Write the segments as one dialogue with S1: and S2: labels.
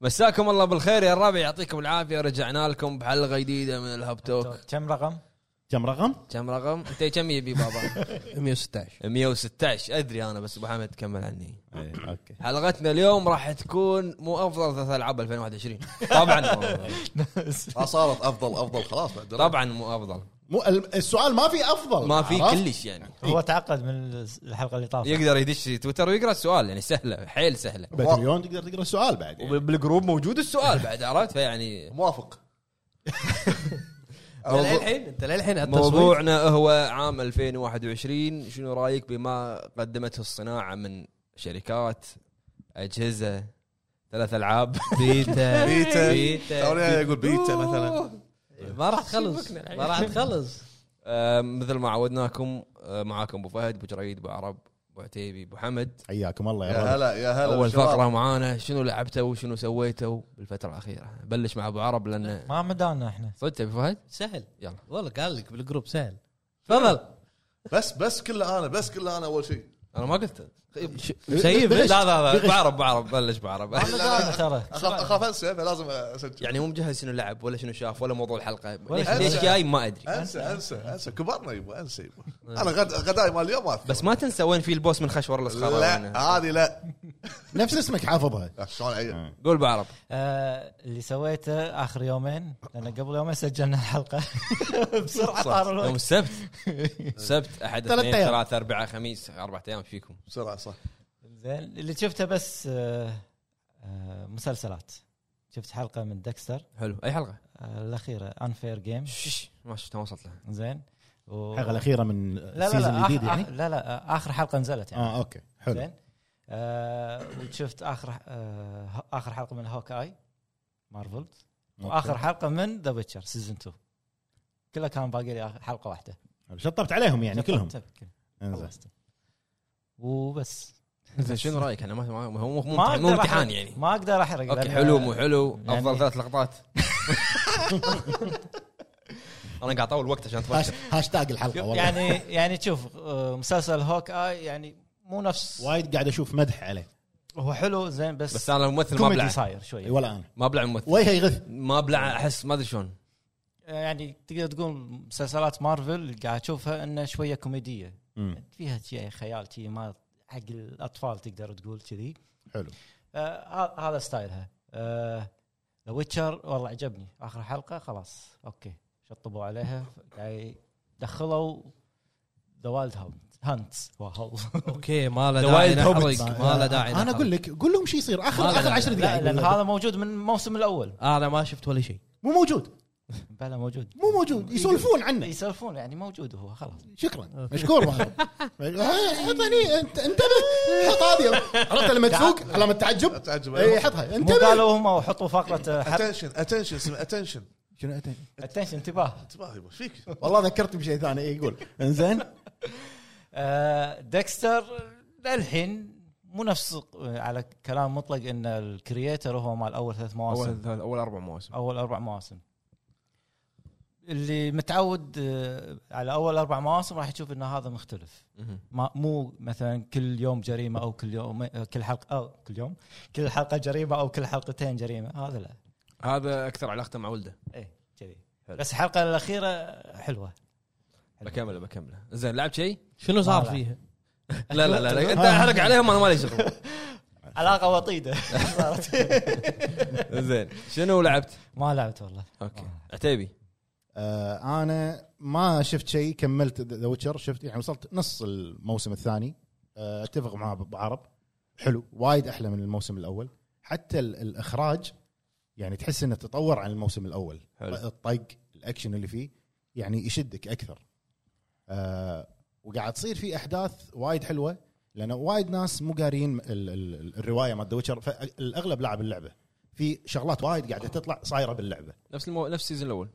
S1: مساكم الله بالخير يا الربع يعطيكم العافيه رجعنا لكم بحلقه جديده من الهب توك
S2: كم رقم؟
S3: كم رقم؟
S1: كم رقم؟ انت كم يبي بابا؟
S4: 116
S1: 116 ادري انا بس ابو حمد كمل عني
S3: ايه اوكي
S1: حلقتنا اليوم راح تكون مو افضل ثلاث العاب 2021 طبعا
S5: ما آه، صارت افضل افضل خلاص بعد
S1: طبعا مو افضل
S3: مو ال- السؤال ما في افضل
S1: ما في
S3: عرفت؟
S1: كلش يعني
S3: إيه.
S2: هو تعقد من الحلقه اللي طافت
S1: يقدر يدش تويتر ويقرا السؤال يعني سهله حيل سهله
S3: باتريون تقدر تقرا السؤال بعد
S4: طيب.
S3: يعني.
S1: وبالجروب موجود السؤال بعد عرفت فيعني
S5: موافق
S4: انت للحين انت للحين على التصويت؟
S1: موضوعنا هو عام 2021 شنو رايك بما قدمته الصناعه من شركات اجهزه ثلاث العاب
S4: بيتا
S5: بيتا.
S4: بيتا
S5: توني يقول بيتا مثلا
S4: ما راح تخلص ما راح تخلص
S1: آه، مثل ما عودناكم آه، معاكم ابو فهد ابو جريد ابو عرب ابو عتيبي ابو حمد
S3: حياكم الله
S5: يا
S3: يا رب
S5: هلا يا هلا
S1: اول
S5: بالشباب.
S1: فقره معانا شنو لعبته وشنو سويته بالفتره الاخيره بلش مع ابو عرب لانه
S2: ما مدانا احنا
S1: صدق يا ابو فهد
S4: سهل
S1: يلا
S4: والله قال لك بالجروب سهل تفضل
S5: بس بس كله انا بس كله انا اول شيء
S1: انا ما قلت
S4: سيب
S1: لا لا لا ابو عرب ابو عرب بلش ابو عرب
S2: ما مدانا ترى
S5: اخاف اخاف انسى فلازم اسجل
S1: يعني مو مجهز شنو لعب ولا شنو شاف ولا موضوع الحلقه ليش
S2: شنو.
S1: ليش جاي ما ادري
S5: انسى انسى انسى كبرنا يبا انسى يبا انا غد غداي مال اليوم ما أذكر.
S1: بس ما تنسى وين في البوس من خشور الاسخار
S5: لا هذه لا
S3: نفس اسمك حافظها
S5: لا، شلون عيل
S3: آه.
S1: قول ابو عرب
S2: آه، اللي سويته اخر يومين لان قبل يومين سجلنا الحلقه بسرعه طار
S1: يوم
S2: الوقت
S1: السبت السبت احد
S3: ثلاث
S1: اثنين
S3: أيام.
S1: ثلاثة اربعة خميس اربع ايام إيش فيكم
S5: بسرعه صح
S2: زين اللي شفته بس آه، آه، مسلسلات شفت حلقه من دكستر
S1: حلو اي حلقة
S2: آه، الاخيره انفير جيم
S1: شش ما شفت ما وصلت لها
S2: زين و...
S3: الحلقه الاخيره من
S2: لا لا
S3: السيزون
S2: لا
S3: الجديد
S2: آخر
S3: يعني
S2: آخر لا لا آه، اخر حلقه نزلت يعني
S3: اه اوكي حلو
S2: زين آه، وشفت اخر آه، اخر حلقه من هوك اي مارفل واخر حلقه من ذا ويتشر سيزون 2 كلها كان باقي لي آخر- حلقه واحده
S3: حلو. شطبت عليهم يعني كلهم
S2: شطبت-
S3: انزين
S2: خلصت. وبس
S1: زين شنو رايك انا ما ما- ما- هو مو مو
S2: ما
S1: امتحان- مو
S2: أقدر
S1: امتحان
S2: أحرق.
S1: يعني
S2: ما اقدر احرق
S1: اوكي
S2: لأن-
S1: حلو مو حلو
S2: يعني-
S1: افضل ثلاث لقطات انا قاعد اطول وقت عشان اتفكر
S3: هاش- هاشتاج الحلقه والله
S2: يعني يعني تشوف آه، مسلسل هوك اي يعني مو نفس
S3: وايد قاعد اشوف مدح عليه
S2: هو حلو زين بس,
S1: بس انا الممثل ما
S2: كوميدي
S1: بلع
S2: صاير شوي
S3: ولا انا
S1: ما بلع ممثل
S3: وجهه يغث
S1: ما بلع احس ما ادري شلون
S2: آه، يعني تقدر تقول مسلسلات مارفل قاعد اشوفها انه شويه كوميديه
S3: مم.
S2: فيها شيء خيال شيء ما حق الاطفال تقدر تقول كذي
S3: حلو
S2: آه، ه- هذا ستايلها ذا ويتشر والله عجبني اخر حلقه خلاص اوكي شطبوا عليها يعني دخلوا ذا وايلد هاوند هانت
S4: اوكي ما له
S1: The
S4: داعي
S1: Wild
S4: نحرق
S1: Hobbits.
S4: ما له داعي
S3: انا
S4: نحرق.
S3: اقول لك قول لهم شو يصير اخر
S4: لا، لا،
S3: اخر
S4: لا،
S3: 10
S2: لا
S3: دقائق
S2: لان
S3: ولا-
S2: هذا موجود من الموسم الاول
S4: انا ما شفت ولا شيء
S3: مو موجود
S2: بلا موجود
S3: مو موجود يسولفون عنه
S2: يسولفون يعني موجود هو خلاص
S3: شكرا مشكور مهرب حطني انت انتبه حط هذه عرفت لما تسوق علامه تعجب
S5: تعجب
S3: اي حطها
S2: مو
S3: انتبه
S2: قالوا هم وحطوا فقره حق
S5: اتنشن اتنشن اسمه اتنشن
S3: شنو أتى؟
S2: اتنشن انتباه
S5: انتباه يبا ايش فيك؟
S3: والله ذكرت بشيء ثاني إي، يقول انزين
S2: آه، ديكستر للحين مو نفس آه، على كلام مطلق ان الكرييتر هو مال اول ثلاث مواسم
S1: اول اول اربع مواسم
S2: اول اربع مواسم اللي متعود آه، على اول اربع مواسم راح يشوف ان هذا مختلف
S1: مهم.
S2: ما مو مثلا كل يوم جريمه او كل يوم آه، كل حلقه او كل يوم كل حلقه جريمه او كل حلقتين جريمه هذا لا
S1: هذا اكثر علاقته مع ولده
S2: ايه كذي
S1: حلو.
S2: بس الحلقه الاخيره حلوه
S1: بكمله بكمله زين لعبت شيء؟
S4: شنو صار
S2: ما له.
S4: فيها؟
S1: لا لا لا, آه. لا. انت احرق عليهم انا مالي شغل
S2: علاقه وطيده صارت
S1: زين شنو لعبت؟
S2: ما لعبت والله
S1: اوكي عتيبي
S3: آه، انا ما شفت شيء كملت ذا ويتشر شفت يعني وصلت نص الموسم الثاني آه، اتفق مع ابو عرب حلو وايد احلى من الموسم الاول حتى ال- الاخراج يعني تحس انه تطور عن الموسم الاول
S1: حلو.
S3: الطق الاكشن اللي فيه يعني يشدك اكثر آه، وقاعد تصير في احداث وايد حلوه لان وايد ناس مو قارين ال- ال- الروايه مال ذا ويتشر فالاغلب لاعب اللعبه في شغلات وايد قاعده تطلع صايره باللعبه
S1: نفس المو... نفس السيزون الاول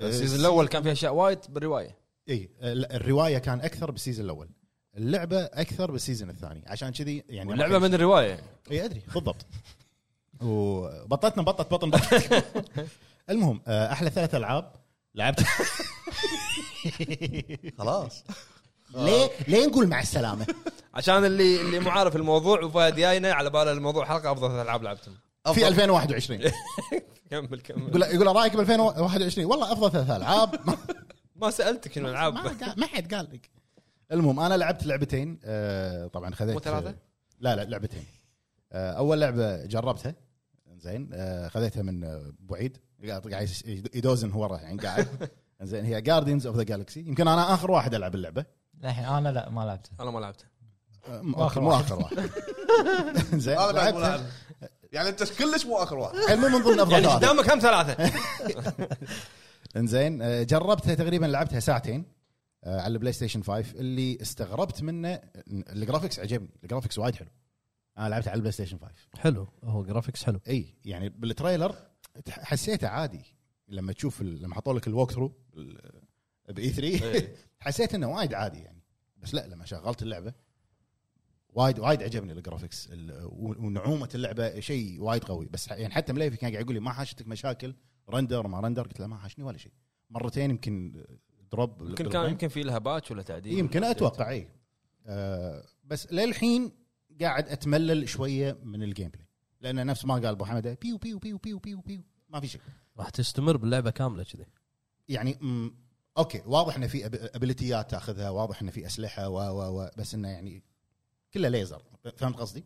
S3: أه،
S1: السيزون الاول كان فيه اشياء وايد بالروايه
S3: اي ال- الروايه كان اكثر بالسيزون الاول اللعبه اكثر بالسيزون الثاني عشان كذي يعني
S1: واللعبه من الروايه
S3: اي ادري بالضبط وبطتنا بطت بطن بطت المهم آه، احلى ثلاث العاب لعبت
S5: خلاص
S3: ليه ليه نقول مع السلامه
S1: عشان اللي اللي مو عارف الموضوع وفهد جاينا على باله الموضوع حلقه افضل ثلاث العاب لعبتهم
S3: في 2021
S1: كمل كمل
S3: يقول له- يقول له رايك ب 2021 والله افضل ثلاث العاب ما-
S1: ما سالتك شنو
S3: ما
S1: الالعاب
S3: قال- ما حد قال لك المهم انا لعبت لعبتين آه، طبعا خذيت
S1: مو ثلاثة؟
S3: لا لا لعبتين آه، اول لعبه جربتها زين آه، خذيتها من آه، بعيد قاعد قاعد يدوزن هو وراه يعني قاعد زين هي جاردينز اوف ذا جالكسي يمكن انا اخر واحد العب اللعبه
S2: الحين انا لا ما لعبته
S1: انا ما لعبته
S3: آه، مو
S2: آخر
S3: آخر- مو
S2: واحد.
S3: اخر واحد زين
S5: هذا بعد مو
S3: لعبتها.
S5: لاعب. يعني انت كلش مو اخر واحد
S3: المهم من ضمن افضل
S1: يعني
S3: ثلاثة.
S1: قدامك هم ثلاثه
S3: انزين آه، جربتها تقريبا لعبتها ساعتين آه، على البلاي ستيشن 5 اللي استغربت منه آه، الجرافكس عجبني الجرافكس وايد حلو انا لعبتها على البلاي ستيشن 5
S4: حلو هو جرافيكس حلو
S3: اي يعني بالتريلر تح- حسيته عادي لما تشوف ال- لما حطوا لك الوك ثرو باي 3 E حسيت انه وايد عادي يعني بس لا لما شغلت اللعبه وايد وايد عجبني الجرافكس ال- و- ونعومه اللعبه شيء وايد قوي بس ح- يعني حتى مليفي كان قاعد يقول لي ما حاشتك مشاكل رندر ما رندر قلت له ما حاشني ولا شيء مرتين يمكن دروب
S1: يمكن كان
S3: بالفريم.
S1: يمكن في لها باتش ولا تعديل
S3: يمكن اتوقع اي آه بس للحين قاعد اتملل شويه من الجيم بلاي لانه نفس ما قال ابو حمد بيو بيو بيو بيو بيو بيو ما في شيء
S4: راح تستمر باللعبه كامله كذي
S3: يعني مم اوكي واضح انه في أب- ابيليتيات تاخذها واضح انه في اسلحه و و و بس انه يعني كله ليزر فهمت قصدي؟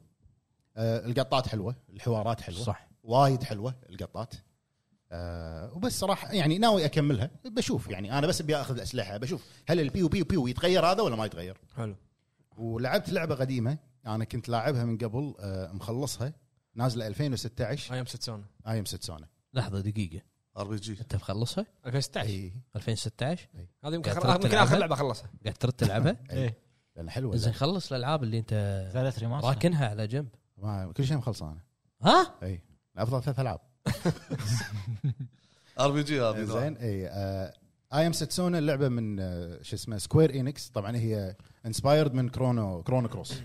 S3: آه القطات حلوه الحوارات حلوه
S4: صح
S3: وايد حلوه القطات آه وبس صراحه يعني ناوي اكملها بشوف يعني انا بس ابي اخذ الاسلحه بشوف هل البيو بيو بيو يتغير هذا ولا ما يتغير
S1: حلو
S3: ولعبت لعبه قديمه انا كنت لاعبها من قبل آه، مخلصها نازله 2016
S1: ايام ست سنه
S3: اي ام 6 سنه
S4: لحظه دقيقه
S5: ار بي جي
S4: انت مخلصها
S1: 2016
S3: إيه.
S4: 2016
S1: هذه يمكن
S4: قاعد
S1: آخر- يمكن
S4: تلعبها؟
S1: اخر لعبه خلصها
S4: قاعد ترد تلعبها
S2: ايه
S3: لان حلوه
S4: زين
S3: زين
S4: خلص الالعاب اللي انت
S2: ثلاث ريماس
S4: راكنها على جنب
S3: كل شيء مخلص انا
S4: ها
S3: اي افضل ثلاث العاب
S5: ار بي جي هذا
S3: زين إيه، آه، اي اي ام ساتسونا اللعبه من آه، شو اسمه سكوير انكس طبعا هي انسبايرد من كرونو كرونو كروس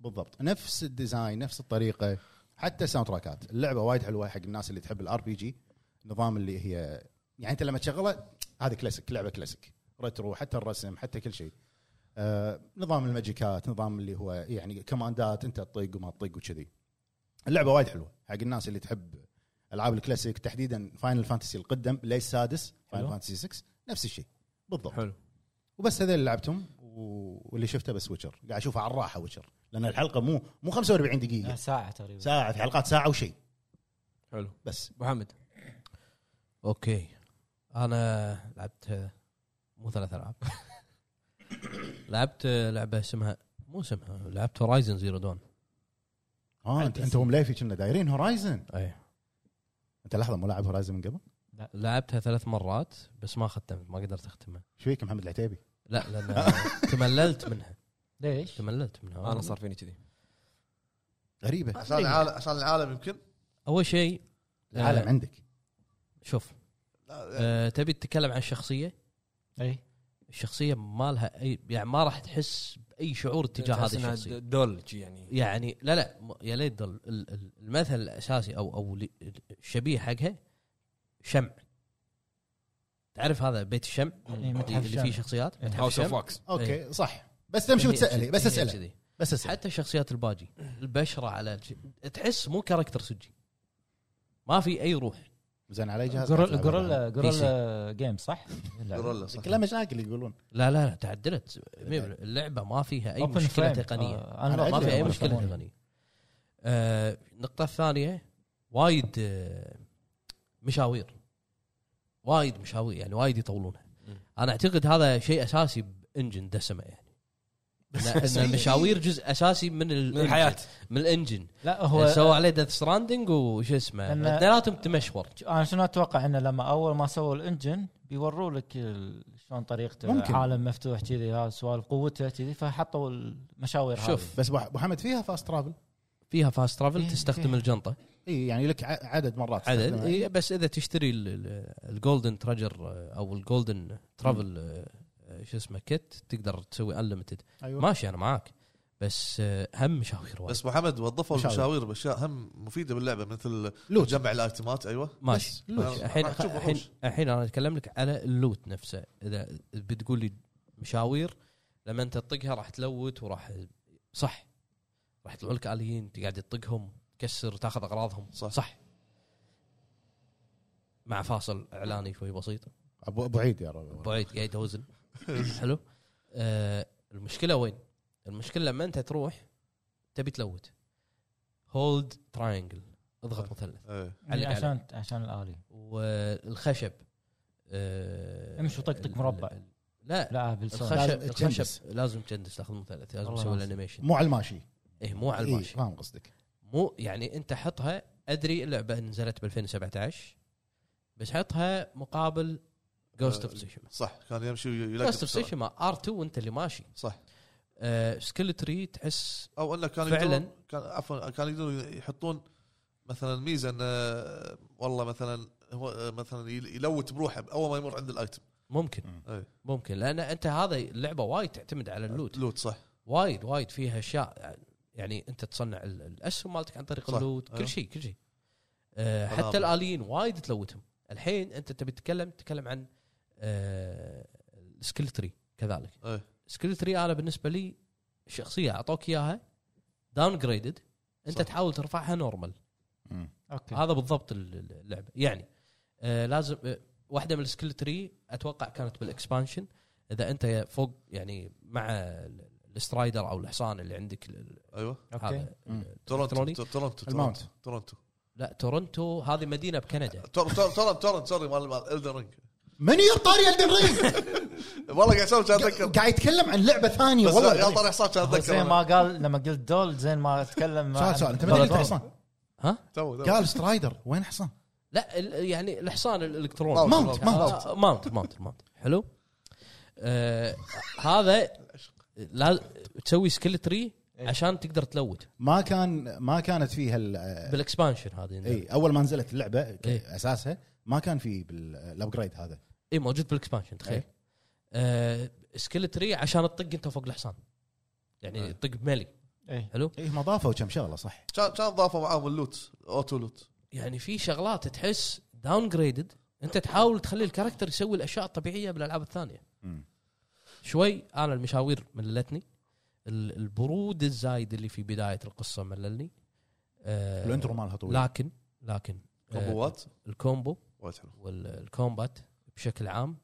S3: بالضبط نفس الديزاين نفس الطريقه حتى الساوند تراكات اللعبه وايد حلوه حق الناس اللي تحب الار بي جي نظام اللي هي يعني انت لما تشغله هذه كلاسيك لعبه كلاسيك ريترو حتى الرسم حتى كل شيء آه نظام الماجيكات نظام اللي هو يعني كماندات انت تطق وما تطق وكذي اللعبه وايد حلوه حق الناس اللي تحب العاب الكلاسيك تحديدا فاينل فانتسي القدم ليس السادس فاينل
S1: حلو.
S3: فانتسي 6 نفس الشيء بالضبط
S1: حلو
S3: وبس هذول اللي لعبتهم و- واللي شفته بس ويتشر قاعد اشوفه على الراحه ويتشر لان الحلقه مو مو 45 دقيقه
S2: ساعه تقريبا
S3: ساعه في حلقات ساعه وشيء
S1: حلو
S3: بس
S1: ابو حمد
S4: اوكي انا لعبت آه، مو ثلاث العاب لعبت آه، لعبه اسمها مو اسمها لعبت هورايزن زيرو دون
S3: اه انت انت ومليفي كنا دايرين هورايزن
S4: اي
S3: انت لحظه مو لاعب هورايزن من قبل
S4: لعبتها ثلاث مرات بس ما ختمت ما قدرت اختمها
S3: ايش فيك محمد العتيبي
S4: لا لان تمللت منها
S2: ليش؟
S4: تمللت منها
S1: انا صار فيني كذي
S3: غريبه
S5: عشان العالم عشان العالم يمكن
S4: اول شيء آه،
S3: العالم عندك
S4: شوف
S5: لا،
S4: آه، تبي تتكلم عن الشخصيه
S2: اي
S4: الشخصيه ما لها اي يعني ما راح تحس باي شعور تجاه
S1: تحس
S4: هذه
S1: إنها
S4: الشخصيه
S1: د- دول شي
S3: إيه،
S1: يعني
S4: يعني لا لا م- يا ليت ضل ال- ال- المثل الاساسي او او ل- الشبيه حقها شمع تعرف هذا بيت الشمع
S2: إي، متحف
S4: اللي
S2: شمع.
S4: فيه شخصيات
S2: إي.
S4: متحف
S1: هاوس اوف
S4: شمع.
S1: واكس
S3: اوكي صح بس تمشي
S4: إيه. هي
S3: وتسالي بس
S4: هي
S3: اساله
S4: كذي.
S3: بس اساله
S4: حتى شخصيات الباجي البشره على الج- تحس مو كاركتر سجي ما في اي روح
S3: زين على أي جهاز
S2: جوريلا جوريلا جوريلا جيم آه، صح؟
S5: جوريلا صح
S3: كلام مشاكل يقولون
S4: لا لا لا تعدلت اللعبه ما فيها اي مشكله تقنية
S2: آه.
S4: ما في اي مشكله تقنيه آه، النقطه الثانيه وايد آه، مشاوير وايد مشاوير يعني وايد يطولونها
S1: مم.
S4: انا اعتقد هذا شيء اساسي بانجن دسمه يعني إن-
S3: بس-
S4: ان المشاوير جزء اساسي من
S1: من الحياه
S4: من الانجن
S2: لا
S4: هو
S2: هو
S4: سووا عليه ديث ستراندنج وش اسمه
S2: لأن-
S4: اثنيناتهم تمشور
S2: انا شنو اتوقع انه لما اول ما سووا الانجن بيوروا لك ال- شلون طريقته
S3: ممكن.
S2: عالم مفتوح كذي ها سوالف قوته كذي فحطوا المشاوير
S4: شوف
S3: بس أبو- ابو حمد فيها فاست ترافل
S4: فيها فاست
S2: إيه،
S4: ترافل تستخدم
S2: فيها.
S4: الجنطه
S3: اي يعني لك ع- عدد مرات
S4: عدد
S3: تستخدمها.
S4: إيه بس اذا تشتري الجولدن تراجر او الجولدن ترافل آه، شو اسمه كيت تقدر تسوي انليمتد
S2: أيوه.
S3: ايوه
S4: ماشي انا معاك بس آه، هم مشاوير وايد
S5: بس محمد وظفوا
S3: مشاوير.
S5: المشاوير باشياء هم مفيده باللعبه مثل
S3: لوت.
S5: جمع الايتمات ايوه
S4: ماشي
S5: بس.
S4: ماشي. الحين
S5: راح تشوف
S4: الحين
S5: وحوش.
S4: الحين انا اتكلم لك على اللوت نفسه اذا بتقول لي مشاوير لما انت تطقها راح تلوت وراح صح راح يطلعوا لك اليين تقعد تطقهم تكسر تاخذ اغراضهم
S5: صح.
S4: صح مع فاصل اعلاني شوي بسيط
S3: ابو ابو عيد يا رب
S4: ابو عيد قاعد يوزن حلو آه المشكله وين؟ المشكله لما انت تروح تبي تلوت هولد تراينجل اضغط مثلث
S5: إيه.
S4: علي- علي.
S2: يعني عشان عشان الالي
S4: والخشب آه،
S2: امشي وطقطق مربع.
S4: لا
S2: لا بالسوني
S4: الخشب
S3: لازم تجندس.
S4: الخشب لازم تجندس تاخذ مثلث لازم
S2: والله
S4: تسوي
S2: لازم.
S4: الانيميشن
S3: مو على الماشي
S4: ايه مو على
S3: إيه،
S4: الماشي
S3: فاهم قصدك
S4: مو يعني انت حطها ادري اللعبه نزلت ب 2017 بس حطها مقابل جوست اوف تسوشيما
S5: صح كان يمشي يلاقي
S4: جوست اوف تسوشيما ار 2 وانت اللي ماشي
S5: صح
S4: آه سكيل تري تحس
S5: او انه كان
S4: فعلاً.
S5: فعلا كان عفوا كان يقدروا يحطون مثلا ميزه انه آه، والله مثلا هو آه، مثلا يل- يلوت بروحه اول ما يمر عند الايتم
S4: ممكن
S5: إيه.
S4: ممكن لان انت هذا اللعبه وايد تعتمد على اللوت
S5: لوت صح
S4: وايد وايد فيها اشياء يعني انت تصنع ال- الاسهم مالتك عن طريق
S5: صح.
S4: اللوت
S5: أيوه.
S4: كل شيء كل شيء آه
S5: طبعاً.
S4: حتى الاليين وايد تلوتهم الحين انت تبي تتكلم تتكلم عن آه سكيل تري كذلك
S5: إيه.
S4: سكيل تري انا بالنسبه لي شخصيه اعطوك اياها داون جريدد انت
S5: صح.
S4: تحاول ترفعها نورمال
S3: مم.
S2: اوكي
S4: هذا بالضبط ال- ال- اللعبه يعني آه لازم آه واحده من السكيل تري اتوقع كانت بالاكسبانشن اذا انت فوق يعني مع ال- السترايدر او الحصان اللي عندك ال- ال-
S5: ايوه
S4: هذا
S3: مم.
S5: تورنتو
S4: إلكتروني.
S5: تورنتو تورنتو
S3: الماونت.
S5: تورنتو
S4: لا تورنتو هذه مدينه بكندا
S5: تور- تور- تورنت تورنت سوري مال مال الدن رينج
S3: من يا طاري Elden Ring؟
S5: والله قاعد اسولف كان اتذكر
S3: قاعد يتكلم عن لعبه ثانيه
S5: بس
S3: والله
S5: يا طاري حساب كان
S2: هو زين ما
S5: اتذكر
S2: قال لما قلت دول زين ما اتكلم عن-
S3: سؤال سؤال انت ما قلت
S2: دول.
S3: حصان
S5: تو- تو.
S3: قال سترايدر وين حصان؟
S4: لا ال- يعني الحصان الالكتروني
S5: ماونت،
S3: ماونت، ماونت.
S4: آه، ماونت ماونت ماونت حلو آه هذا لا تسوي سكيل تري عشان تقدر تلوت
S3: ما كان ما كانت فيها ال-
S4: بالاكسبانشن هذه
S3: اي اول ما نزلت اللعبه ك-
S4: إيه.
S3: اساسها ما كان في بالابجريد هذا
S4: اي إيه، موجود بالاكسبانشن تخيل
S3: إيه.
S4: آه سكيل تري عشان تطق انت فوق الحصان يعني
S5: إيه.
S4: تطق بملي
S2: إيه.
S4: حلو
S3: اي ما ضافوا كم شغله صح
S5: كان كان ضافوا معاهم اللوت اوتو لوت
S4: يعني في شغلات تحس داون جريدد انت تحاول تخلي الكاركتر يسوي الاشياء الطبيعيه بالالعاب الثانيه
S3: مم.
S4: شوي انا المشاوير مللتني ال- البرود الزايد اللي في بدايه القصه مللني آه
S3: الانترو مالها طويل
S4: لكن لكن آه،
S5: كومبوات
S4: الكومبو
S5: وايد حلو
S4: والكومبات بشكل عام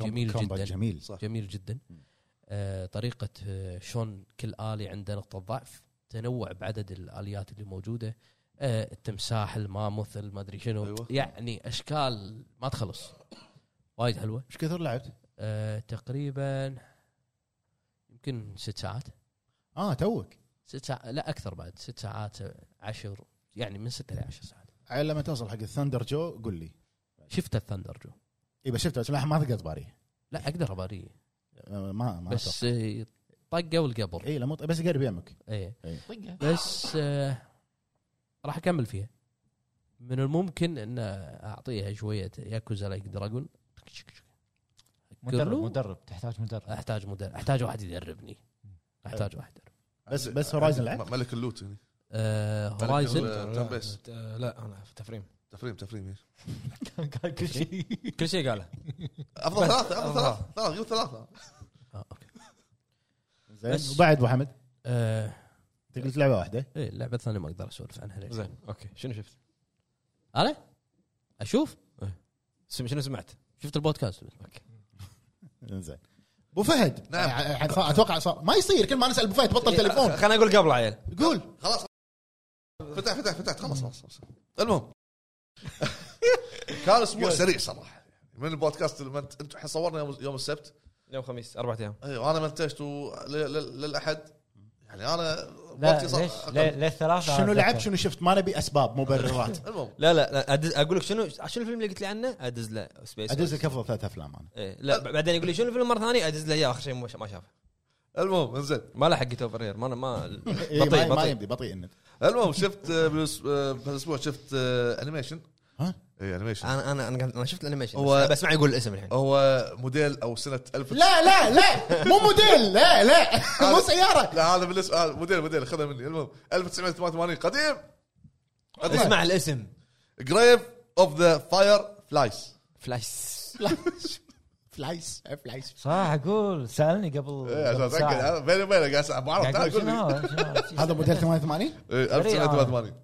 S4: جميل
S3: كومبات
S4: جدا
S3: جميل
S5: صح
S4: جميل جدا
S3: مم.
S4: آه طريقة آه شلون كل آلي عنده نقطة ضعف تنوع بعدد الآليات اللي موجودة آه التمساح الماموث ما أدري شنو
S5: أيوة.
S4: يعني أشكال ما تخلص وايد حلوة
S3: ايش كثر لعبت؟
S4: آه تقريبا يمكن ست ساعات
S3: اه توك
S4: ست ساعات لا أكثر بعد ست ساعات آه، عشر يعني من ستة لعشر ساعات
S3: على لما توصل حق الثندر جو قول لي
S4: شفت الثندر جو
S3: اي بس شفته بس ما ما ثقلت باري
S4: لا أقدر أباريه
S3: ما ما
S4: بس آه، طقة والقبر
S3: اي لا مو بس قرب يمك طيب.
S4: إيه
S2: طقه
S4: بس آه راح اكمل فيها من الممكن ان اعطيها شويه ياكوزا لايك دراجون
S2: مدرب
S4: قرلو.
S2: مدرب تحتاج مدرب
S4: احتاج مدرب احتاج واحد يدربني احتاج واحد يدرب
S3: بس- بس Horizon لعبت؟
S5: م- ملك اللوت يعني. هنا
S4: آه هورايزن
S5: آه، turn based.
S1: آه، لا انا في تفريم
S5: تفريم تفريم
S2: قال كل شيء
S1: كل شيء قاله
S3: إيه.
S5: افضل ثلاثه افضل ثلاثه ثلاثه قلت ثلاثه
S4: آه اوكي
S3: زين
S4: بس-
S3: وبعد ابو حمد
S4: آه
S3: انت قلت لعبه واحده
S4: ايه اللعبه الثانيه ما اقدر اسولف عنها ليش
S1: زين اوكي شنو شفت؟
S4: انا اشوف
S1: سم- شنو سمعت؟
S4: شفت البودكاست
S1: اوكي
S3: زين ابو فهد
S5: نعم.
S3: ع- ع- اتوقع صار ما يصير كل ما نسال ابو فهد
S1: إيه،
S3: بطل تليفون
S1: خليني اقول قبل عيل
S3: قول
S5: خلاص فتح فتح فتحت خلاص خلاص خلاص. المهم كان اسبوع سريع صراحه من البودكاست اللي منت... انتم إحنا صورنا يوم, يوم السبت
S1: يوم خميس اربع ايام
S5: ايوه انا منتجت و... ل... ل... للاحد يعني انا
S2: لا
S5: وقتي صار
S2: ليش
S5: أقل.
S2: ليه- ليه الثلاثه
S3: شنو لعبت
S2: لعبت
S3: شنو شفت ما نبي اسباب مبررات
S5: المهم
S1: لا لا, لا أدز اقول لك شنو شنو الفيلم اللي قلت لي عنه ادز له سبيس
S3: ادز لك افضل ثلاث افلام انا
S1: إيه لا ب- بعدين يقول لي شنو الفيلم مره ثانيه ادز له اياه اخر شيء مو- ما شافه
S5: المهم انزين
S1: ما له حق توفر هير ما ما
S3: إيه، ما-
S1: بطيء
S3: ما
S1: بطيء
S3: يمدي بطيء النت
S5: المهم شفت آه، بالأس- آه، بهالاسبوع شفت آه، انيميشن
S3: ها؟
S5: اي انيميشن
S1: انا انا انا انا شفت الانيميشن
S5: هو-
S1: بس اسمع يقول الاسم الحين
S5: هو موديل او سنه 1000
S3: لا لا لا مو موديل لا لا مو سياره
S5: لا هذا بالنسبه هذا موديل موديل خذها مني المهم 1988 قديم
S1: اسمع الاسم
S5: جريف اوف ذا فاير فلايز
S1: فلاش
S3: فلايس فلايس فلايس
S2: صح اقول سالني قبل
S3: إيه،
S5: ايه عشان
S2: قبل
S5: اتاكد
S2: إيه، ساعة.
S5: أنا بيني وبينك قاعد أسأل، ما عرفت
S2: قاعد
S5: أنا
S2: اقول
S5: اقول
S2: شنو هذا؟
S5: لي
S2: شنو هذا؟
S3: هذا موديل 88
S5: إيه، 1988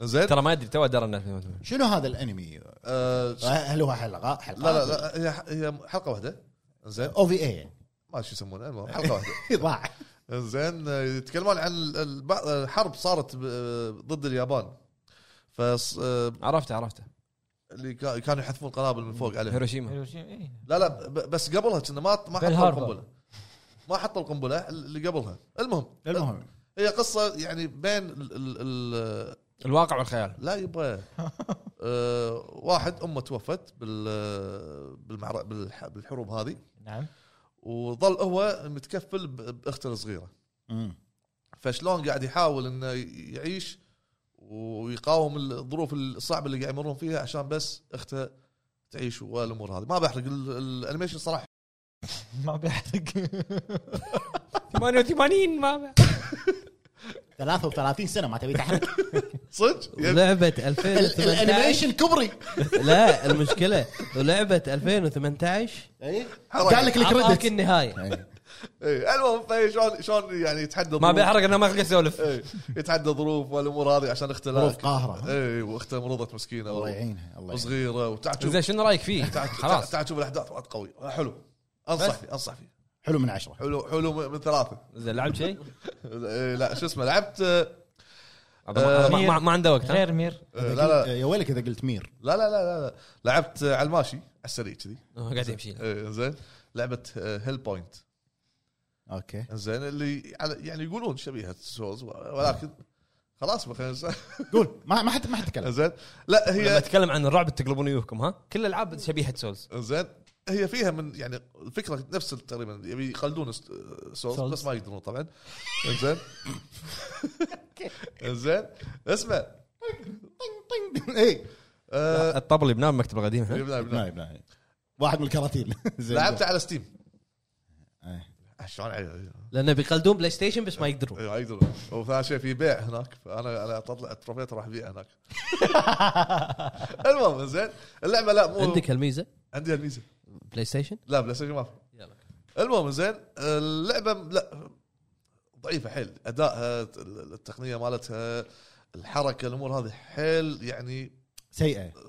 S5: زين
S1: ترى ما ادري تو درى انه 2008
S3: شنو هذا الانمي؟
S5: آه،
S3: هل هو حلقه حلقه
S5: لا لا لا هي هي حلقه واحده زين
S3: او في اي
S5: ما أدري شو يسمونها المهم حلقه واحده
S3: ضاع
S5: زين آه، يتكلمون عن ال- الب- الحرب صارت ب- آه، ضد اليابان فص آه،
S1: عرفته عرفته
S5: اللي كا- كانوا يحذفون قنابل من فوق عليهم
S1: هيروشيما
S2: هيروشيما، إيه.
S5: لا لا ب- بس قبلها كنا ما ما
S2: بيل
S5: حطوا
S2: هاربر.
S5: القنبله ما حطوا القنبله اللي قبلها المهم
S3: المهم
S5: هي قصه يعني بين ال ال ال
S1: الواقع والخيال
S5: لا يبغى آه، واحد امه توفت بال بالمعر- بالح- بالحروب هذه
S2: نعم
S5: وظل هو متكفل ب- باخته الصغيره
S3: مم.
S5: فشلون قاعد يحاول انه يعيش ويقاوم الظروف الصعبه اللي قاعد يمرون فيها عشان بس اخته تعيش والامور هذه ما بحرق ال- الانيميشن صراحه
S2: ما بيحرق
S1: 88 ما
S3: 33 سنه ما تبي تحرق
S5: صدق يعني
S4: لعبه
S3: ال-
S4: 2018
S3: الانيميشن كبري
S4: لا المشكله لعبه 2018
S3: قال لك
S4: اعطاك
S3: الكريدت
S4: النهايه
S5: إيه، المهم فهي شلون شلون يعني يتحدى
S1: ما
S5: ظروف-
S1: بيحرق انه ما يخلق يسولف
S5: إيه، يتحدى ظروف والامور هذه عشان إيه، اخته لا-
S3: ظروف قاهرة.
S5: اي واخته مرضت مسكينه
S3: الله
S5: و-
S3: يعينها الله يعينها
S5: وصغيره وتعال شوف
S1: زين شنو رايك فيه؟
S5: تعال- تعال
S1: خلاص
S5: تعال شوف الاحداث وايد قوي حلو انصح فيه انصح فيه
S3: حلو من عشره
S5: حلو حلو من من ثلاثه
S1: زين لعبت شيء؟
S5: إيه، لا شو اسمه لعبت آه،
S1: ما- ما- ما- ما عنده وقت ها؟
S2: غير مير
S5: لا لا
S3: يا ويلك اذا قلت مير
S5: لا لا لا لا, لا. لعبت آه، على الماشي على السريع كذي
S1: قاعد يمشي
S5: إيه، زين لعبه هيل بوينت
S3: اوكي
S5: زين اللي على- يعني يقولون شبيهه سولز ولكن خلاص بقى، خلينا
S3: قول ما ما حد ما حد تكلم
S5: زين لا
S1: لما
S5: هي
S1: اتكلم عن الرعب تقلبون ويوهكم ها؟ كل الالعاب شبيهه سولز
S5: زين هي فيها من يعني الفكره نفس تقريبا يبي يقلدون س- سولز
S2: سولز.
S5: بس ما يقدرون طبعا زين زين اسمع
S3: اي
S5: آه،
S1: أه، الطبل اللي بناه بمكتب القديم ها؟
S5: بلا- بلا.
S3: نايب نايب واحد من الكراتين زين
S5: لعبت على ستيم آه،
S3: إيه.
S5: شلون عليه؟
S4: لانه بيقلدون بلاي ستيشن بس ما يقدرون
S5: ايوه اقدر وثاني شيء في بيع هناك فانا انا اطلع التروفيات راح ابيعها هناك المهم زين اللعبه لا مو
S4: عندك هالميزه
S5: عندي الميزه
S4: بلاي ستيشن
S5: لا بلاي ستيشن ما في
S4: يلا.
S5: المهم زين اللعبه لا ضعيفه حيل ادائها التقنيه مالتها الحركه الامور هذه حيل يعني
S3: سيئه تع-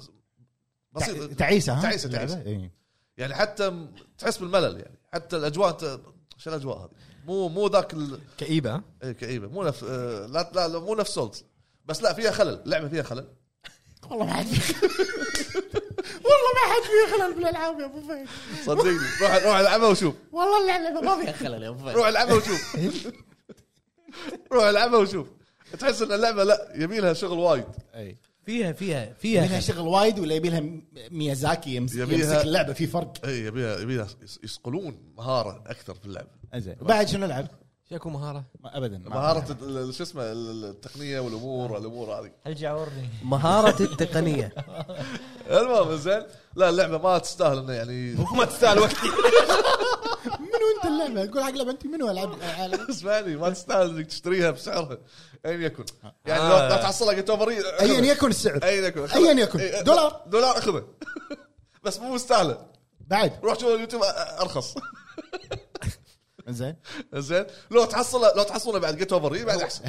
S5: بسيطه
S3: تعيسه ها إيه.
S5: تعيسة،
S3: اللعبة؟
S5: تعيسة.
S3: إي.
S5: يعني حتى م- تحس بالملل يعني حتى الاجواء ت- شو الاجواء هذه مو مو ذاك ال-
S1: كئيبه
S5: إيه، كئيبه مو نفس آه، لا لا لا، مو نفس سولز بس لا فيها خلل لعبه فيها خلل
S3: والله ما حد فيه- والله ما حد فيه خلل بالالعاب يا ابو فهد
S5: صدقني روح روح العبها وشوف
S3: والله اللعبه ما فيها خلل يا ابو فهد
S5: روح العبها وشوف روح العبها وشوف تحس ان اللعبه لا يبي لها شغل وايد
S3: إي.
S4: فيها فيها
S3: يبيلها
S4: فيها خلل.
S3: شغل وايد ولا يبيلها م- ميازاكي يمس-
S5: يبيها-
S3: يمسك اللعبه في فرق
S5: اي يبيها يبيها يس- يسقلون مهاره اكثر في اللعبه
S3: زين وبعد شنو العب؟
S1: شكو مهاره
S3: ما- ابدا ما-
S5: مهاره ال- ال- شو اسمه ال- التقنيه والامور والامور هذه
S2: هل عورني
S4: مهاره التقنيه
S5: المهم زين لا اللعبه ما تستاهل انه يعني
S1: ما تستاهل وقتي
S3: منو انت اللعبه؟ قول حق لعبه انت منو العب ألعب؟
S5: اسمعني ما تستاهل انك تشتريها بسعرها اين يكن يعني لو لو تحصلها قلت اوفر
S3: ايا يكن السعر
S5: ايا يكن أخذها.
S3: أياً يكن.
S5: إيه،
S3: دولار.
S5: دولار اخذه بس مو مستاهله
S3: بعد
S5: روح شوف اليوتيوب أ- أ- ارخص
S3: زين
S5: زين لو تحصله لو تحصله بعد جيت اوفر بعد احسن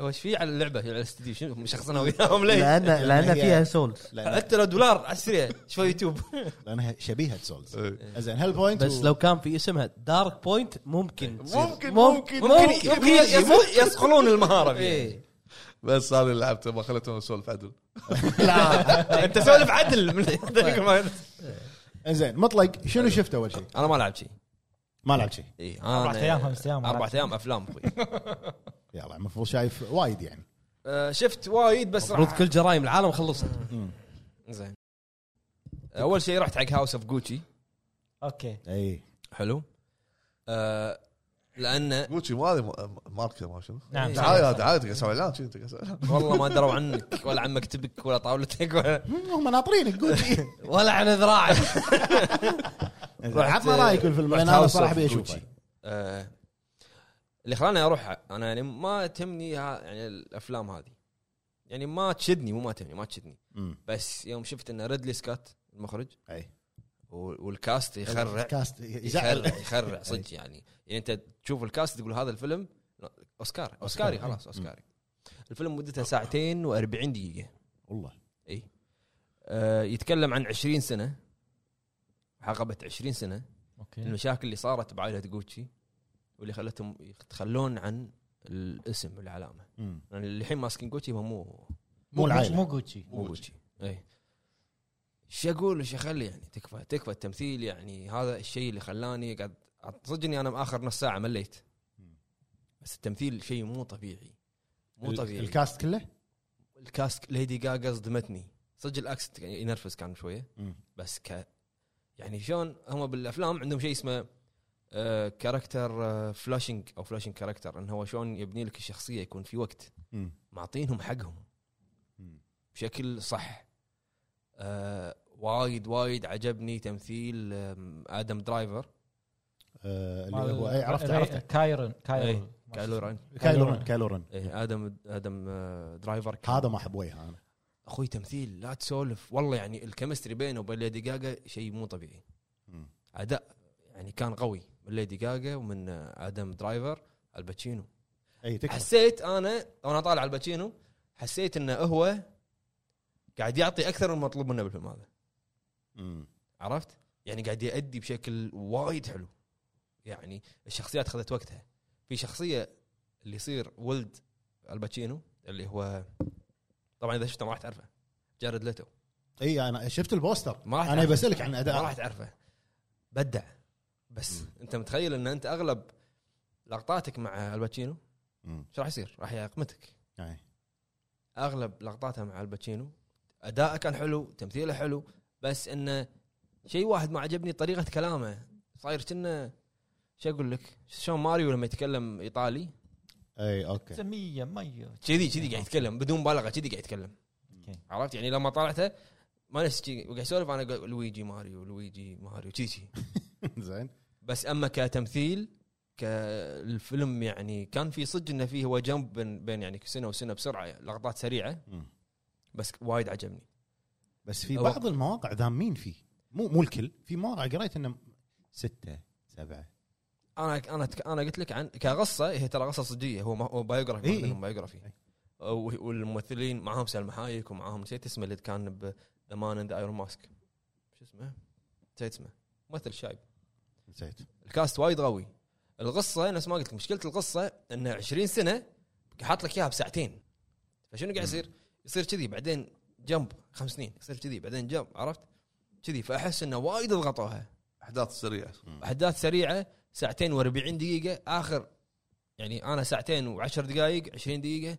S1: وش في على اللعبه على الاستديو شنو مشخصنا وياهم ليه؟
S4: لان لان
S3: هي-
S4: فيها سولز
S3: لأن-
S1: حتى لو دولار على السريع شوي يوتيوب
S3: لانها شبيهه سولز
S5: إيه.
S3: زين هل بوينت
S4: بس لو كان في اسمها دارك بوينت ممكن تصير.
S5: ممكن- ممكن-
S1: ممكن ممكن
S4: يجي.
S1: يس- يصقلون المهاره فيها
S4: إيه.
S5: بس هذا اللي لعبته ما خليته اسولف عدل
S1: لا انت سولف عدل من-
S3: زين مطلق شنو شفت اول شيء؟
S1: انا ما لعبت شيء
S3: ما لعب شيء
S1: اي أنا-
S2: أربعة أيام، خمس أيام.
S1: اربع ايام افلام اخوي
S3: يلا المفروض شايف وايد يعني
S1: آه، شفت وايد بس
S4: المفروض
S1: راح
S4: كل جرائم العالم خلصت
S1: زين اول شيء رحت حق هاوس اوف جوتشي
S2: اوكي
S3: اي
S1: حلو آه، لانه
S5: جوتشي ما هذه م- ماركه ما شنو
S1: إيه.
S2: نعم
S5: دعايه دعايه تقعد تسوي اعلان شي، تقعد تسوي إعلان.
S1: والله ما دروا عنك ولا عن مكتبك ولا طاولتك ولا
S3: هم ناطرينك قول شيء
S4: ولا عن ذراعك
S3: عطنا رايك بالفيلم لان انا
S1: House
S3: صراحه
S1: of
S3: ابي
S1: Gucci.
S3: اشوفه
S1: آه، اللي خلاني اروح انا يعني ما تهمني ها- يعني الافلام هذه يعني ما تشدني مو ما تهمني ما تشدني
S3: أمم.
S1: بس يوم شفت ان ريدلي سكوت المخرج
S3: اي
S1: و- والكاست يخرع
S3: الكاست
S1: يخرع
S3: يزعل
S1: يخرع صدق يعني يعني انت تشوف الكاست تقول هذا الفيلم اوسكار اوسكاري خلاص اوسكاري الفيلم مدته ساعتين و40 دقيقه
S3: والله
S1: آه، يتكلم عن 20 سنه حقبه 20 سنه
S2: اوكي
S1: المشاكل اللي صارت بعائله جوتشي واللي خلتهم يتخلون عن الاسم والعلامه
S3: مم.
S1: يعني اللي الحين ماسكين جوتشي هم مو
S3: مو العائله
S2: مو جوتشي
S1: مو جوتشي اي ايش اقول ايش اخلي يعني تكفى تكفى التمثيل يعني هذا الشيء اللي خلاني قاعد صدق اني انا اخر نص ساعه مليت
S3: مم.
S1: بس التمثيل شيء مو طبيعي مو
S3: ال-
S1: طبيعي
S3: الكاست كله
S1: الكاست ليدي جاجا صدمتني صدق الاكسنت كان ينرفز كان شويه
S3: مم.
S1: بس ك يعني شلون هم بالافلام عندهم شيء اسمه آه، كاركتر فلاشنج او فلاشنج كاركتر انه هو شلون يبني لك الشخصيه يكون في وقت
S3: مم.
S1: معطينهم حقهم
S3: مم.
S1: بشكل صح آه، وايد وايد عجبني تمثيل آم، ادم درايفر
S3: آه، اللي هو اي عرفت
S2: ري-
S3: عرفت
S2: كايرن كايرن
S1: إيه، كايلو ران
S3: كايلورن كايلورن
S1: إيه، ادم ادم آه، درايفر كان-
S3: هذا ما احب وجهه انا
S1: اخوي تمثيل لا تسولف والله يعني الكيمستري بينه وبين ليدي جاجا شيء مو طبيعي
S3: مم.
S1: اداء يعني كان قوي من ليدي جاجا ومن آه، ادم درايفر الباتشينو
S3: اي إيه، تكفى
S1: حسيت انا وانا طالع الباتشينو حسيت انه هو قاعد يعطي اكثر من مطلوب منه بالفيلم هذا
S3: مم.
S1: عرفت؟ يعني قاعد يأدي بشكل وايد حلو يعني الشخصيات خذت وقتها في شخصيه اللي يصير ولد الباتشينو اللي هو طبعا اذا شفته ما راح تعرفه جارد ليتو
S3: اي انا إيه، شفت البوستر
S1: ما راح
S3: انا
S1: تعرفه.
S3: بسالك عن
S1: ما راح
S3: اداء
S1: تعرفه بدع بس
S3: مم.
S1: انت متخيل ان انت اغلب لقطاتك مع الباتشينو
S3: مم.
S1: شو راح يصير؟ راح يقمتك
S3: أي.
S1: اغلب لقطاته مع الباتشينو اداءه كان حلو تمثيله حلو بس انه شيء واحد ما عجبني طريقه كلامه صاير كنا شو اقول لك شلون ماريو لما يتكلم ايطالي
S3: اي اوكي
S2: سمية مية
S1: كذي كذي قاعد يتكلم بدون مبالغه كذي قاعد يتكلم
S2: أوكي.
S1: عرفت يعني لما طلعته ما نفس كذي وقاعد يسولف انا اقول لويجي ماريو لويجي ماريو كذي كذي
S3: زين
S1: بس اما كتمثيل كالفيلم يعني كان في صدق انه فيه هو جنب بين بين يعني سنه وسنه بسرعه لقطات سريعه
S3: مم.
S1: بس وايد عجبني
S3: بس في
S1: أو-
S3: بعض المواقع ذامين فيه مو مو الكل في مواقع قريت انه ستة سبعة
S1: انا انا انا قلت لك عن كقصه هي ترى قصه صجيه هو ما- هو بايوغرافي
S3: إي
S1: إيه
S3: إي.
S1: بايوغرافي
S3: إي.
S1: و- والممثلين معاهم سلمى حايك ومعاهم نسيت اسمه اللي كان ب ذا مان اند ايرون ماسك شو اسمه؟ نسيت اسمه ممثل شايب
S3: نسيت
S1: الكاست وايد قوي القصه نفس ما قلت لك مشكله القصه انه 20 سنه حاط لك اياها بساعتين فشنو قاعد يصير؟ يصير كذي بعدين جنب خمس سنين يصير كذي بعدين جنب عرفت؟ كذي فاحس انه وايد ضغطوها
S5: احداث سريعه
S1: احداث سريعه ساعتين و40 دقيقه اخر يعني انا ساعتين وعشر دقائق 20 دقيقه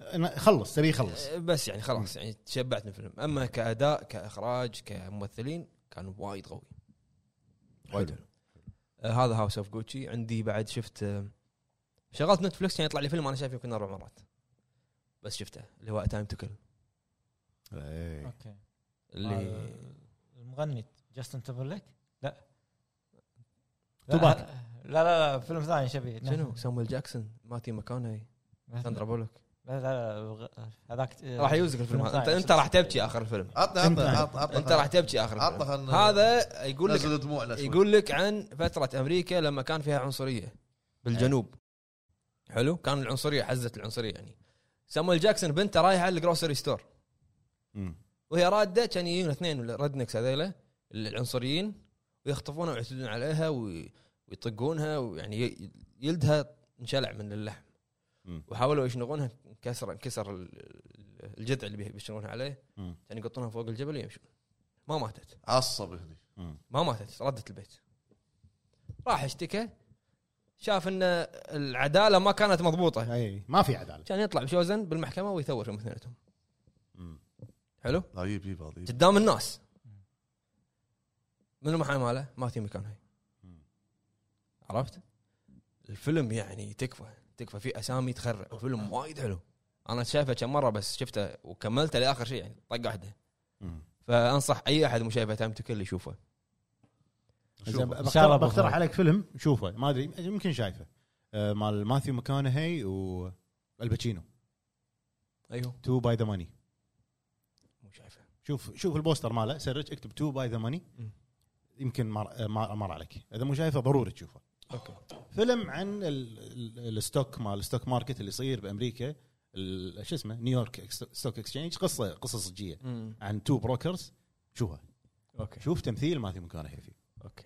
S3: أنا خلص تبي يخلص
S1: أه، بس يعني خلاص يعني تشبعت من الفيلم اما كاداء كاخراج كممثلين كان وايد قوي وايد
S3: حلو.
S1: حلو آه هذا هاوس اوف جوتشي عندي بعد شفت آه شغلت نتفلكس كان يطلع لي فيلم انا شايفه يمكن اربع مرات بس شفته اللي هو تايم تو كل
S3: إيه.
S2: اوكي
S1: اللي
S2: آه، المغني جاستن تمبرليك لا
S3: توباك.
S2: لا لا لا فيلم ثاني شبيه
S1: شنو سامويل جاكسون ماتي ماكونهي ساندرا
S2: لا
S1: بولوك
S2: لا لا هذاك
S1: راح يوزك الفيلم هذا انت
S2: ثاني.
S1: انت راح تبكي اخر الفيلم
S5: عطنا
S3: أنت-
S5: عطنا عطنا عطنا
S1: انت راح تبكي اخر الفيلم
S5: عطنا خلنا-
S1: هذا يقول لك
S5: نزل دموعنا شوي.
S1: يقول لك عن فتره امريكا لما كان فيها عنصريه بالجنوب حلو كان العنصريه حزت العنصريه يعني سامويل جاكسون بنته رايحه الجروسري ستور
S3: مم.
S1: وهي راده كان يجون اثنين من الردنكس هذيلا العنصريين ويخطفونها ويعتدون عليها وي- ويطقونها ويعني ي- يلدها انشلع من اللحم
S3: مم.
S1: وحاولوا يشنغونها انكسر انكسر ال- ال- الجذع اللي بي- بيشنغونها عليه
S3: مم.
S1: كان يقطونها فوق الجبل ويمشون ما ماتت
S5: عصب هني
S3: مم.
S1: ما ماتت ردت البيت راح اشتكى شاف ان العداله ما كانت مضبوطه
S3: اي إيه، ما في عداله
S1: كان يطلع بشوزن بالمحكمه ويثور يوم اثنيناتهم
S3: مم.
S1: حلو
S5: لا يجيب يجيب هذا يجيب.
S1: قدام الناس من المحامي ماله ماتي مكانها
S3: مم.
S1: عرفت الفيلم يعني تكفى تكفى في اسامي تخرع الفيلم وايد حلو انا شايفه كم مره بس شفته وكملته لاخر شيء يعني طقه واحده
S3: مم.
S1: فانصح اي احد مو شايفه تايم تو كل يشوفه
S3: زين،
S2: إن شاء الله
S3: بقترح بقترح
S2: بخير.
S3: عليك فيلم شوفه ما ادري يمكن شايفه آه، مال ماثيو ماكونهي والباتشينو
S1: ايوه
S3: تو باي ذا ماني
S1: مو شايفه
S3: شوف شوف البوستر ماله سيرش اكتب تو باي ذا ماني
S1: مم.
S3: يمكن مر مر مر عليك اذا مو شايفه ضروري تشوفه
S1: اوكي
S3: فيلم عن ال- ال- الستوك مال الستوك ماركت اللي يصير بامريكا ال- شو اسمه نيويورك إكس- ستوك اكسشينج قصه قصه صجيه
S1: مم.
S3: عن تو بروكرز شوفها
S1: اوكي
S3: شوف تمثيل ما في مكانه هي فيه
S1: اوكي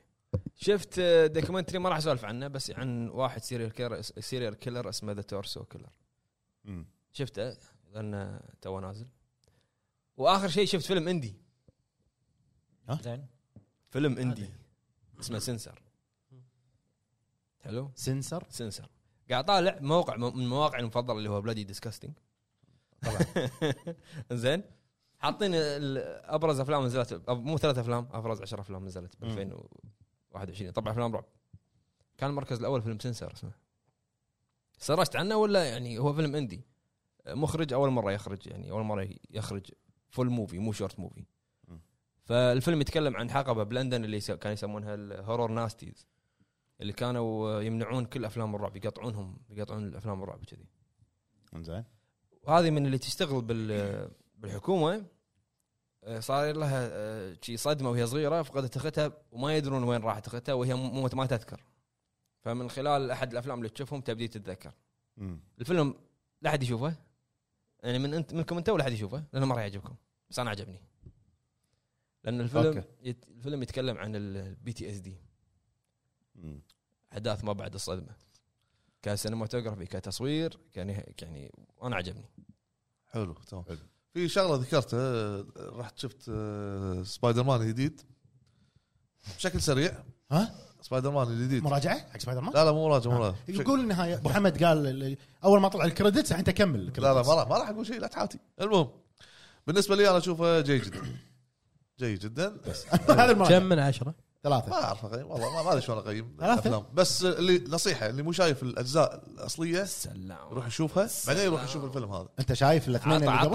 S1: شفت آه، دوكيومنتري ما راح اسولف عنه بس عن واحد سيريال كيلر سيريال كيلر اسمه ذا تورسو كيلر
S3: مم.
S1: شفته لانه تو نازل واخر شيء شفت فيلم اندي
S2: زين
S1: فيلم اندي اسمه سنسر حلو
S3: سنسر
S1: سنسر قاعد طالع موقع من مواقعي المفضله اللي هو بلادي ديسكاستنج طبعا زين حاطين ال- ابرز افلام نزلت أب- مو ثلاث افلام ابرز 10 افلام نزلت ب
S3: مم.
S1: 2021 طبعا افلام رعب كان المركز الاول فيلم سنسر اسمه سرشت عنه ولا يعني هو فيلم اندي مخرج اول مره يخرج يعني اول مره يخرج فول موفي مو شورت موفي
S3: مم.
S1: فالفيلم يتكلم عن حقبه بلندن اللي يس- كانوا يسمونها الهورور ناستيز اللي كانوا يمنعون كل افلام الرعب يقطعونهم يقطعون الافلام الرعب كذي
S3: زين
S1: وهذه من اللي تشتغل بال بالحكومه آه، صار لها آه، شي صدمه وهي صغيره فقدت اختها وما يدرون وين راحت اختها وهي مو ما تذكر فمن خلال احد الافلام اللي تشوفهم تبدي تتذكر
S3: مم.
S1: الفيلم لا احد يشوفه يعني من انت منكم انت ولا احد يشوفه لانه ما راح يعجبكم بس انا عجبني لان الفيلم
S3: أوكي.
S1: يت... الفيلم يتكلم عن البي تي اس دي
S3: مم.
S1: احداث ما بعد الصدمه كسينماتوجرافي كتصوير كان يعني انا عجبني
S5: حلو تمام
S3: حلو.
S5: في شغله ذكرتها آه، رحت شفت آه، سبايدر مان الجديد بشكل سريع
S3: ها
S5: سبايدر مان الجديد
S3: مراجعه حق سبايدر مان
S5: لا لا مو مراجع مو مراجع بشكل-
S3: يقول النهايه ابو حمد قال ال- اول ما طلع الكريدتس انت كمل
S5: لا لا
S3: الكريدتس.
S5: ما راح ما راح اقول شيء لا تحاتي المهم بالنسبه لي انا اشوفه جيد جدا جيد جدا
S3: هذا
S5: طيب.
S4: كم
S3: المراجعه
S4: من عشره؟
S5: ما
S3: ثلاثه
S5: اعرف اقيم والله ما- ما ادري شلون اقيم
S3: ثلاثة.
S5: الافلام بس اللي نصيحه اللي مو شايف الاجزاء الاصليه
S1: سلام
S5: يروح يشوفها بعدين يروح يشوف الفيلم هذا
S3: انت شايف الاثنين
S1: عطى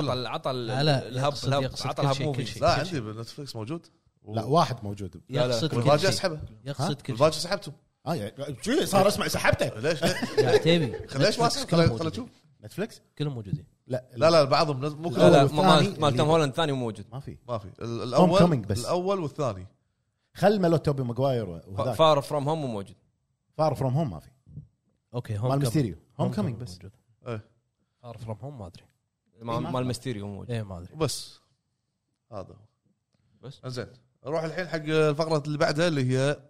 S1: عطى
S3: قبل
S5: شايف كل
S1: عطى
S5: شيء.
S1: عطى ال- عطى ال-
S4: لا، لا،
S1: الهب
S4: يقصد-
S1: الهب
S4: يقصد
S1: عطى
S4: كل
S1: الهب
S4: شيء، كل
S1: موفي
S4: شيء.
S5: لا عندي بالنتفلكس موجود و-
S3: لا واحد موجود
S1: لا، لا.
S4: يقصد كل
S5: والراجع
S4: شيء
S5: اسحبه
S4: يقصد كل شيء
S5: الراجع سحبته
S3: اه يعني- شو صار اسمع سحبته
S5: ليش ليش-
S4: لا، تبي
S5: ليش ما
S4: نتفلكس
S5: سحبته
S4: كلهم
S5: خليه خليه
S4: موجودين
S5: اشوف
S3: نتفلكس
S4: كلهم موجودين
S3: لا
S5: لا لا بعضهم نز- مو
S1: لا
S5: كلهم
S1: لا
S3: الأول
S1: مال
S3: والثاني
S1: مال توم
S3: اللي-
S1: هولاند الثاني مو موجود
S3: ما في
S5: ما في ال-
S3: Homecoming
S5: الاول
S3: بس.
S5: الاول والثاني
S3: خل ملو توبي ماجواير وهذاك
S1: فار فروم هوم مو موجود
S3: فار فروم هوم ما في
S4: اوكي
S3: مال
S4: هوم
S3: ميستيريو هوم كامينج بس
S5: إيه.
S4: فار فروم هوم ما ادري
S1: مال
S3: ما-
S1: مال ميستيريو مو موجود
S4: ايه ما ادري
S5: وبس هذا هو
S1: بس
S5: زين نروح الحين حق الفقره اللي بعدها اللي هي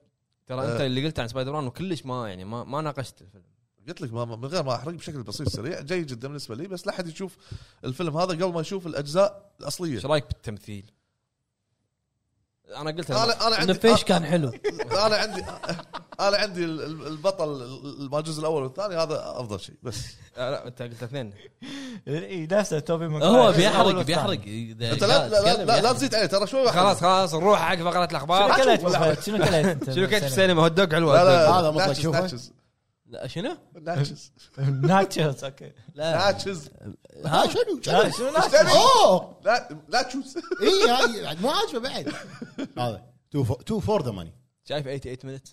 S1: ترى انت اللي قلت عن سبايدر مان وكلش ما يعني ما ما ناقشت الفيلم
S5: قلت لك ما من غير ما احرق بشكل بسيط سريع جيد جدا بالنسبه لي بس لا احد يشوف الفيلم هذا قبل ما يشوف الاجزاء الاصليه
S1: ايش رايك بالتمثيل؟ انا قلت
S5: انا انا عندي
S4: النفيش كان حلو
S5: انا عندي انا عندي ال- ال- البطل ال- ما الجزء الاول والثاني هذا افضل شيء بس
S1: آه، لا انت قلت اثنين
S2: إي، نفسه توبي ماجواير.
S4: هو
S2: الأول
S4: بيحرق
S2: والثاني.
S4: بيحرق إذا
S5: انت لا لا لا,
S4: يتكلم
S5: لا, لا
S4: يحرق.
S5: تزيد عليه ترى شوي واحد.
S1: خلاص خلاص نروح حق فقره
S2: شنو
S1: الاخبار
S2: كلت مفروض؟ شنو كلت انت؟
S1: شنو كنت في السينما هوت دوج حلوه
S5: لا لا
S3: هذا مطلق
S5: ناتشز،
S3: شوفه.
S5: ناتشز،
S4: لا، شنو؟
S5: ناتشز
S2: ناتشوز اوكي
S4: لا
S5: ناتشز
S3: ها آه، شنو
S2: لا،
S3: شنو
S2: شنو
S5: تبي؟
S3: اوه
S5: لا لا تشوز
S3: اي هاي مو عاجبه آه، بعد هذا تو فور ذا ماني
S1: شايف 88 مينت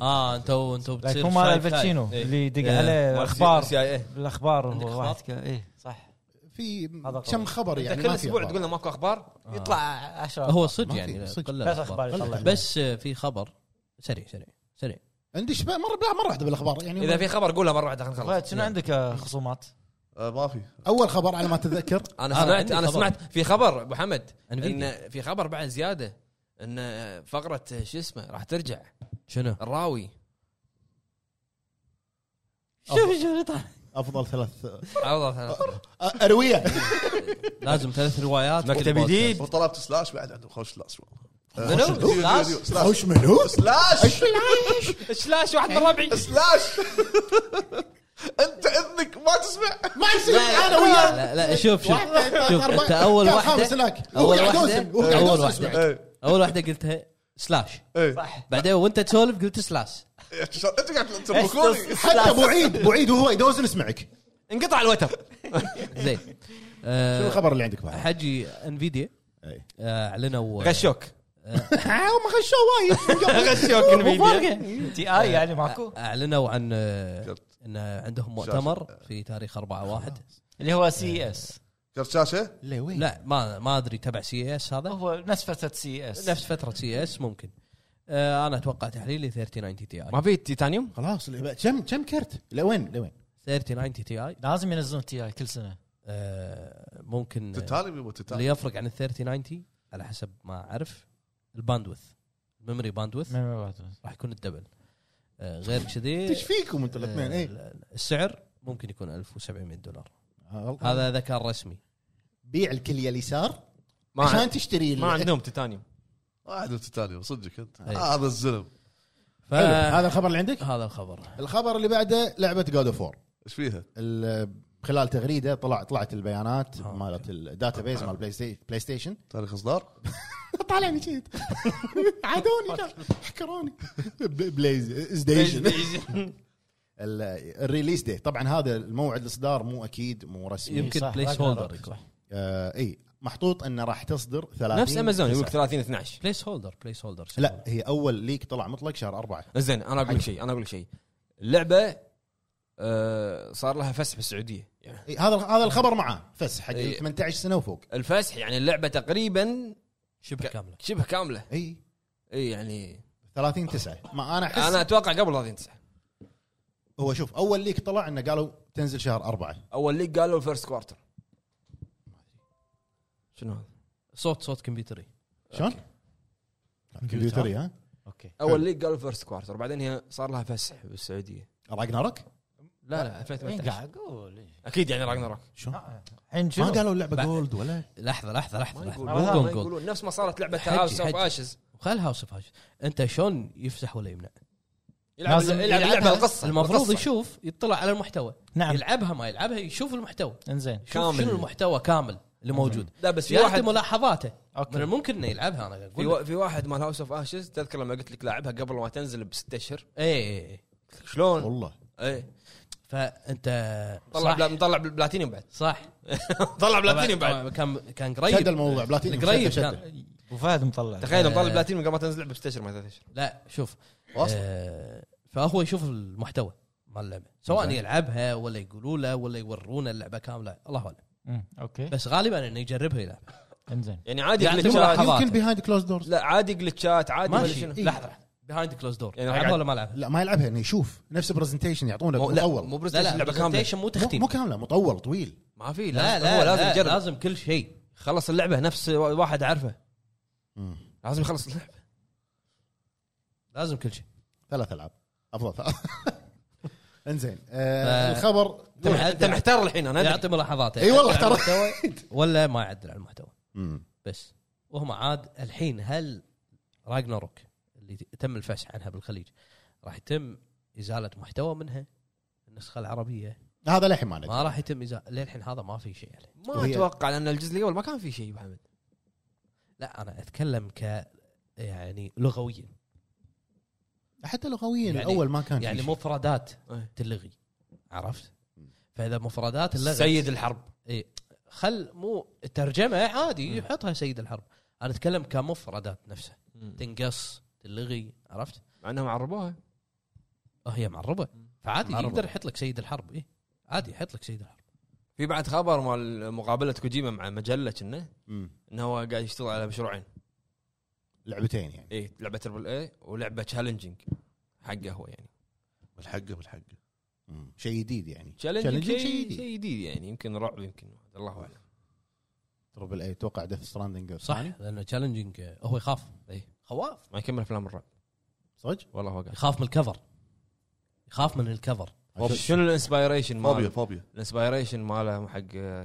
S4: اه انتوا انتوا
S2: لايك
S4: بتصير
S2: هو مال
S4: شايف-
S2: الباتشينو
S4: شايف. إيه.
S2: اللي يدق
S4: إيه.
S2: عليه الاخبار
S1: سي اي
S2: الاخبار
S4: عندك
S2: هو
S4: أخبار؟
S2: واحد كذا اي صح
S3: في
S2: هذا
S3: كم
S2: قوي.
S3: خبر يعني
S1: كل
S3: ما في
S1: اسبوع
S3: أخبار.
S1: تقول لنا ماكو اخبار
S2: يطلع 10
S4: هو
S3: آه. ما
S4: صدق
S3: في،
S4: يعني
S3: صدق.
S4: قل
S2: بس
S4: الأخبار.
S2: اخبار يطلع
S3: بس-
S4: بس آه، في خبر سريع سريع سريع
S3: عندي شباب مره لا مره واحده بالاخبار يعني
S1: اذا إيه، في خبر قولها مره واحده خلينا
S2: فهد
S1: نخلص
S2: شنو عندك آه، خصومات؟
S5: آه، ما في
S3: اول خبر على ما اتذكر
S1: انا
S4: أنا
S1: سمعت
S4: عندي
S1: انا
S4: خبر.
S1: سمعت في خبر ابو حمد
S4: NVIDIA.
S1: ان في خبر بعد زياده ان فقره شو اسمه راح ترجع
S4: شنو؟
S1: الراوي
S4: شوف شوف طلع.
S3: افضل ثلاث
S1: عرضها ثلاث-
S3: أ- ارويه
S4: لازم ثلاث روايات
S1: مكتب
S4: كل بودكاست.
S1: جديد.
S5: وطلبت سلاش بعد عنده خوش سلاش
S4: آه، منو؟ سلاش؟
S5: سلاش
S3: خوش منو؟
S5: سلاش
S1: شلاش واحد من
S2: إيه.
S1: ربعي
S5: سلاش انت اذنك ما تسمع
S3: ما يصير انا وياه
S4: لا لا شوف شوف
S3: واحد، ثلاثة،
S4: شوف
S3: أربعة.
S4: انت اول
S3: كان خامس
S4: واحده
S3: هناك هو
S4: اول
S3: قاعد
S4: واحده
S3: يوزن، هو قاعد
S4: اول
S3: يوزن
S4: واحده
S5: ايه
S4: اول واحده قلتها سلاش
S5: ايه
S4: بعدين وانت تسولف قلت سلاش
S5: انت قاعد تطبخوني
S3: حتى ابو عيد ابو عيد وهو يدوزن اسمعك
S4: أه.
S1: انقطع الوتر
S4: زين
S3: شنو
S4: آه،
S3: الخبر اللي عندك بعد؟
S4: حجي انفيديا
S3: إيه.
S4: آه، اعلنوا
S1: غشوك
S3: ما خشوا وايد
S1: غشوك انفيديا
S2: تي اي
S4: إيه.
S2: يعني ماكو
S4: اعلنوا عن آه، ان عندهم
S5: شاشة.
S4: مؤتمر في تاريخ 4 1
S2: اللي هو سي اس
S5: كرت شاشه
S4: إيه.
S3: ليه وين؟
S4: لا ما ما ادري تبع سي اس هذا
S2: هو نفس فتره سي اس
S4: نفس فتره سي اس ممكن آه، انا اتوقع تحليلي 3090 تي اي
S1: ما في تيتانيوم
S3: خلاص كم كم كرت؟ لوين لوين؟
S4: 3090 تي اي
S2: لازم ينزلون تي اي كل سنه
S4: آه، ممكن آه،
S5: تتالي بيبو
S4: اللي
S5: تتالي
S4: يفرق عن ال 3090 على حسب ما اعرف الباندوث الميموري باندوث
S2: إيه،
S4: راح يكون الدبل آه، غير كذي
S3: ايش فيكم انتم الاثنين إيه. اي
S4: آه، السعر ممكن يكون 1700 دولار هذا اذا كان رسمي
S3: بيع الكليه اليسار
S1: ما
S3: عشان
S1: عن-
S3: تشتري
S1: ما
S3: ال-
S1: عندهم تيتانيوم
S5: ما عاد تتالي صدقك انت
S4: أي.
S5: هذا الزلم
S4: ف...
S3: حلو. هذا الخبر اللي عندك
S4: هذا الخبر
S3: الخبر اللي بعده لعبه جود اوف وور
S5: ايش فيها؟
S3: خلال تغريده طلع طلعت البيانات
S4: آه،
S3: مالت الداتا بيز مال بلاي ستي- بلاي ستيشن
S5: تاريخ اصدار؟
S3: طالعني كذي عادوني لا، حكروني ب- بلايز ستيشن ال- الريليس دي طبعا هذا الموعد الاصدار مو اكيد مو رسمي
S4: يمكن
S2: صح،
S4: بليس
S2: راجناروك،
S4: هولدر يكون
S2: صح.
S3: آه اي محطوط انه راح تصدر 30
S1: نفس امازون يقول لك
S3: تسعة.
S1: 30 12
S4: بليس هولدر بليس هولدر
S3: لا هي اول ليك طلع مطلق شهر أربعة
S1: زين انا اقول لك شيء انا اقول لك شيء اللعبه آه، صار لها فسح بالسعوديه يعني
S3: إي هذا هذا الخبر معاه فس حق
S1: إي.
S3: ال 18 سنه وفوق
S1: الفسح يعني اللعبه تقريبا
S4: شبه كامله
S1: شبه كامله
S3: اي
S1: اي يعني
S3: 30 9 ما انا احس
S1: انا اتوقع قبل 30 9
S3: هو شوف اول ليك طلع انه قالوا تنزل شهر أربعة
S1: اول ليج قالوا الفيرست كوارتر شنو هذا؟
S4: صوت صوت كمبيوتري
S3: شلون؟ كمبيوتري ها
S2: اوكي
S1: اول ليج قالوا الفيرست كوارتر بعدين هي صار لها فسح بالسعوديه
S3: راجناروك
S1: لا لا
S2: إيه،
S1: 2018
S2: قاعد اقول إيه.
S1: اكيد يعني راجناروك
S3: شلون؟
S2: آه، الحين
S3: ما
S2: شنو
S3: قالوا اللعبه
S4: بعد.
S3: جولد ولا
S4: لحظه لحظه لحظه
S1: ما
S4: لحظه
S1: يقولون
S4: مو
S1: ما
S4: جون جون
S1: يقولون نفس ما صارت لعبه
S4: حجي،
S1: هاوس اوف
S4: حجي.
S1: اشز
S4: خل هاوس اوف هاوس انت شلون يفسح ولا يمنع؟
S1: يلعب
S2: لازم
S1: يلعب
S2: يلعبها.
S1: لعبه القصه
S4: المفروض
S1: القصة.
S4: يشوف يطلع على المحتوى
S2: نعم
S4: يلعبها ما يلعبها يشوف المحتوى
S2: انزين
S4: شوف
S1: كامل.
S4: شنو المحتوى كامل اللي موجود
S1: لا بس في
S4: يعطي
S1: واحد
S4: ملاحظاته من
S2: اوكي
S4: الممكن انه يلعبها انا
S1: في,
S4: اقول لك.
S1: وا- في واحد مال هاوس اوف اشز تذكر لما قلت لك لاعبها قبل ما تنزل بست اشهر
S4: اي اي اي
S1: شلون؟
S3: والله
S1: اي
S4: فانت
S1: إيه. طلع
S4: صح
S1: بلا- مطلع بلاتينيوم بعد
S4: صح
S1: طلع بلاتينيوم بعد
S4: طبعاً كان كان
S3: شد
S4: قريب
S3: الموضوع بلاتيني
S4: طيب. قريب
S3: شد
S4: كان
S2: ابو فهد مطلع
S1: تخيل مطلع
S4: آه.
S1: بلاتينيوم قبل ما تنزل لعبه بست اشهر ما ثلاث اشهر
S4: لا شوف
S5: واصل
S4: آه، فهو يشوف المحتوى مال اللعبه سواء
S3: زين.
S4: يلعبها ولا يقولوا له ولا يورونا اللعبه كامله الله اعلم
S2: مم، اوكي
S4: بس غالبا انه يجربها يلعبها
S2: انزين
S1: يعني عادي
S4: يعني
S1: جلتشات
S4: ملاحظات.
S3: يمكن بيهايند كلوز دورز
S1: لا عادي جلتشات عادي ولا
S4: ماشي
S1: شنو
S4: لحظه لحظه بيهايند كلوز دور
S1: يعني
S4: لعبها
S1: قاعد-
S4: ولا ما لعبها؟
S3: لا ما يلعبها انه يشوف نفس برزنتيشن يعطونه
S1: مو لا
S3: مطول
S1: مو
S3: مو,
S4: لا
S1: برزنتيشن
S4: لا
S1: لعبه كامله
S4: مو تختيم
S3: مو كامله مطول طويل
S1: ما في
S4: لا
S1: لازم
S4: لا
S1: هو لازم يجرب
S4: لازم كل شيء
S1: خلص اللعبه نفس واحد عارفه لازم يخلص اللعبه
S4: لازم كل شيء
S3: ثلاث العاب افضل ثلاث انزين
S4: آه،
S3: آه الخبر
S1: انت مح- انت محتار الحين انا أدري.
S4: يعطي ملاحظاته
S3: اي
S1: أيوة.
S3: والله
S4: يعدل على
S3: ترى
S4: المحتوى ولا ما يعدل على المحتوى
S3: مم.
S4: بس وهم عاد الحين هل راجناروك اللي تم الفسح عنها بالخليج راح يتم ازاله محتوى منها النسخه العربيه
S3: هذا للحين ما ندري
S4: ما راح يتم ازاله للحين هذا ما في شيء عليه
S1: ما
S3: وهي-
S1: اتوقع لان الجزء الاول ما كان في شيء محمد
S4: لا انا اتكلم ك يعني لغويا
S3: حتى لغويا
S4: يعني-
S3: الاول ما كان
S4: يعني
S3: يعني
S4: مفردات
S1: إيه.
S4: تلغي عرفت فاذا مفردات اللغة
S1: سيد الحرب
S4: إيه خل مو الترجمه عادي يحطها سيد الحرب انا اتكلم كمفردات نفسها تنقص تلغي عرفت
S1: مع انهم عربوها
S4: آه، هي معربه فعادي
S1: معربة.
S4: يقدر يحط لك سيد الحرب ايه عادي يحط لك سيد الحرب
S1: في بعد خبر مال مقابله كوجيما مع مجله كنا انه هو قاعد يشتغل على مشروعين إيه،
S3: لعبتين يعني
S1: اي لعبه تربل اي ولعبه تشالنجينج حقه هو يعني
S5: من حقه من حقه
S3: مم. شيء جديد يعني
S1: تشالنجينج
S3: Challenging
S1: شيء شيء جديد يعني يمكن رعب يمكن الله اعلم
S3: تربل اي توقع ديث ستراندنج
S4: صح لانه تشالنجينج هو يخاف
S1: إيه.
S4: خواف
S1: ما يكمل افلام الرعب
S3: صدق؟
S1: والله هو قاعد
S4: يخاف من الكفر يخاف من الكفر
S1: طب شنو الانسبايريشن
S5: فوبيا
S1: ماله؟
S5: فوبيا
S1: الانسبايريشن ماله حق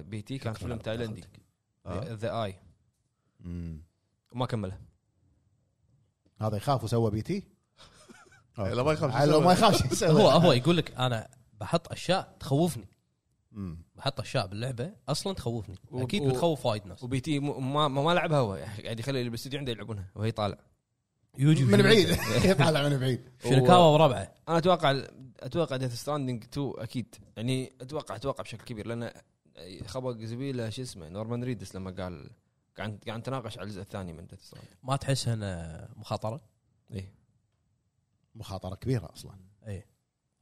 S1: بي تي كان
S4: شكراً
S1: فيلم
S4: على
S1: تايلندي
S4: مداخلتك.
S5: آه.
S1: ذا اي
S3: مم.
S1: وما كمله
S3: هذا يخاف وسوى بي تي
S4: آه.
S5: إيه، لا ما يخاف، شو
S3: عاد لو
S5: يسوي؟
S3: ما يخاف شو يسوي
S4: هو هو يقول لك انا بحط اشياء تخوفني
S3: مم.
S4: بحط اشياء باللعبه اصلا تخوفني
S1: و-
S4: اكيد
S1: و-
S4: بتخوف وايد ناس
S1: وبي تي مو- ما ما, ما لعبها هو قاعد يخلي اللي بالاستوديو عنده يلعبونها وهي طالع
S4: يوجي
S3: من بعيد يطالع من بعيد
S4: شيركاوا وربعه
S1: انا اتوقع اتوقع ديث ستراندنج 2 اكيد يعني اتوقع اتوقع بشكل كبير لان خبق زميله شو اسمه نورمان ريدس لما قال قاعد قاعد نتناقش على الجزء الثاني من ديث ستراندنج
S4: ما تحس انه مخاطره؟
S1: اي
S3: مخاطره كبيره اصلا
S4: اي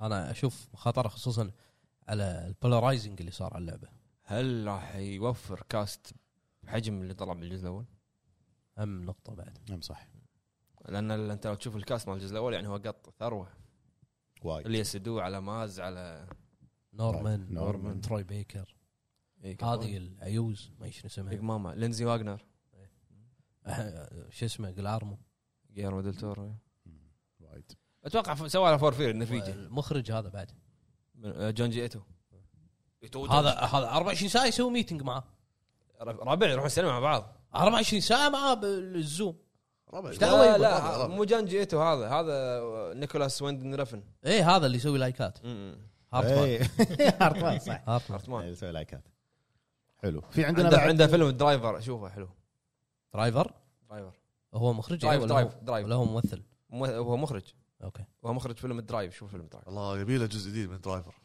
S4: انا اشوف مخاطره خصوصا على البولارايزنج اللي صار على اللعبه
S1: هل راح يوفر كاست بحجم اللي طلع بالجزء الاول؟
S4: اهم نقطه بعد
S3: نعم صح
S1: لان ال- انت لو تشوف الكاست مال الجزء الاول يعني هو قط ثروه
S3: وايد
S1: اللي يسدوه على ماز على
S4: نورمان
S3: نورمان.
S4: تروي بيكر
S1: إيه، كفو.
S4: هذه العيوز ما شنو
S1: بيج
S4: اسمها
S1: ماما لينزي واجنر
S4: أه، شو اسمه جلارمو
S1: جيرمو ديل تورو
S3: وايد
S1: اتوقع ف- سوى له فورفير النرويجي
S4: المخرج هذا بعد
S1: من- آه، جون جي ايتو
S4: هذا هذا 24 ساعه يسوي ميتنج معاه
S1: ربع يروحون السينما مع بعض
S4: 24 ساعه معاه بالزوم
S5: ربع
S4: إيش دعوة؟
S1: لا
S4: يقول
S5: ربع،
S1: لا
S5: ربع.
S1: مو جون جي ايتو هذا هذا نيكولاس ويندن رفن
S4: اي إيه، هذا اللي يسوي لايكات هارتمان
S3: إي. هارتمان صح
S4: هارتمان
S1: عثمان
S3: يسوي لايكات حلو في عندنا
S1: عنده
S3: بعد
S1: عنده فيلم درايفر شوفه حلو
S4: درايفر
S1: درايفر
S4: هو مخرج إي
S1: درايف
S4: ولا هو-
S1: درايف درايف
S4: ولا هو ممثل
S1: مو- هو مخرج
S4: اوكي
S1: هو مخرج فيلم الدرايف شوف فيلم درايف
S5: الله يبي له جزء جديد من درايفر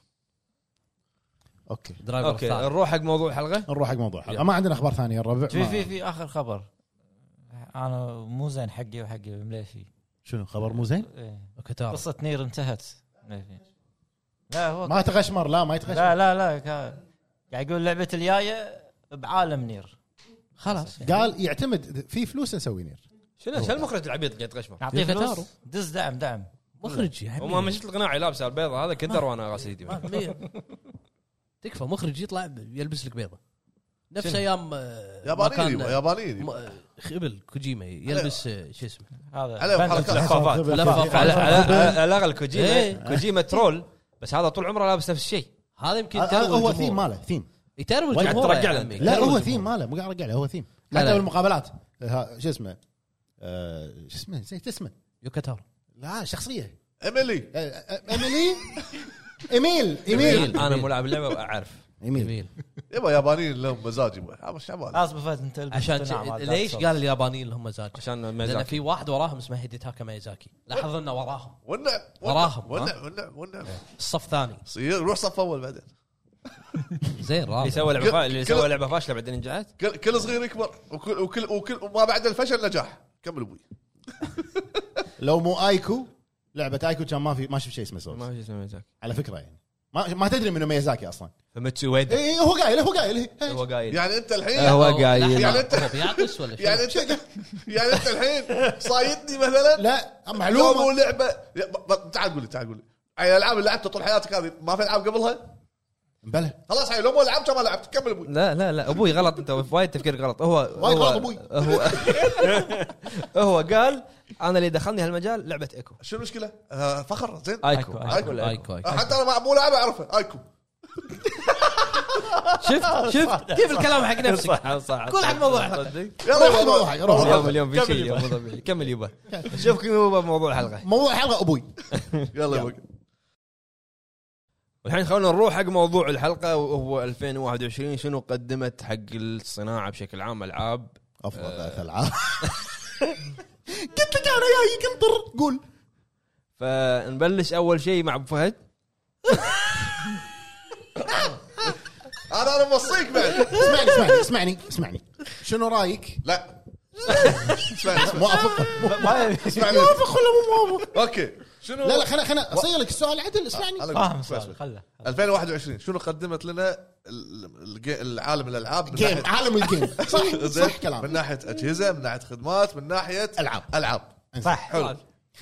S3: اوكي
S4: درايفر
S1: اوكي
S4: الثاني
S1: نروح حق موضوع الحلقه
S3: نروح حق موضوع الحلقه
S4: يلا.
S3: ما عندنا اخبار ثانيه الربع
S2: في في
S3: ما-
S2: في اخر خبر انا مو زين حقي وحقي مليفي
S3: شنو خبر مو زين
S2: إيه.
S4: اوكي تعال
S2: قصه نير انتهت مليفي لا هو
S3: ما تغشمر لا ما يتغشمر
S2: لا لا لا كا- قاعد يقول لعبه الجايه بعالم نير
S4: خلاص يعني.
S3: قال يعتمد في فلوس نسوي نير
S1: شنو شنو المخرج العبيط قاعد تغشمر
S2: نعطيه
S4: يوكتارو.
S2: فلوس دز دعم دعم
S4: مخرج يا
S1: وما ما
S4: عمي
S1: شفت القناع لابسه البيضه هذا كدر وانا غاسل ايدي
S4: ما- ما- تكفى مخرج يطلع يلبس لك بيضه نفس
S1: شنو؟
S4: ايام آه، ما
S5: ياباني
S4: كان-
S5: يبا، ياباني يبا.
S4: ما- خبل كوجيما يلبس آه، شو اسمه
S5: عليه
S2: هذا
S5: حركات.
S2: بندل.
S1: لفافات.
S4: لفافات.
S1: على على- على الاغلب
S4: إيه.
S1: كوجيما كوجيما ترول بس هذا طول عمره لابس نفس الشيء
S4: هذا يمكن
S3: آه،
S4: تروي
S3: آه، هو
S4: الجمهور.
S3: ثيم ماله ثيم
S4: يتروي
S1: ولا
S4: الجمهور
S1: ترجع
S4: يا
S1: لك.
S3: لا
S4: عمي. يتروي
S3: هو
S4: الجمهور.
S3: ثيم ماله مو قاعد ارجع له هو ثيم
S4: لا،
S3: حتى
S4: لا.
S3: بالمقابلات ها، شو اسمه آه، شو اسمه نسيت اسمه
S4: يوكاتارو
S3: لا شخصيه
S5: ايميلي
S3: آه، آه، ايميلي ايميل ايميل
S4: إيميل.
S1: انا مو لاعب اللعبه اعرف
S3: ايميل
S4: جميل
S5: يبا يابانيين لهم مزاج يبا مش
S4: آه.
S5: عبالي
S2: خلاص بفات انت البس
S4: عشان
S2: قناع مال دارك
S4: ليش
S2: سولز.
S4: قال اليابانيين اللي هم مزاج
S1: عشان
S4: لان
S1: ميزاكي
S4: في واحد وراهم اسمه هيديتاكا ميازاكي لاحظ انه وراهم
S5: والنعم
S4: وراهم،
S5: والنعم والنعم والنعم
S4: إيه. الصف ثاني
S5: صير روح صف اول بعدين
S4: زين
S1: اللي
S4: رابع
S1: سوى لعبه فا-
S5: كل-
S1: اللي
S5: كل-
S1: سوى لعبه فاشله بعدين انجحت
S5: كل, كل صغير يكبر وكل وكل وكل وما بعد الفشل نجاح كمل ابوي
S3: لو مو ايكو لعبه ايكو كان ما في ما شفت شيء اسمه
S1: ما
S3: سولز
S1: في شيء اسمه ميزاكي
S3: على فكره يعني ما ما تدري منو ميازاكي اصلا
S1: فمتسو ويد
S3: إي، إي، هو قايل هو قايل إيه، إي.
S1: هو قايل
S5: يعني انت الحين
S1: هو قايل
S5: يعني أنت-
S4: هو بيعطس ولا شو؟
S5: يعني انت يعني انت الحين صايدني مثلا
S3: لا
S5: لو مو
S3: معلومه
S5: لعبه يا- ب- ب- تعال قول لي تعال قول لي يعني الالعاب اللي لعبتها طول حياتك هذه ما في العاب قبلها
S3: بلى
S5: خلاص يعني لو مو لعبتها ما لعبت كمل ابوي
S1: لا لا لا ابوي غلط انت وايد تفكير غلط هو
S3: وايد
S1: هو-
S3: غلط أبوي.
S1: هو هو قال انا اللي دخلني هالمجال لعبه ايكو
S5: شو المشكله؟ آه، فخر زين آه،
S1: ايكو
S2: أيكو.
S1: ايكو لا ايكو
S4: ايكو ايكو
S5: حتى انا ما- مو لاعب اعرفه ايكو
S4: شفت شفت كيف الكلام حق نفسك
S1: صح صح
S4: قول حق موضوع الحلقة.
S1: صدق.
S5: يلا يا بابا.
S3: روح روح
S1: اليوم اليوم في شيء مو طبيعي كمل يبا نشوفكم يبا بموضوع الحلقه
S3: موضوع الحلقه ابوي
S5: يلا يا بابا.
S1: والحين خلونا نروح حق موضوع الحلقه وهو 2021 شنو قدمت حق الصناعه بشكل عام العاب
S3: افضل
S1: آه.
S3: ثلاث العاب قلت لك انا جايك انطر قول
S1: فنبلش اول شيء مع ابو فهد
S5: انا انا موصيك بعد
S3: اسمعني اسمعني اسمعني اسمعني شنو رايك؟
S5: لا اسمعني اسمعني
S3: موافق
S5: اسمعني
S3: موافق ولا مو موافق؟
S5: اوكي شنو
S3: لا لا خلنا خلنا اصيغ لك السؤال عدل
S1: آه.
S3: اسمعني
S5: أنا أقول.
S2: فاهم
S5: اسمع،
S2: سؤال
S5: اسمع.
S2: خله
S5: 2021 شنو قدمت لنا ال- ال- ال- عالم الالعاب من
S3: جيم
S5: ناحية-
S3: عالم الجيم صح
S5: زين؟
S3: صح
S5: من
S3: كلام
S5: ناحيه اجهزه من ناحيه خدمات من ناحيه
S3: ألعاب.
S5: العاب
S2: صح
S5: حلو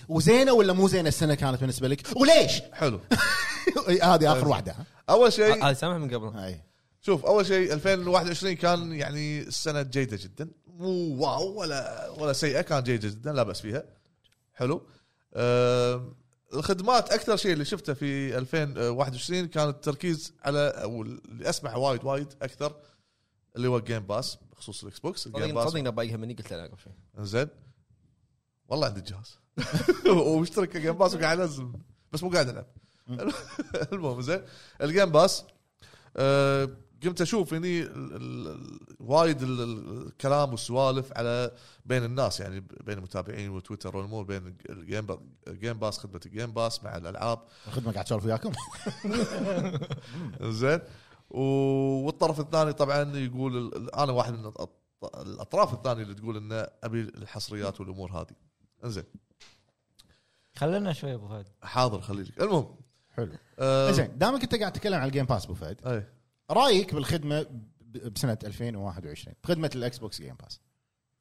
S3: وزينه ولا مو زينه السنه كانت بالنسبه لك وليش؟
S5: حلو
S3: هذه اخر واحده ها؟
S5: اول شيء
S1: هذا سامح من قبل
S3: هاي.
S5: شوف اول شيء 2021 كان يعني السنه جيده جدا مو واو ولا ولا سيئه كان جيده جدا لا باس فيها حلو أم، الخدمات اكثر شيء اللي شفته في 2021 كان التركيز على او اللي اسمع وايد وايد اكثر اللي هو الجيم باس بخصوص الاكس بوكس الجيم
S1: صدقني
S5: باس
S1: صدقني بايقها مني قلت له قبل شوي
S5: زين والله عندي الجهاز ومشترك جيم باس وقاعد انزل بس مو قاعد العب المهم زين الجيم باس آه، قمت اشوف هني ال- ال- ال- وايد ال- ال- الكلام والسوالف على بين الناس يعني بين المتابعين وتويتر والامور بين الجيم با- الجيم باس خدمه الجيم باس مع الالعاب
S3: الخدمه قاعد تسولف وياكم
S5: زين و- والطرف الثاني طبعا يقول ال- ال- انا واحد من الأط- الاطراف الثانيه اللي تقول انه ابي الحصريات والامور هذه انزين
S2: خلينا شوي ابو فهد
S5: حاضر خليك المهم
S3: حلو
S5: آه،
S3: زين دامك انت قاعد تتكلم عن الجيم باس ابو فهد
S5: ايه
S3: رايك بالخدمه ب- بسنه 2021 بخدمه الاكس بوكس جيم باس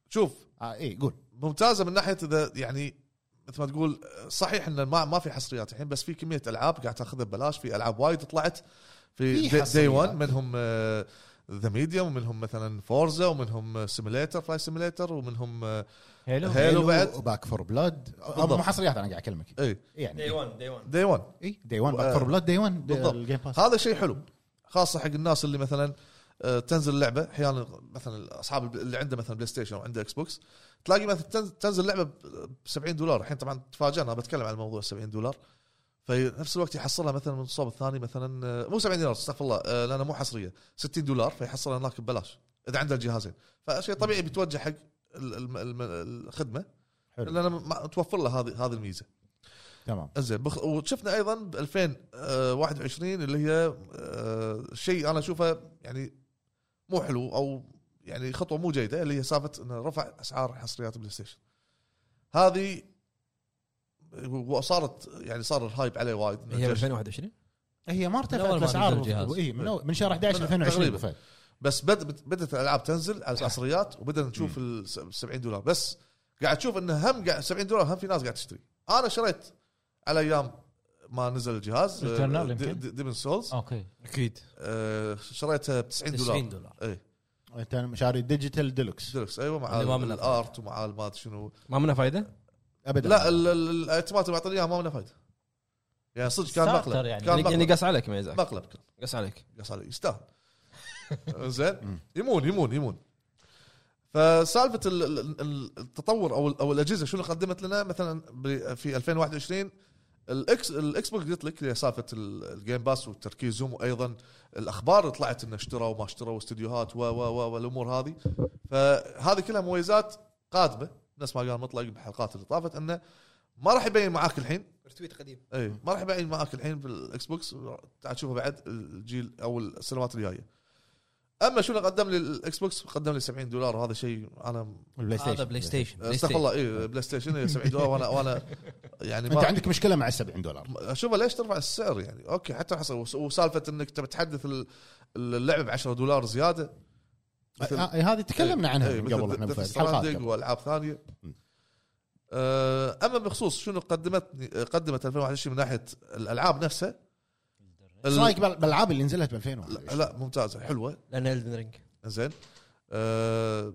S5: شوف
S3: آه اي قول
S5: ممتازه من ناحيه اذا يعني مثل ما تقول صحيح ان ما ما في حصريات الحين بس في كميه العاب قاعد تاخذها ببلاش في العاب وايد طلعت
S3: في
S5: في دي
S3: حصريات.
S5: 1 منهم ذا ميديوم ومنهم مثلا فورزا ومنهم سيميليتر فلاي سيميليتر ومنهم آه،
S2: هيلو
S5: هيلو. بعد.
S3: باك فور بلاد
S5: بالضبط.
S3: ابو حصريات انا قاعد اكلمك
S5: اي
S1: دي
S3: يعني
S1: 1 دي 1
S5: دي 1
S3: اي دي 1
S5: آه،
S3: باك فور بلاد دي 1
S5: بالضبط.
S3: الجيم باس
S5: هذا شيء حلو خاصه حق الناس اللي مثلا آه، تنزل لعبه احيانا مثلا اصحاب الب- اللي عنده مثلا بلاي ستيشن او عنده اكس بوكس تلاقي مثلا تنز- تنزل لعبه ب 70 دولار الحين طبعا تفاجئنا بتكلم عن الموضوع 70 دولار في نفس الوقت يحصلها مثلا من الصوب الثاني مثلا آه، مو 70 دولار استغفر الله آه، لانها مو حصريه 60 دولار فيحصلها هناك ببلاش اذا عنده الجهازين فشيء طبيعي بيتوجه حق ال- ال- ال- الخدمه
S3: حلو.
S5: لان ما- توفر له هذه هذه الميزه
S3: تمام
S5: زين بخ... وشفنا ايضا ب 2021 اللي هي آه، شيء انا اشوفه يعني مو حلو او يعني خطوه مو جيده اللي هي سالفه انه رفع اسعار حصريات البلاي ستيشن. هذه وصارت يعني صار الهايب عليه وايد إنه
S1: هي
S5: جش-
S1: 2021
S3: هي ما
S4: من
S3: ارتفعت
S4: أول ما نزل
S3: الاسعار
S4: الجهاز.
S3: اي من, أول- من شهر 11 2020
S5: تقريباً. بس بد... بد- بدات الالعاب تنزل على الحصريات وبدنا نشوف ال 70 دولار بس قاعد تشوف انه هم قاعد 70 دولار هم في ناس قاعد تشتري. انا شريت على ايام ما نزل الجهاز آه،
S2: Returnal يمكن.
S5: ديمن سولز
S2: اوكي
S1: اكيد
S5: آه، شريتها ب 90 دولار
S4: 90 دولار
S5: اي
S3: انت شاري ديجيتال ديلوكس
S5: ديلكس ايوه مع
S4: اللي ما منه
S5: الارت ومع ما أدري شنو
S1: ما منها فائده؟
S3: ابدا
S5: لا ال- ال- الايتمات اللي معطيني اياها ما منها فايده يعني صدق كان
S2: ستارتر
S5: مقلب
S2: يعني.
S5: كان
S1: يعني يعني
S5: مقلب
S1: قص عليك ميزاك
S5: مقلب كان
S1: قص عليك
S5: قص علي يستاهل زين
S3: مم.
S5: يمون يمون يمون فسالفه ال- ال- ال- التطور او ال- او الاجهزه شنو قدمت لنا مثلا ب- في 2021 الاكس الاكس بوكس قلت لك سالفه ال- الجيم باس وتركيزهم وايضا الاخبار اللي طلعت انه اشتروا وما اشتروا استديوهات و و و والامور هذه فهذه كلها مميزات قادمه نفس ما قال مطلق بالحلقات اللي طافت انه ما راح يبين معاك الحين
S1: رتويت قديم
S5: اي ما راح يبين معاك الحين بالاكس بوكس تعال تشوفه بعد الجيل او السنوات الجايه اما شنو قدم لي الاكس بوكس قدم لي 70 دولار وهذا شيء انا
S3: البلاي
S4: هذا بلاي ستيشن بلاي
S5: استغفر
S4: ستيشن.
S5: الله اي بلاي ستيشن 70 دولار وانا وانا يعني
S3: انت
S5: ما
S3: عندك مشكله مع ال 70 دولار
S5: اشوفه ليش ترفع السعر يعني اوكي حتى حصل وس- وسالفه انك تبي تحدث ال- اللعب ب 10 دولار زياده مثل-
S3: آه، هذه تكلمنا عنها
S5: إيه،
S3: من
S5: مثل
S3: قبل احنا
S5: Death
S3: في
S5: Stranding
S3: الحلقات
S5: والعاب ثانيه
S3: م.
S5: آه، اما بخصوص شنو قدمت قدمت 2021 من ناحيه الالعاب نفسها
S3: ايش
S5: ال-
S3: رايك بال- بالالعاب اللي نزلت ب
S5: لا
S3: 2021
S5: لا، ممتازه حلوه
S1: لان الدن رينج
S5: زين آه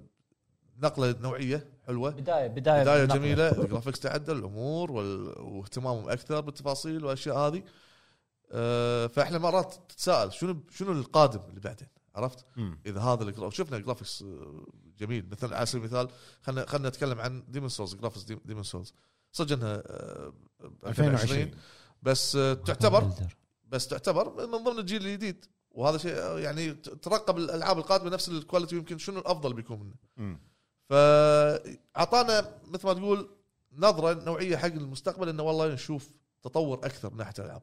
S5: نقله نوعيه حلوه
S2: بدايه بدايه
S5: بدايه
S2: بالنقلة.
S5: جميله الجرافيكس تعدل الامور وال- واهتمامهم اكثر بالتفاصيل والاشياء هذه آه فاحنا مرات تتساءل شنو شنو القادم اللي بعدين عرفت
S3: مم.
S5: اذا هذا الجرا- شفنا جرافيكس جميل مثلا على سبيل المثال خلينا خلينا نتكلم عن ديمون سولز جرافيكس ديمون سولز صدق انها آه،
S3: 2020
S5: بس آه، تعتبر بس تعتبر من ضمن الجيل الجديد وهذا شيء يعني ترقب الالعاب القادمه نفس الكواليتي يمكن شنو الافضل بيكون منه
S3: مم.
S5: فاعطانا مثل ما تقول نظره نوعيه حق المستقبل انه والله نشوف تطور اكثر من ناحيه الالعاب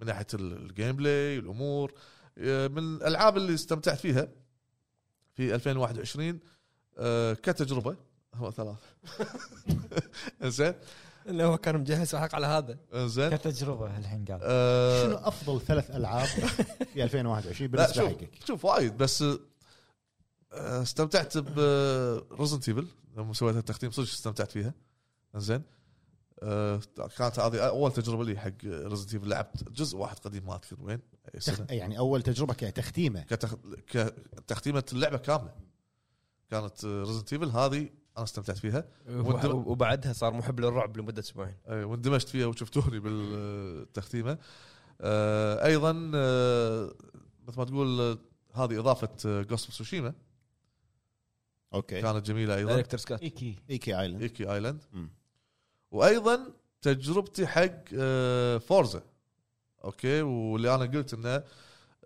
S5: من ناحيه ال- الجيم بلاي الامور آه، من الالعاب اللي استمتعت فيها في 2021 آه، كتجربه هو ثلاث زين
S1: اللي هو كان مجهز حق على هذا
S5: زين
S2: كتجربه الحين قال
S5: آه،
S3: شنو افضل ثلاث العاب في 2021
S5: لا
S3: بالنسبه
S5: شوف
S3: حقك؟
S5: شوف وايد بس آه، استمتعت برزنت ايفل لما سويت التختيم صدق استمتعت فيها زين آه، كانت هذه اول تجربه لي حق رزنت ايفل لعبت جزء واحد قديم ما اذكر وين أي سنه
S3: تخ- يعني اول تجربه كتختيمه
S5: كتخ... كتختيمه اللعبه كامله كانت رزنت ايفل هذه انا استمتعت فيها
S1: وب-
S5: والدم-
S1: وبعدها صار محب للرعب لمده اسبوعين
S5: أي، واندمجت فيها وشفتوني بالتختيمه آه، ايضا آه، مثل ما تقول آه، هذه آه، اضافه جوست سوشيما
S3: اوكي
S5: كانت جميله ايضا
S1: دايركتر سكات
S2: ايكي
S3: ايكي ايلاند
S5: ايكي ايلاند
S3: مم.
S5: وايضا تجربتي حق آه، فورزا اوكي واللي انا قلت انه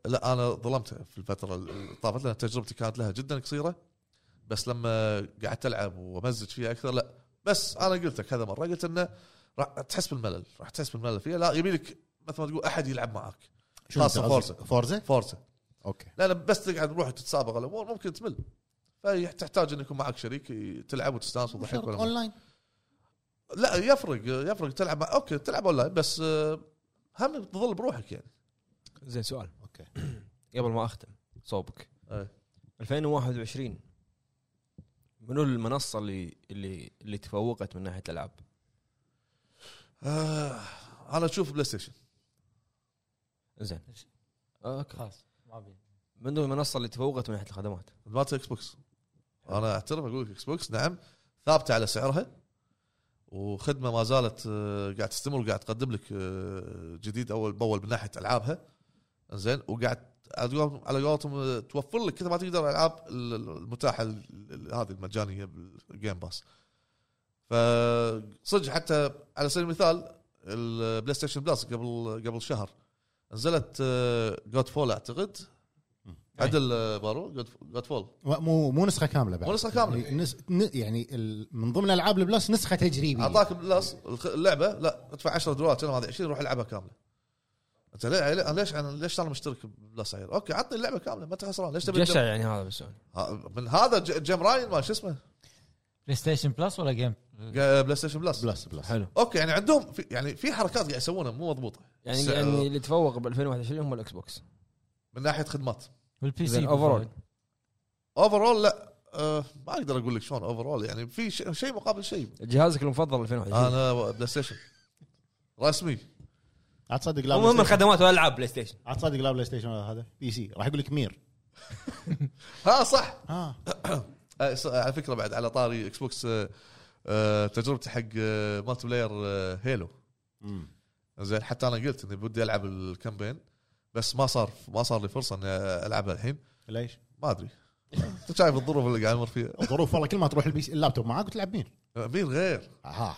S5: لا انا ظلمتها في الفتره اللي طافت لان تجربتي كانت لها جدا قصيره بس لما قعدت العب وامزج فيها اكثر لا بس انا قلت كذا مره قلت انه راح تحس بالملل راح تحس بالملل فيها لا يبي لك مثل ما تقول احد يلعب معك
S3: شنو
S5: خاصة
S3: أنت قصدك؟
S5: فورزا.
S3: فورزا
S5: فورزا
S3: اوكي
S5: لا لا بس تقعد روح تتسابق الامور ممكن تمل فتحتاج ان يكون معك شريك تلعب وتستانس وتضحك والأمور.
S3: اونلاين
S5: لا يفرق يفرق تلعب مع- اوكي تلعب اونلاين بس آه، هم تظل بروحك يعني
S1: زين سؤال
S3: اوكي
S1: قبل ما اختم صوبك
S5: أي.
S1: 2021 منو المنصه اللي اللي اللي تفوقت من ناحيه الالعاب؟
S5: آه، انا اشوف بلاي ستيشن
S1: زين اوكي
S2: خلاص ما ابي
S1: من ضمن المنصه اللي تفوقت من ناحيه الخدمات
S5: مالت اكس بوكس انا اعترف اقول لك اكس بوكس نعم ثابته على سعرها وخدمه ما زالت آه، قاعد تستمر وقاعد تقدم لك آه، جديد اول باول من ناحيه العابها زين وقاعد على قولتهم- على قولتهم آه، توفر لك كذا ما تقدر الالعاب ال- ال- المتاحه ال- ال- هذه المجانيه بالجيم باس فصدق حتى على سبيل المثال البلاي ستيشن بلس قبل قبل شهر نزلت جود فول اعتقد عدل آه، بارو جود فول
S3: مو مو نسخه كامله بعد
S5: مو نسخة كاملة.
S3: يعني نس... ن- يعني ال... من ضمن العاب البلس نسخه تجريبيه
S5: اعطاك بلس الخ- اللعبه لا ادفع 10 دولار انا ما ادري 20 روح العبها كامله انت ليه- ليه- ليش انا ليش انا مشترك بلس عير اوكي عطني اللعبه كامله ما انت خسران ليش تبي
S1: جشع
S5: الجم-
S1: يعني هذا بس يعني.
S5: ها- من هذا ج- جيم راين ما شو اسمه
S2: بلاي ستيشن بلس ولا جيم
S5: جا- بلاي ستيشن بلس
S3: بلس بلس
S1: حلو
S5: اوكي يعني عندهم في يعني في حركات قاعد يسوونها مو مضبوطه
S1: يعني
S5: سعر.
S1: يعني اللي تفوق ب 2021 هم الاكس بوكس
S5: من ناحيه خدمات
S2: والبي سي
S1: زين اوفرول
S5: اوفرول لا أه ما اقدر اقول لك شلون اوفرول يعني في ش- شيء مقابل شيء
S1: جهازك المفضل 2021
S5: انا بلاي ستيشن رسمي
S3: عاد تصدق لا
S1: المهم
S3: بلاي ستيشن-
S1: الخدمات والالعاب بلاي ستيشن
S3: عاد تصدق لا بلاي ستيشن ولا هذا بي سي راح يقول لك مير
S5: ها صح
S3: ها
S5: آه، ص- على فكره بعد على طاري اكس بوكس آه، آه، تجربتي حق آه، مالتي بلاير آه، هيلو
S3: مم.
S5: زين حتى انا قلت اني بدي العب الكامبين بس ما صار ما صار لي فرصه اني العبها الحين
S3: ليش؟
S5: ما ادري انت شايف الظروف اللي قاعد امر فيها
S3: الظروف والله كل ما تروح البي سي اللابتوب معاك وتلعب مير
S5: آه، مير غير
S3: اها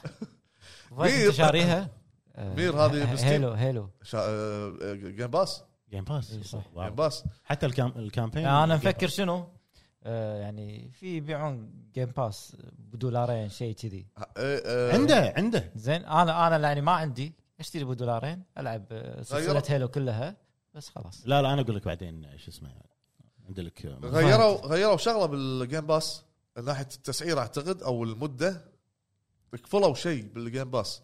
S2: انت شاريها آه،
S5: مير هذه بستيم.
S2: هيلو هيلو
S5: شا... آه، آه، جيم باس
S3: جيم
S2: إي
S3: باس
S2: صح.
S3: واو.
S5: جيم باس
S3: حتى الكام... الكامبين يعني
S2: انا مفكر شنو آه، يعني في يبيعون جيم باس بدولارين شيء كذي
S5: آه، آه،
S3: عنده عنده
S2: زين انا انا يعني ما عندي اشتري بدولارين العب آه، سلسله
S5: غيروا.
S2: هيلو كلها بس خلاص
S3: لا لا انا اقول لك بعدين شو اسمه عندك آه،
S5: غيروا غيروا شغله بالجيم باس من ناحيه التسعير اعتقد او المده كفلوا شيء بالجيم باس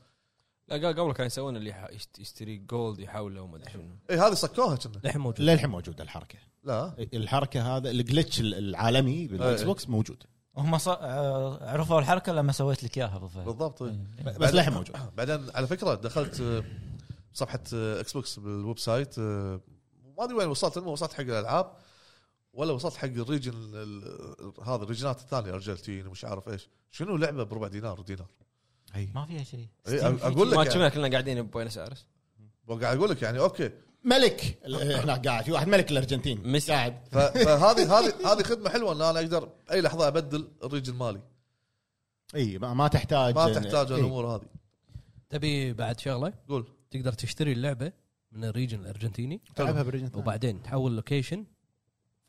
S1: لا قال قبل كانوا يسوون اللي يح- يشت- يشتري جولد يحوله وما ادري شنو
S5: اي إيه، هذه صكوها كنا
S4: للحين موجود
S3: للحين موجوده الحركه إيه.
S5: لا
S3: الحركه هذا الجلتش العالمي بالاكس
S5: إيه.
S3: بوكس موجود
S2: هم ص... آه، عرفوا الحركه لما سويت لك اياها بالضبط
S5: بالضبط إيه. إي.
S3: بس للحين موجود
S5: بعدين على فكره دخلت آه، صفحه آه، اكس بوكس بالويب سايت آه، ما ادري وين وصلت المهم وصلت حق الالعاب ولا وصلت حق الريجن ال- هذا الريجنات الثانيه ارجنتين ومش عارف ايش شنو لعبه بربع دينار دينار
S2: ما فيها شيء
S5: إي،
S2: ستيم في
S5: اقول
S2: شيء.
S1: ما
S5: لك يعني
S1: شفنا كلنا قاعدين ببوينس ايرس
S5: قاعد اقول لك يعني اوكي
S3: ملك ال- هناك قاعد في واحد ملك الارجنتين
S1: ميسي.
S3: قاعد
S5: ف- فهذه هذه هذه خدمه حلوه ان انا اقدر اي لحظه ابدل الريجن مالي
S3: اي ما ما تحتاج
S5: ما تحتاج
S3: إي.
S5: الامور هذه
S4: تبي بعد شغله
S5: قول
S4: تقدر تشتري اللعبه من الريجن الارجنتيني
S3: تلعبها بالارجنتين
S4: وبعدين تحول لوكيشن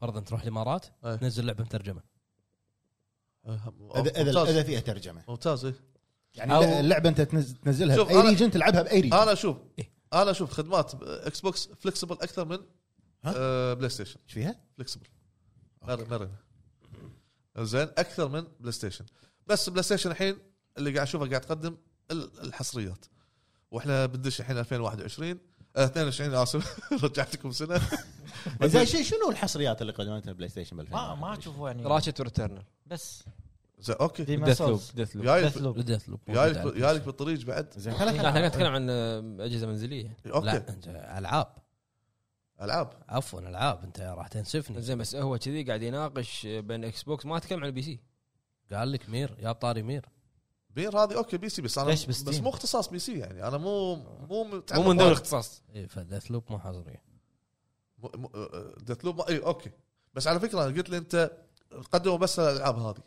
S4: فرضا تروح الامارات
S5: إيه.
S4: تنزل لعبه مترجمه
S5: آه،
S3: اذا اذا
S5: ممتاز.
S3: اذا فيها ترجمه
S5: ممتاز إيه.
S3: يعني
S4: أو-
S3: اللعبه انت تنز- تنزلها
S5: شوف
S3: باي
S5: أنا-
S3: ريجن تلعبها باي ريجن
S5: انا اشوف انا اشوف خدمات آه، اكس بوكس فلكسبل اكثر من
S3: ها؟
S5: آه، بلاي ستيشن
S3: ايش فيها؟
S5: فلكسبل مرن مرن زين اكثر من بلاي ستيشن بس بلاي ستيشن الحين اللي قاعد اشوفه قاعد تقدم ال- الحصريات واحنا بندش الحين 2021 آه، 22 اسف رجعتكم سنه
S3: زين شي- شنو الحصريات اللي قدمتها بلاي ستيشن بال
S2: ما ما اشوفه يعني
S1: راشت وريتيرنر
S2: بس
S5: زين اوكي
S2: ديمون
S1: ديث لوب
S2: سولز
S1: ديث لوب
S5: جاي
S2: ديث لوب
S4: ديث لوب
S5: جايلك جايلك بالطريق بعد
S3: زين خلينا
S1: احنا قاعد نتكلم عن آه، اجهزه منزليه
S5: اوكي
S4: لا انت العاب
S5: العاب
S4: عفوا العاب انت راح
S3: نعم.
S4: تنسفني
S1: زين بس هو كذي قاعد يناقش آه، بين اكس بوكس ما تكلم عن البي سي
S4: قال لك مير يا طاري مير
S5: بير هذه اوكي بي سي بس انا
S2: ليش
S5: بس
S2: بستيم؟
S5: مو اختصاص بي سي يعني انا مو مو
S1: مو من دون اختصاص
S4: إيه، فديث لوب مو حصريه
S5: أه، ديث لوب اي اوكي إيه، بس على فكره أنا قلت لي انت قدموا بس الالعاب هذه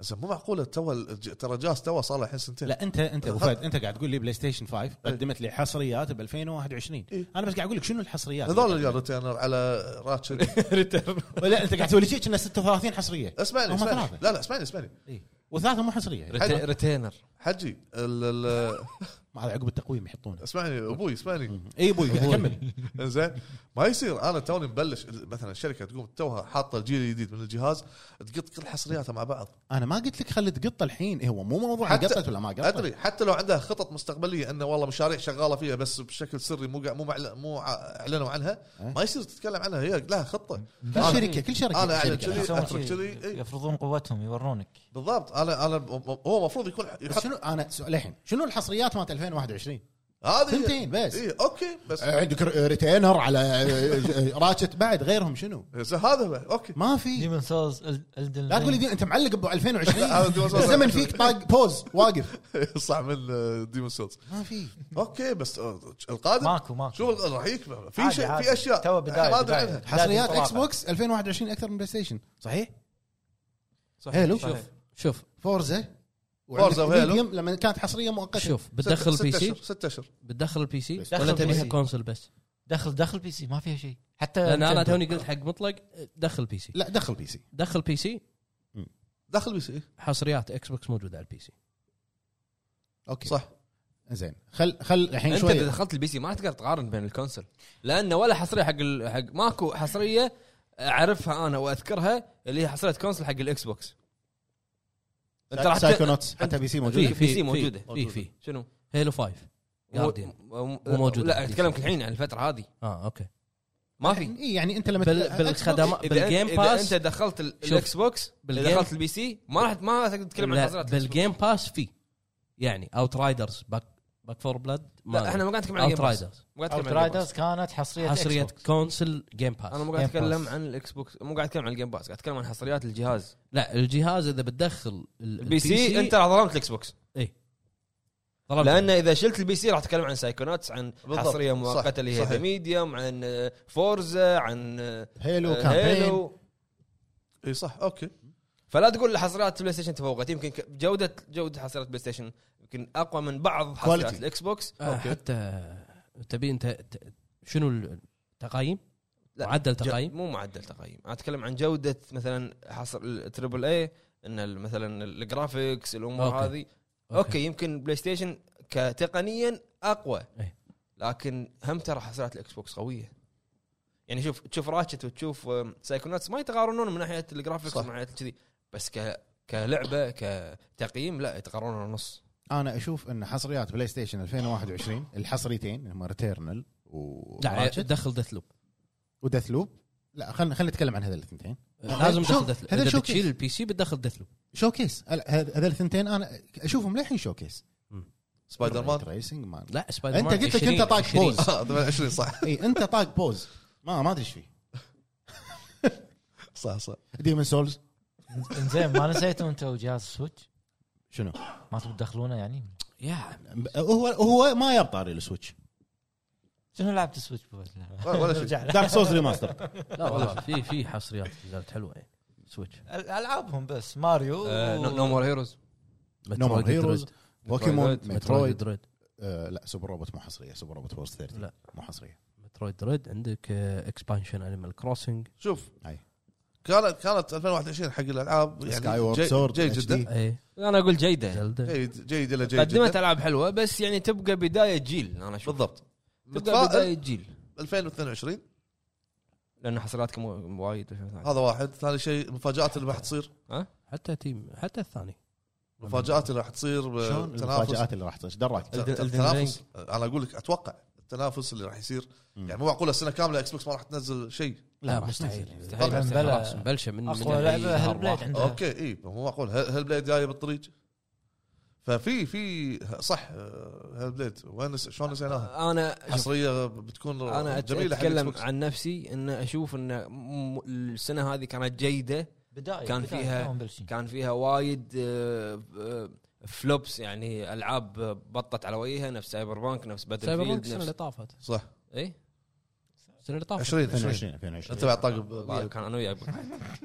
S5: بس مو معقوله تو الج- ترى جاز تو صار له الحين سنتين
S3: لا انت انت ابو فهد انت قاعد تقول لي بلاي ستيشن 5 قدمت لي حصريات ب 2021
S5: إيه.
S3: انا بس قاعد اقول لك شنو الحصريات
S5: هذول يا ريتيرنر على راتشت
S1: ريتيرن
S3: لا انت قاعد تسوي لي شيء كنا 46 حصريه
S5: اسمعني
S3: هم
S5: اسمعني
S3: ثلاثة.
S5: لا لا اسمعني اسمعني
S3: وثلاثه مو حصريه
S5: حلو.
S1: ريتينر
S5: حجي ال- ال-
S3: ما هذا عقب التقويم يحطونه
S5: اسمعني ابوي اسمعني
S3: اي ابوي كمل
S5: زين ما يصير انا توني مبلش مثلا الشركه تقوم توها حاطه الجيل الجديد من الجهاز تقط كل حصرياتها مع بعض
S3: انا ما قلت لك خلي تقط الحين إيه، هو مو موضوع
S5: حتى-
S3: قطت ولا ما قطت
S5: ادري حتى لو عندها خطط مستقبليه انه والله مشاريع شغاله فيها بس بشكل سري مو قاع- مو معل- مو ع- اعلنوا عنها
S3: إيه.
S5: ما يصير تتكلم عنها هي لها خطه
S3: كل
S5: أنا-
S3: شركه كل شركه
S5: أنا يعني أعلن
S3: شركة.
S5: كذي.
S2: يسوون
S5: أترك
S2: شيء،
S5: كذي، إي.
S2: يفرضون قوتهم يورونك
S5: بالضبط انا انا هو المفروض يكون
S3: بس
S5: يحط
S3: شنو انا سؤال الحين شنو الحصريات مالت 2021
S5: هذه
S3: ثنتين بس إيه.
S5: اي اوكي بس
S3: عندك ر- ريتينر على آه، راتشت بعد غيرهم شنو؟
S5: بس إيه، هذا بقى، اوكي
S3: ما في
S2: ديمون سولز الدن
S3: لا تقول لي دي- انت معلق ب 2020
S5: هذا ديمون سولز.
S3: الزمن فيك طاق بوز واقف
S5: صح من ديمون سولز
S3: ما في
S5: اوكي بس آه، القادم
S2: ماكو ماكو
S5: شوف الق- راح يكبر في
S2: عادي،
S5: شيء
S2: عادي.
S5: في اشياء
S2: تو بداية،
S5: إحنا ما أدري
S2: بداية.
S5: عنها.
S3: حصريات
S2: لازم
S3: اكس
S2: تراقب.
S3: بوكس 2021 اكثر من بلاي ستيشن صحيح
S1: صحيح
S3: حلو.
S1: شوف
S4: شوف
S3: فورزا
S5: فورزا وهيلو.
S3: ميديوم لما كانت حصريه مؤقته
S4: شوف
S5: ست-
S4: بتدخل
S5: ست
S4: البي سي
S5: أشهر- ست اشهر
S4: بتدخل البي سي
S3: دخل
S4: ولا
S2: البي
S4: تبيها
S2: سي.
S4: كونسول بس
S2: دخل دخل بي سي ما فيها شيء حتى
S4: لان انا
S2: آه، نينتندو.
S4: توني قلت حق مطلق دخل بي سي
S3: لا دخل بي سي
S4: دخل بي سي
S5: داخل بي سي
S4: حصريات اكس بوكس موجوده على البي سي
S3: اوكي
S5: صح
S3: زين خل خل الحين
S1: انت اذا
S3: شوي
S1: دخلت البي سي ما تقدر تقارن بين الكونسل لانه ولا حصريه حق ال- حق ماكو حصريه اعرفها انا واذكرها اللي هي حصريه كونسل حق الاكس بوكس انت راح ت-
S3: سايكونوتس حتى بي سي موجود
S1: في- بي سي موجودة.
S4: في في
S1: شنو؟
S4: هيلو 5 جارديان موجودة.
S1: موجود لا اتكلمك الحين عن الفتره هذه
S4: اه اوكي
S1: ما في
S3: إي، يعني انت لما
S4: بال-
S3: تلعب
S4: بالخدمات
S1: إذا
S4: بالجيم
S1: أنت-
S4: باس
S1: اذا انت دخلت ال-
S4: شوف،
S1: الاكس بوكس
S4: بالجيم-
S1: بالجيم دخلت البي سي ما راح ما راح تقدر تتكلم عن
S4: لا،
S1: حصريات الإكس بوكس.
S4: بالجيم باس في يعني اوت رايدرز باك باك فور بلاد
S1: لا احنا ما قاعد نتكلم عن
S4: اوت
S1: الجيم باس.
S4: رايدرز
S1: ما قاعد
S2: اوت
S1: نتكلم عن الجيم باس.
S2: رايدرز كانت حصريه
S4: حصريه
S2: حصريه
S4: كونسل جيم
S1: انا
S4: باس
S1: مو قاعد
S2: Game
S1: اتكلم
S2: Pass.
S1: عن الاكس بوكس مو قاعد اتكلم عن الجيم باس قاعد اتكلم عن حصريات الجهاز
S4: لا الجهاز اذا بتدخل ال-
S1: البي سي انت راح ظلمت الاكس بوكس
S4: طلبت-
S1: لان اذا شلت البي سي راح تتكلم عن سايكوناتس عن
S5: بالضبط.
S1: حصريه
S5: صح،
S1: مؤقته اللي هي
S5: صحيح.
S1: ذا ميديوم عن آه، فورزا عن آه،
S3: هيلو
S1: آه،
S3: كامبين
S1: هيلو
S5: اي إيه، صح اوكي
S1: فلا تقول حصريات بلاي ستيشن تفوقت يمكن ك- جوده جوده حصريات بلاي ستيشن يمكن اقوى من بعض حصريات
S3: Quality.
S1: الاكس بوكس
S4: آه،
S5: أوكي.
S4: حتى تبي انت ت- شنو التقايم؟
S1: لا،
S4: معدل
S1: ج-
S4: تقايم
S1: مو معدل تقييم انا اتكلم عن جوده مثلا حصر التربل اي ان ال- مثلا الجرافيكس الامور
S4: أوكي.
S1: هذه اوكي يمكن بلاي ستيشن كتقنيا اقوى
S4: إيه.
S1: لكن هم ترى حصريات الاكس بوكس قويه يعني شوف تشوف راتشت وتشوف آم، سايكوناتس ما يتقارنون من ناحيه الجرافيكس
S5: صح.
S1: ومن ناحيه كذي بس ك كلعبه كتقييم لا يتقارنون ونص
S3: انا اشوف ان حصريات بلاي ستيشن 2021 الحصريتين اللي هم ريتيرنال و
S4: لا دخل ديث لوب
S3: وديث لوب لا خلينا خلينا نتكلم عن هذول الاثنتين
S4: لازم
S3: شوف،
S4: تدخل ديث لوب
S3: هذا
S4: اذا
S3: شوف
S4: بتشيل
S3: كيف.
S4: البي سي بتدخل ديث لوب
S3: شوكيس هل- هذ- هذول الثنتين انا اشوفهم للحين شوكيس
S5: سبايدر مان
S3: ريسنج مان
S4: لا سبايدر
S3: انت
S4: مان
S3: قلت لك
S4: 20
S3: انت طاق
S4: 20.
S3: بوز
S5: آه، 28 صح
S3: اي انت إيه، طاق بوز ما ما ادري ايش فيه
S5: صح صح
S3: ديمون سولز
S2: زين ما نسيتوا انتوا جهاز سويتش
S3: شنو؟
S2: ما تبون تدخلونه يعني
S4: يا عمي.
S3: هو هو ما ياب طاري السويتش
S2: شنو لعبت سويتش
S5: ولا- ولا شيء.
S3: دارك سولز ريماستر
S4: لا والله في في حصريات نزلت حلوه يعني سويتش
S2: العابهم بس ماريو
S5: آه،
S1: آه، نو مور هيروز
S3: نو مور هيروز بوكيمون
S1: مترويد.
S4: مترويد
S3: مترويد
S4: دريد
S3: آه، لا سوبر روبوت مو حصريه سوبر روبوت وورز 30
S4: لا.
S3: لا مو حصريه
S4: مترويد دريد عندك آه، اكسبانشن انيمال كروسنج
S5: شوف
S3: أي.
S5: كانت كانت 2021 حق الالعاب
S3: سكاي
S5: يعني
S3: وورد
S5: جي-
S3: سورد
S5: جيد جدا
S4: اي
S1: انا اقول
S4: إيه،
S1: جيده
S4: زلدا
S5: جيد جيد الى جيد
S1: قدمت
S5: جدا
S1: العاب حلوه بس يعني تبقى بدايه جيل انا اشوف
S5: بالضبط
S1: تبقى بدايه
S5: متفائل
S1: جيل
S5: 2022
S1: لان حصرياتكم مو- وايد
S5: هذا واحد ثاني شيء المفاجات اللي راح تصير
S4: حتى تيم حتى الثاني
S5: المفاجات اللي راح تصير آه،
S3: شلون
S5: بالتنافس
S3: المفاجات اللي راح تصير إيش دراك
S1: Elden- Elden
S5: التنافس انا اقول لك اتوقع التنافس اللي راح يصير
S3: مم.
S5: يعني مو معقوله السنه كامله اكس بوكس ما راح تنزل شيء
S4: لا
S3: راح
S4: مستحيل
S3: تنزل.
S4: مستحيل
S2: طبعاً
S4: مستحيل.
S2: بلا.
S4: خلاص مبلشه من
S2: اقوى
S4: من
S2: لعبه
S4: أي
S2: هل بليد
S4: واحد.
S2: عندها
S5: اوكي اي إيه، مو معقول هل بليد جايه بالطريق ففي في صح هل بليد وين نس- شلون نسيناها
S1: انا شوف،
S5: حصريه بتكون
S1: انا
S5: جميله حق
S1: اتكلم
S5: Xbox.
S1: عن نفسي ان اشوف ان م- السنه هذه كانت جيده
S2: بدايه
S1: كان
S2: بداية،
S1: فيها-
S2: ما هم بلشين.
S1: كان فيها وايد آه، آه، فلوبس يعني العاب بطت على وجهها نفس سايبر بانك نفس باتل
S4: سايبر بانك
S1: فيلد
S4: السنه اللي
S1: نفس إيه؟
S4: طافت
S5: صح
S1: اي
S4: السنه اللي طافت
S5: 20 20
S3: 2020 2020
S5: انت بعد طاق
S1: وياك، كان انا وياك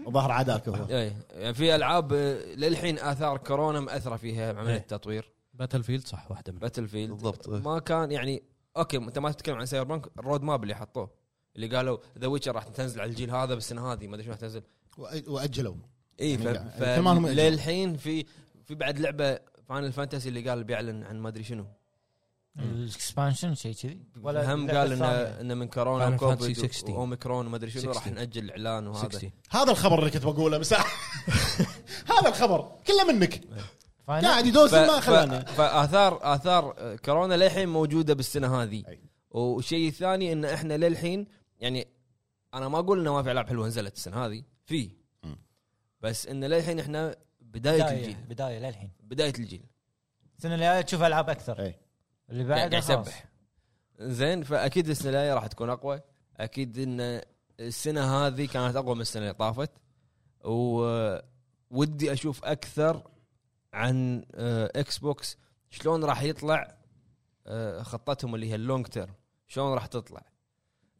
S3: ظهر عداك هو
S1: اي يعني في العاب آه، للحين اثار كورونا مأثره فيها عمليه
S4: إيه.
S1: التطوير
S4: باتل فيلد صح واحده منها
S1: باتل فيلد
S5: بالضبط.
S3: إيه.
S1: ما كان يعني اوكي انت ما تتكلم عن سايبر بانك الرود ماب اللي حطوه اللي قالوا ذا ويتشر راح تنزل على الجيل هذا بالسنه هذه ما ادري شو راح تنزل
S3: وأ- واجلوا
S1: اي ف...
S3: يعني
S1: ف...
S3: كل ما هم يأجلون.
S1: للحين في في بعد لعبه فاينل فانتسي اللي قال بيعلن عن ما ادري شنو
S2: الاكسبانشن شيء كذي
S1: هم
S2: اللعبة
S1: قال انه
S2: الثانية.
S1: انه من كورونا
S4: Final
S1: وكوفيد
S4: Fantasy 16.
S1: واوميكرون وما ادري شنو راح
S4: 16.
S1: ناجل الاعلان وهذا
S4: 60
S3: هذا الخبر اللي كنت بقوله مساح هذا الخبر كله منك
S2: فاينل؟
S3: قاعد يدوس
S1: ف...
S3: ما
S1: ف...
S3: خلانا
S1: فاثار اثار كورونا للحين موجوده بالسنه هذه
S3: أي.
S1: والشيء الثاني ان احنا للحين يعني انا ما اقول انه ما في العاب حلوه نزلت السنه هذه في
S3: مم.
S1: بس ان للحين احنا بدايه
S2: بدايه
S1: الجيل
S2: بدايه للحين
S1: بدايه الجيل
S2: السنه اللي جايه تشوف العاب اكثر
S3: إيه.
S2: اللي
S1: قاعد
S2: بعده
S1: يسبح.
S2: يسبح
S1: زين فاكيد السنه الجايه راح تكون اقوى اكيد ان السنه هذه كانت اقوى من السنه اللي طافت وودي اشوف اكثر عن آه، اكس بوكس شلون راح يطلع آه، خطتهم اللي هي اللونج تيرم شلون راح تطلع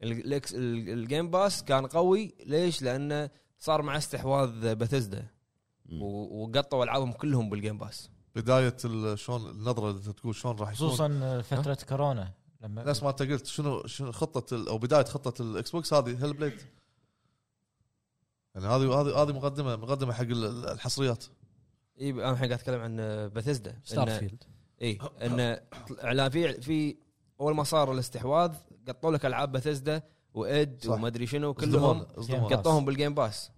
S1: ال- الإكس- ال- الجيم باس كان قوي ليش لانه صار مع استحواذ بثزدا
S3: مم.
S1: وقطوا العابهم كلهم بالجيم باس
S5: بدايه ال- شلون النظره اللي أنت تقول شلون راح يكون
S2: خصوصا فتره آه، كورونا لما
S5: نفس ما انت قلت شنو شنو خطه ال- او بدايه خطه الاكس بوكس هذه هيل بليد يعني هذه هذه هذه مقدمه مقدمه حق ال- ال- الحصريات
S1: اي انا الحين قاعد اتكلم عن آه، بثزدا
S4: ستار فيلد
S1: اي ان اعلان في في اول ما صار الاستحواذ قطوا لك العاب بثزدا واد
S5: صح.
S1: وما ادري شنو
S5: اصدمونا
S1: كلهم
S4: يعني
S5: اصدمونا.
S2: Game Pass.
S1: قطوهم بالجيم باس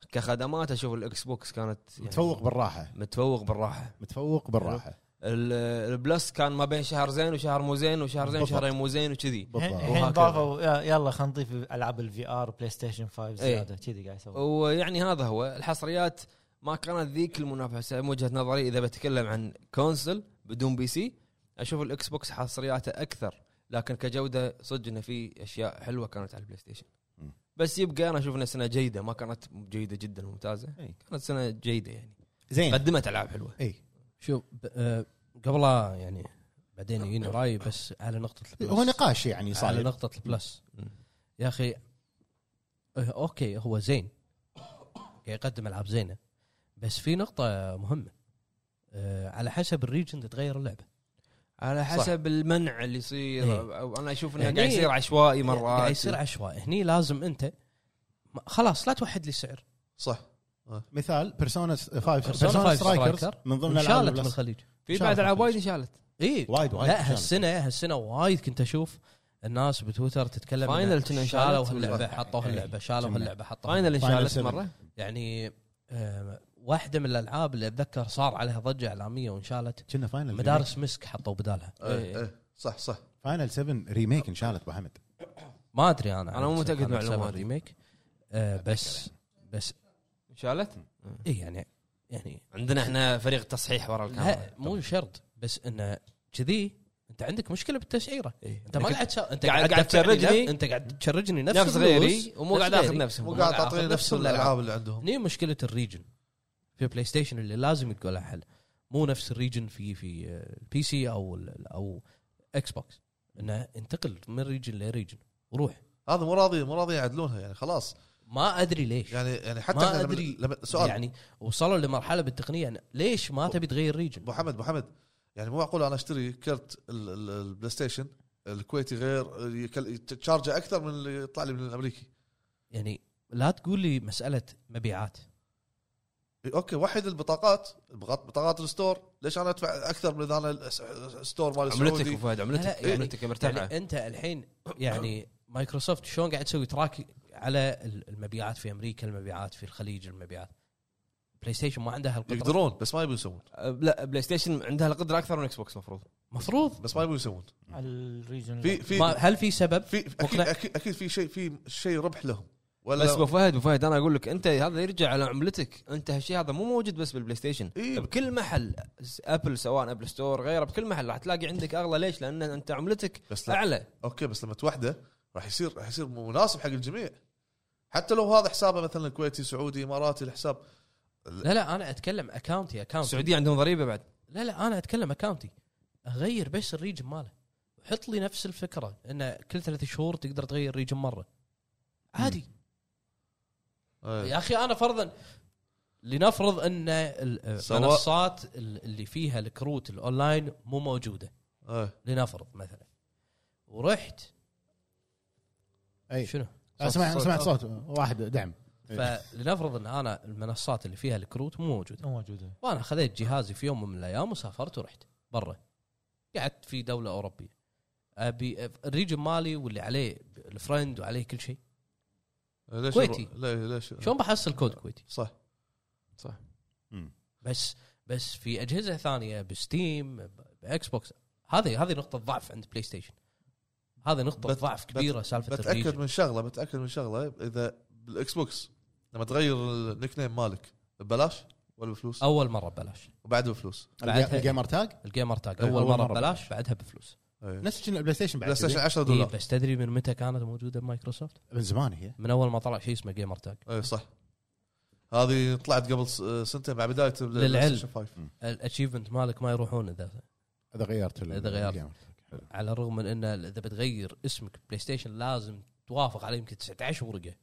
S1: فكخدمات اشوف الاكس بوكس كانت يعني
S3: متفوق بالراحه
S1: متفوق بالراحه
S3: متفوق بالراحه
S1: ال- البلس كان ما بين شهر زين وشهر مو زين وشهر زين
S3: بالضبط.
S1: وشهرين مو زين وكذي
S2: الحين-
S3: بالضبط
S2: الحين
S1: وهكذا.
S2: ضافوا يا- يلا خلينا نضيف العاب الفي ار بلاي ستيشن 5 زياده كذي قاعد يسوون
S1: ويعني هذا هو الحصريات ما كانت ذيك المنافسه من وجهه نظري اذا بتكلم عن كونسل بدون بي سي اشوف الاكس بوكس حصرياته اكثر لكن كجوده صدق انه في اشياء حلوه كانت على البلاي ستيشن
S3: مم.
S1: بس يبقى انا اشوف انها سنه جيده ما كانت جيده جدا وممتازه
S3: إي.
S1: كانت سنه جيده يعني
S3: زين
S1: قدمت العاب حلوه
S4: إيه.
S3: اي
S4: شوف ب- آه، قبل لا يعني بعدين يجيني راي بس على نقطه البلس
S3: هو نقاش يعني
S4: على
S3: صار
S4: نقطه البلس
S1: مم.
S4: يا اخي آه، اوكي هو زين قاعد يقدم العاب زينه بس في نقطه مهمه آه، على حسب الريجن تتغير اللعبه
S1: على حسب صح. المنع اللي يصير
S4: إي.
S1: أو انا اشوف انه
S4: يعني-
S1: قاعد يصير عشوائي مرات
S4: قاعد يصير عشوائي هني لازم انت ما- خلاص لا توحد لي السعر
S5: صح
S3: مثال بيرسونا 5
S4: Persona
S3: بيرسونا
S4: five
S3: سترايكرز
S4: Striker.
S3: من ضمن العاب
S4: انشالت من
S3: البلاس-
S4: الخليج
S1: في
S3: إن شاء
S1: بعد
S3: الله
S1: العاب
S3: خليج.
S1: وايد انشالت
S4: اي
S3: وايد وايد
S4: لا
S3: إن شاء
S4: هالسنه هالسنه وايد كنت اشوف الناس بتويتر تتكلم إن
S1: Final كنا
S4: شالوا
S1: انشالت
S4: هاللعبه
S1: ولا-
S4: حطوا هاللعبه شالوا
S3: كنا.
S4: هاللعبه حطوا
S1: فاينل
S4: هاللعبة.
S3: Final
S1: انشالت
S3: Seven.
S1: مره
S4: يعني آه، واحده من الالعاب اللي اتذكر صار عليها ضجه اعلاميه وانشالت
S3: كنا فاينل
S4: مدارس مسك حطوا بدالها
S5: ايه ايه صح صح
S3: فاينل 7 ريميك انشالت ابو حمد
S4: ما ادري انا
S1: أنا مو
S4: عن
S1: متأكد من
S4: سبب
S1: المعلومة هذه.
S4: ريميك آه، بس بس
S1: انشالت
S4: اي يعني يعني
S1: عندنا احنا فريق تصحيح ورا الكاميرا
S4: لا مو شرط بس انه كذي انت عندك مشكله بالتسعيره
S1: إيه.
S4: انت ما قاعد تس- انت
S1: قاعد- قاعد
S4: تدفعني نف-
S1: تشرجني.
S4: انت قاعد تشرجني نفس
S1: نفس غيري
S4: الفلوس،
S1: ومو
S4: نفس
S1: قاعد اخذ
S4: غيري.
S1: نفسهم
S5: مو قاعد
S4: آخذ
S5: تعطيني
S4: نفس
S5: نفس
S4: الألعاب.
S5: الالعاب اللي عندهم
S4: هني مشكله الريجن في بلاي ستيشن اللي لازم يكون لها حل مو نفس الريجن في في البي سي او ال- او اكس بوكس انه انتقل من ريجن لريجن وروح
S5: هذا مو راضي مو راضي يعدلونها يعني خلاص
S4: ما ادري ليش
S5: يعني يعني حتى
S4: ما
S5: إحنا لما-
S4: أدري.
S5: لما سؤال
S4: يعني وصلوا لمرحله بالتقنيه يعني ليش ما تبي تغير ريجن
S5: ابو حمد ابو حمد يعني مو معقول انا اشتري كرت ال- ال- البلاي ستيشن الكويتي غير يكل- تشارجه اكثر من اللي يطلع لي من الامريكي
S4: يعني لا تقول لي مساله مبيعات
S5: اوكي وحد البطاقات بغط- بطاقات الستور ليش انا ادفع اكثر من اذا انا الس- الستور مال
S1: عملتك ابو
S5: السعودي
S1: فهد
S4: لا،
S1: عملتك
S4: يعني-
S1: عملتك مرتفعه
S4: يعني انت الحين يعني مايكروسوفت شلون قاعد تسوي تراك على المبيعات في امريكا المبيعات في الخليج المبيعات بلاي ستيشن ما عندها هالقدره
S5: يقدرون بس ما يبون يسوون
S1: أه، لا بلاي ستيشن عندها القدره اكثر من اكس بوكس المفروض
S4: مفروض
S5: بس ما يبون يسوون
S2: الريجن
S5: في
S4: ما
S5: في
S4: هل في سبب
S5: في اكيد
S4: مقنع.
S5: اكيد اكيد في شيء في شيء ربح لهم
S1: بس ابو
S5: ولا
S1: فهد ابو فهد انا اقول لك انت هذا يرجع على عملتك انت هالشيء هذا مو موجود بس بالبلاي ستيشن
S5: إيه.
S1: بكل محل س- ابل سواء ابل ستور غيره بكل محل راح تلاقي عندك اغلى ليش؟ لان انت عملتك
S5: بس لا.
S1: اعلى
S5: اوكي بس لما توحده راح يصير راح يصير مناسب حق الجميع حتى لو هذا حسابه مثلا كويتي سعودي اماراتي الحساب
S4: لا لا انا اتكلم اكاونتي اكاونتي
S1: السعوديه عندهم ضريبه بعد
S4: لا لا انا اتكلم اكاونتي اغير بس الريجن ماله حط لي نفس الفكره ان كل ثلاث شهور تقدر تغير ريجن مره عادي
S5: آه.
S4: يا اخي انا فرضا لنفرض ان ال-
S5: سواء-
S4: المنصات ال- اللي فيها الكروت الاونلاين مو موجوده
S5: آه.
S4: لنفرض مثلا ورحت
S3: اي
S4: شنو
S3: آه، سمعت
S1: صوت-
S3: إيه. سمعت صوت واحد دعم
S4: فلنفرض ان انا المنصات اللي فيها الكروت مو موجوده
S2: مو موجوده
S4: وانا خذيت جهازي في يوم من الايام وسافرت ورحت برا قعدت في دوله اوروبيه ابي الريجن مالي واللي عليه الفرند وعليه كل شيء
S5: ليش
S4: كويتي.
S5: يرو- لا ليش
S4: شلون بحصل كود كويتي
S5: صح
S4: بس بس في اجهزه ثانيه بستيم ب- باكس بوكس هذه هذه نقطه ضعف عند بلاي ستيشن هذه نقطه
S5: بت-
S4: ضعف كبيره سالفه
S5: بتاكد
S4: الريجن
S5: من شغله بتاكد من شغله اذا بالاكس بوكس لما تغير النيك نيم مالك ببلاش ولا بفلوس
S4: اول مره ببلاش
S5: وبعد بفلوس
S4: بعدها-
S3: الجيمر تاج
S4: الجيمر تاج
S5: إيه،
S4: اول مره ببلاش بعدها بفلوس
S5: إيه.
S3: نفس شنو البلاي ستيشن بعد
S5: بلاي ستيشن
S3: كذي.
S5: 10
S4: إيه
S5: دولار
S4: بس تدري من متى كانت موجوده بمايكروسوفت؟
S3: من زمان هي
S4: من اول ما طلع شيء اسمه جيمر تاج
S5: اي إيه، صح هذه طلعت قبل س- سنتين مع بدايه
S4: للعلم.
S5: PlayStation 5.
S4: الاتشيفمنت مالك ما يروحون اذا
S3: اذا غيرت ال-
S4: إذا غيرت.
S3: الجيمر.
S4: على الرغم من انه اذا بتغير اسمك بلاي ستيشن لازم توافق على يمكن 19 ورقه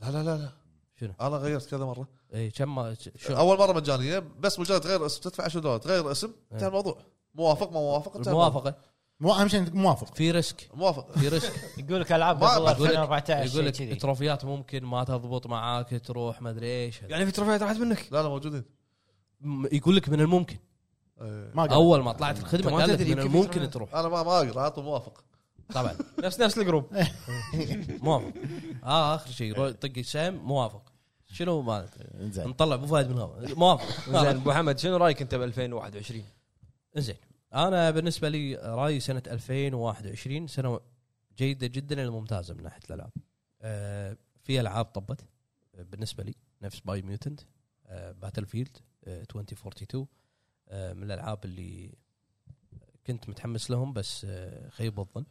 S5: لا لا لا لا
S4: شنو؟
S5: انا غيرت كذا مره
S4: اي إيه، كم ما- شو
S5: اول مره مجانيه بس مجرد تغير اسم تدفع 10 دولار تغير اسم انتهى
S4: إيه.
S5: الموضوع موافق ما موافق انتهى
S4: الموافقه
S3: مو اهم شيء انك موافق
S4: في ريسك
S5: الموضوع. موافق
S4: في ريسك
S2: يقول لك العاب
S5: ما-
S2: قبل
S5: ما-
S2: 2014
S4: يقول
S2: يقول
S4: لك
S2: كذي
S4: تروفيات ممكن ما تضبط معاك تروح ما ادري ايش
S1: يعني في تروفيات راحت منك
S5: لا لا موجودين
S4: م- يقول لك من الممكن
S5: إيه.
S3: ما قال
S4: اول ما طلعت الخدمه
S1: أنت ما
S4: قال لك
S1: تدري
S4: من
S1: يمكن في
S4: الممكن
S1: تروفيات.
S4: تروح
S5: انا ما ما اقرا اعطوا موافق
S4: طبعا
S1: نفس نفس الجروب
S4: موافق اه اخر شيء رو- طق سام موافق شنو ما
S3: زين
S4: نطلع ابو فهد من الهواء موافق
S1: طيب. زين ابو محمد شنو رايك انت ب 2021
S4: زين انا بالنسبه لي رايي سنه 2021 سنه جيده جدا وممتازه من ناحيه الالعاب. آه في العاب طبت آه، بالنسبه لي نفس باي ميوتنت آه باتل فيلد آه 2042 آه من الالعاب اللي كنت متحمس لهم بس آه خيب الظن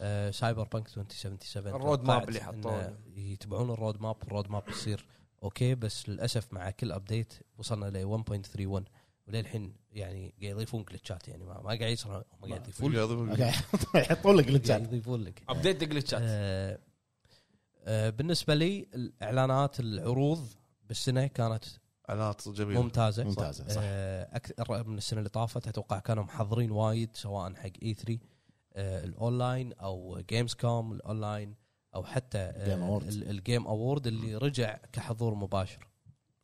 S4: آه سايبر بانك 2077
S1: الرود ماب
S4: توقعت
S1: اللي
S4: إنه
S1: حطوه.
S4: يتبعون الرود ماب الرود ماب يصير اوكي بس للاسف مع كل ابديت وصلنا ل 1.31 وللحين يعني قاعد يضيفون جلتشات يعني ما, ما قاعد يصير هم قاعد يضيفون
S3: أوكي. يحطون لك
S4: قاعد
S3: الجيمر
S4: يضيفون لك
S1: ابديت الجلتشات
S4: آه، آه، بالنسبه لي الاعلانات العروض بالسنه كانت
S5: اعلانات جميله
S4: ممتازه
S3: ممتازة، صح.
S4: آه، اكثر من السنه اللي طافت اتوقع كانوا محضرين وايد سواء حق اي 3 آه، الاونلاين او جيمز كوم الاونلاين او حتى
S3: Game
S4: آه،
S3: Awards.
S4: ال- الجيم اوورد اللي رجع كحضور مباشر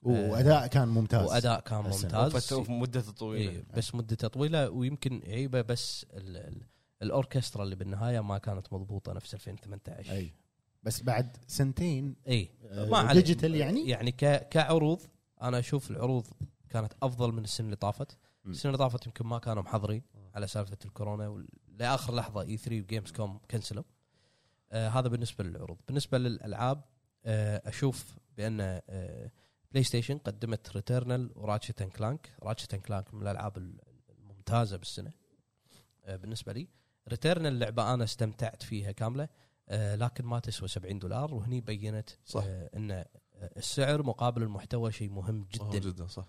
S4: آه.
S3: واداء كان ممتاز
S4: واداء كان
S3: السنة.
S4: ممتاز
S1: وفتوه في مدته
S4: إيه
S1: طويله
S4: بس مدته طويله ويمكن عيبه بس ال- ال- الاوركسترا اللي بالنهايه ما كانت مضبوطه نفس 2018
S3: اي بس بعد سنتين
S4: اي
S3: آه،
S4: إيه. ما عليه.
S3: ديجيتال يعني؟
S4: يعني ك... كعروض انا اشوف العروض كانت افضل من السنه اللي طافت
S3: مم.
S4: السنه اللي طافت يمكن ما كانوا محضرين على سالفه الكورونا وال- لاخر لحظه اي 3 وجيمز كوم كنسلوا آه هذا بالنسبه للعروض بالنسبه للالعاب آه اشوف بان آه بلاي ستيشن قدمت ريتيرنال وراتشت اند كلانك راتشت اند كلانك من الالعاب ال- الممتازه بالسنه آه بالنسبه لي ريتيرنال لعبه انا استمتعت فيها كامله آه لكن ما تسوى 70 دولار وهني بينت
S5: صح.
S4: آه ان آه، السعر مقابل المحتوى شيء مهم
S5: مهم
S4: جدا
S5: جدا صح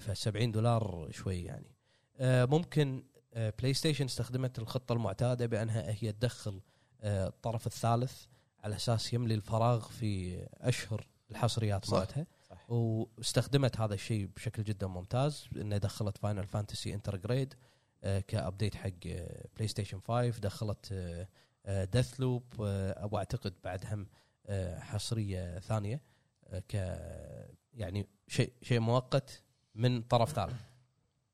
S4: ف 70 آه، دولار شوي يعني آه، ممكن آه، بلاي ستيشن استخدمت الخطه المعتاده بانها هي تدخل آه، الطرف الثالث على اساس يملي الفراغ في اشهر الحصريات
S5: صح.
S4: مالتها
S2: صح.
S4: واستخدمت هذا الشيء بشكل جدا ممتاز انها دخلت فاينل فانتسي انتر جريد كابديت حق آه، بلاي ستيشن 5 دخلت آه، ديث لوب واعتقد آه، بعد هم آه، حصريه ثانيه آه، ك يعني شيء شيء مؤقت من طرف ثالث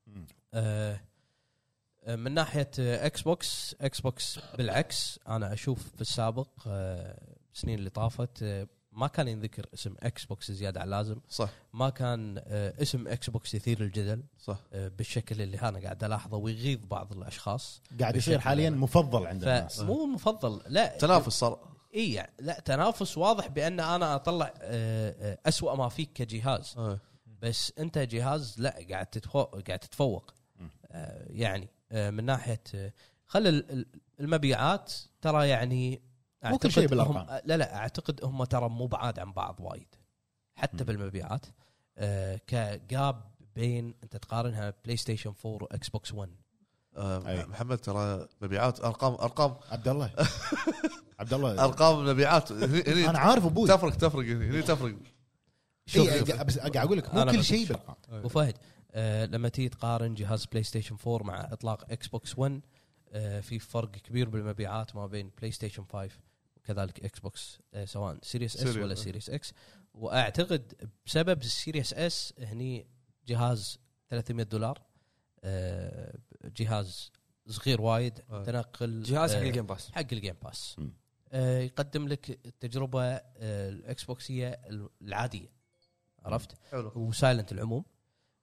S3: مم.
S4: آه، آه، من ناحيه آه، اكس بوكس اكس بوكس بالعكس انا اشوف في السابق آه، السنين اللي طافت آه، ما كان ينذكر اسم اكس بوكس زياده عن اللازم
S5: صح
S4: ما كان آه، اسم اكس بوكس يثير الجدل
S5: صح
S4: آه، بالشكل اللي انا قاعد الاحظه ويغيظ بعض الاشخاص
S3: قاعد يصير حاليا مفضل عند الناس
S4: فمو مفضل لا
S5: تنافس صار
S4: اي يعني لا تنافس واضح بان انا اطلع آه، آه، أسوأ ما فيك كجهاز
S3: آه.
S5: إيه.
S4: بس انت جهاز لا قاعد تتفوق قاعد تتفوق
S3: مم.
S4: آه يعني آه من ناحيه آه خل ال- ال- المبيعات ترى يعني
S3: مو كل شيء
S4: أعتقد هم-
S3: بالأرقام.
S4: لا لا اعتقد هم ترى مو بعاد عن بعض وايد حتى
S3: مم.
S4: بالمبيعات آه كجاب بين انت تقارنها بلاي ستيشن 4 واكس بوكس 1
S5: آه،
S3: أي.
S5: محمد ترى مبيعات ارقام ارقام
S3: عبد الله عبد الله
S5: ارقام مبيعات هني
S3: انا
S5: هني
S3: عارف ابوي
S5: تفرق تفرق هني هني تفرق
S3: شوف بس قاعد اقول لك
S4: إيه، أنا
S3: مو كل
S4: بشوف-
S3: شيء بالارقام
S4: ابو فهد آه لما تيجي تقارن جهاز بلاي ستيشن 4 مع اطلاق اكس بوكس 1 آه في فرق كبير بالمبيعات ما بين بلاي ستيشن 5 وكذلك اكس بوكس آه سواء سيريس اس
S5: Series.
S4: ولا سيريس اكس واعتقد بسبب السيريس اس هني جهاز 300 دولار آه جهاز صغير وايد
S5: آه.
S4: متنقل
S1: جهاز حق
S4: آه،
S1: الجيم باس
S4: حق الجيم باس
S3: مم.
S4: آه، يقدم لك التجربه آه، الاكس بوكسيه العاديه عرفت
S5: حلو
S4: وسايلنت العموم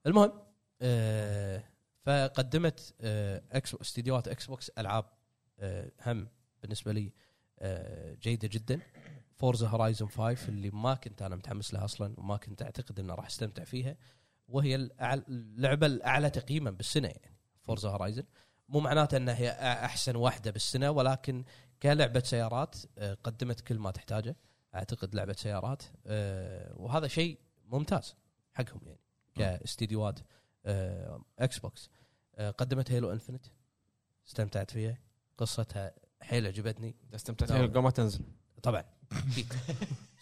S4: المهم آه فقدمت آه اكس استديوهات اكس بوكس العاب آه هم بالنسبه لي آه جيده جدا فورزا هورايزن 5 اللي ما كنت انا متحمس لها اصلا وما كنت اعتقد انه راح استمتع فيها وهي الأعلى اللعبه الاعلى تقييما بالسنه يعني فورزا هورايزن مو معناته انها هي احسن واحده بالسنه ولكن كلعبه سيارات آه، قدمت كل ما تحتاجه اعتقد لعبه سيارات آه، وهذا شيء ممتاز حقهم يعني كاستديوهات آه، اكس بوكس آه، قدمت هيلو انفنت استمتعت فيها قصتها حيل عجبتني
S1: إذا استمتعت فيها قبل ما تنزل
S4: طبعا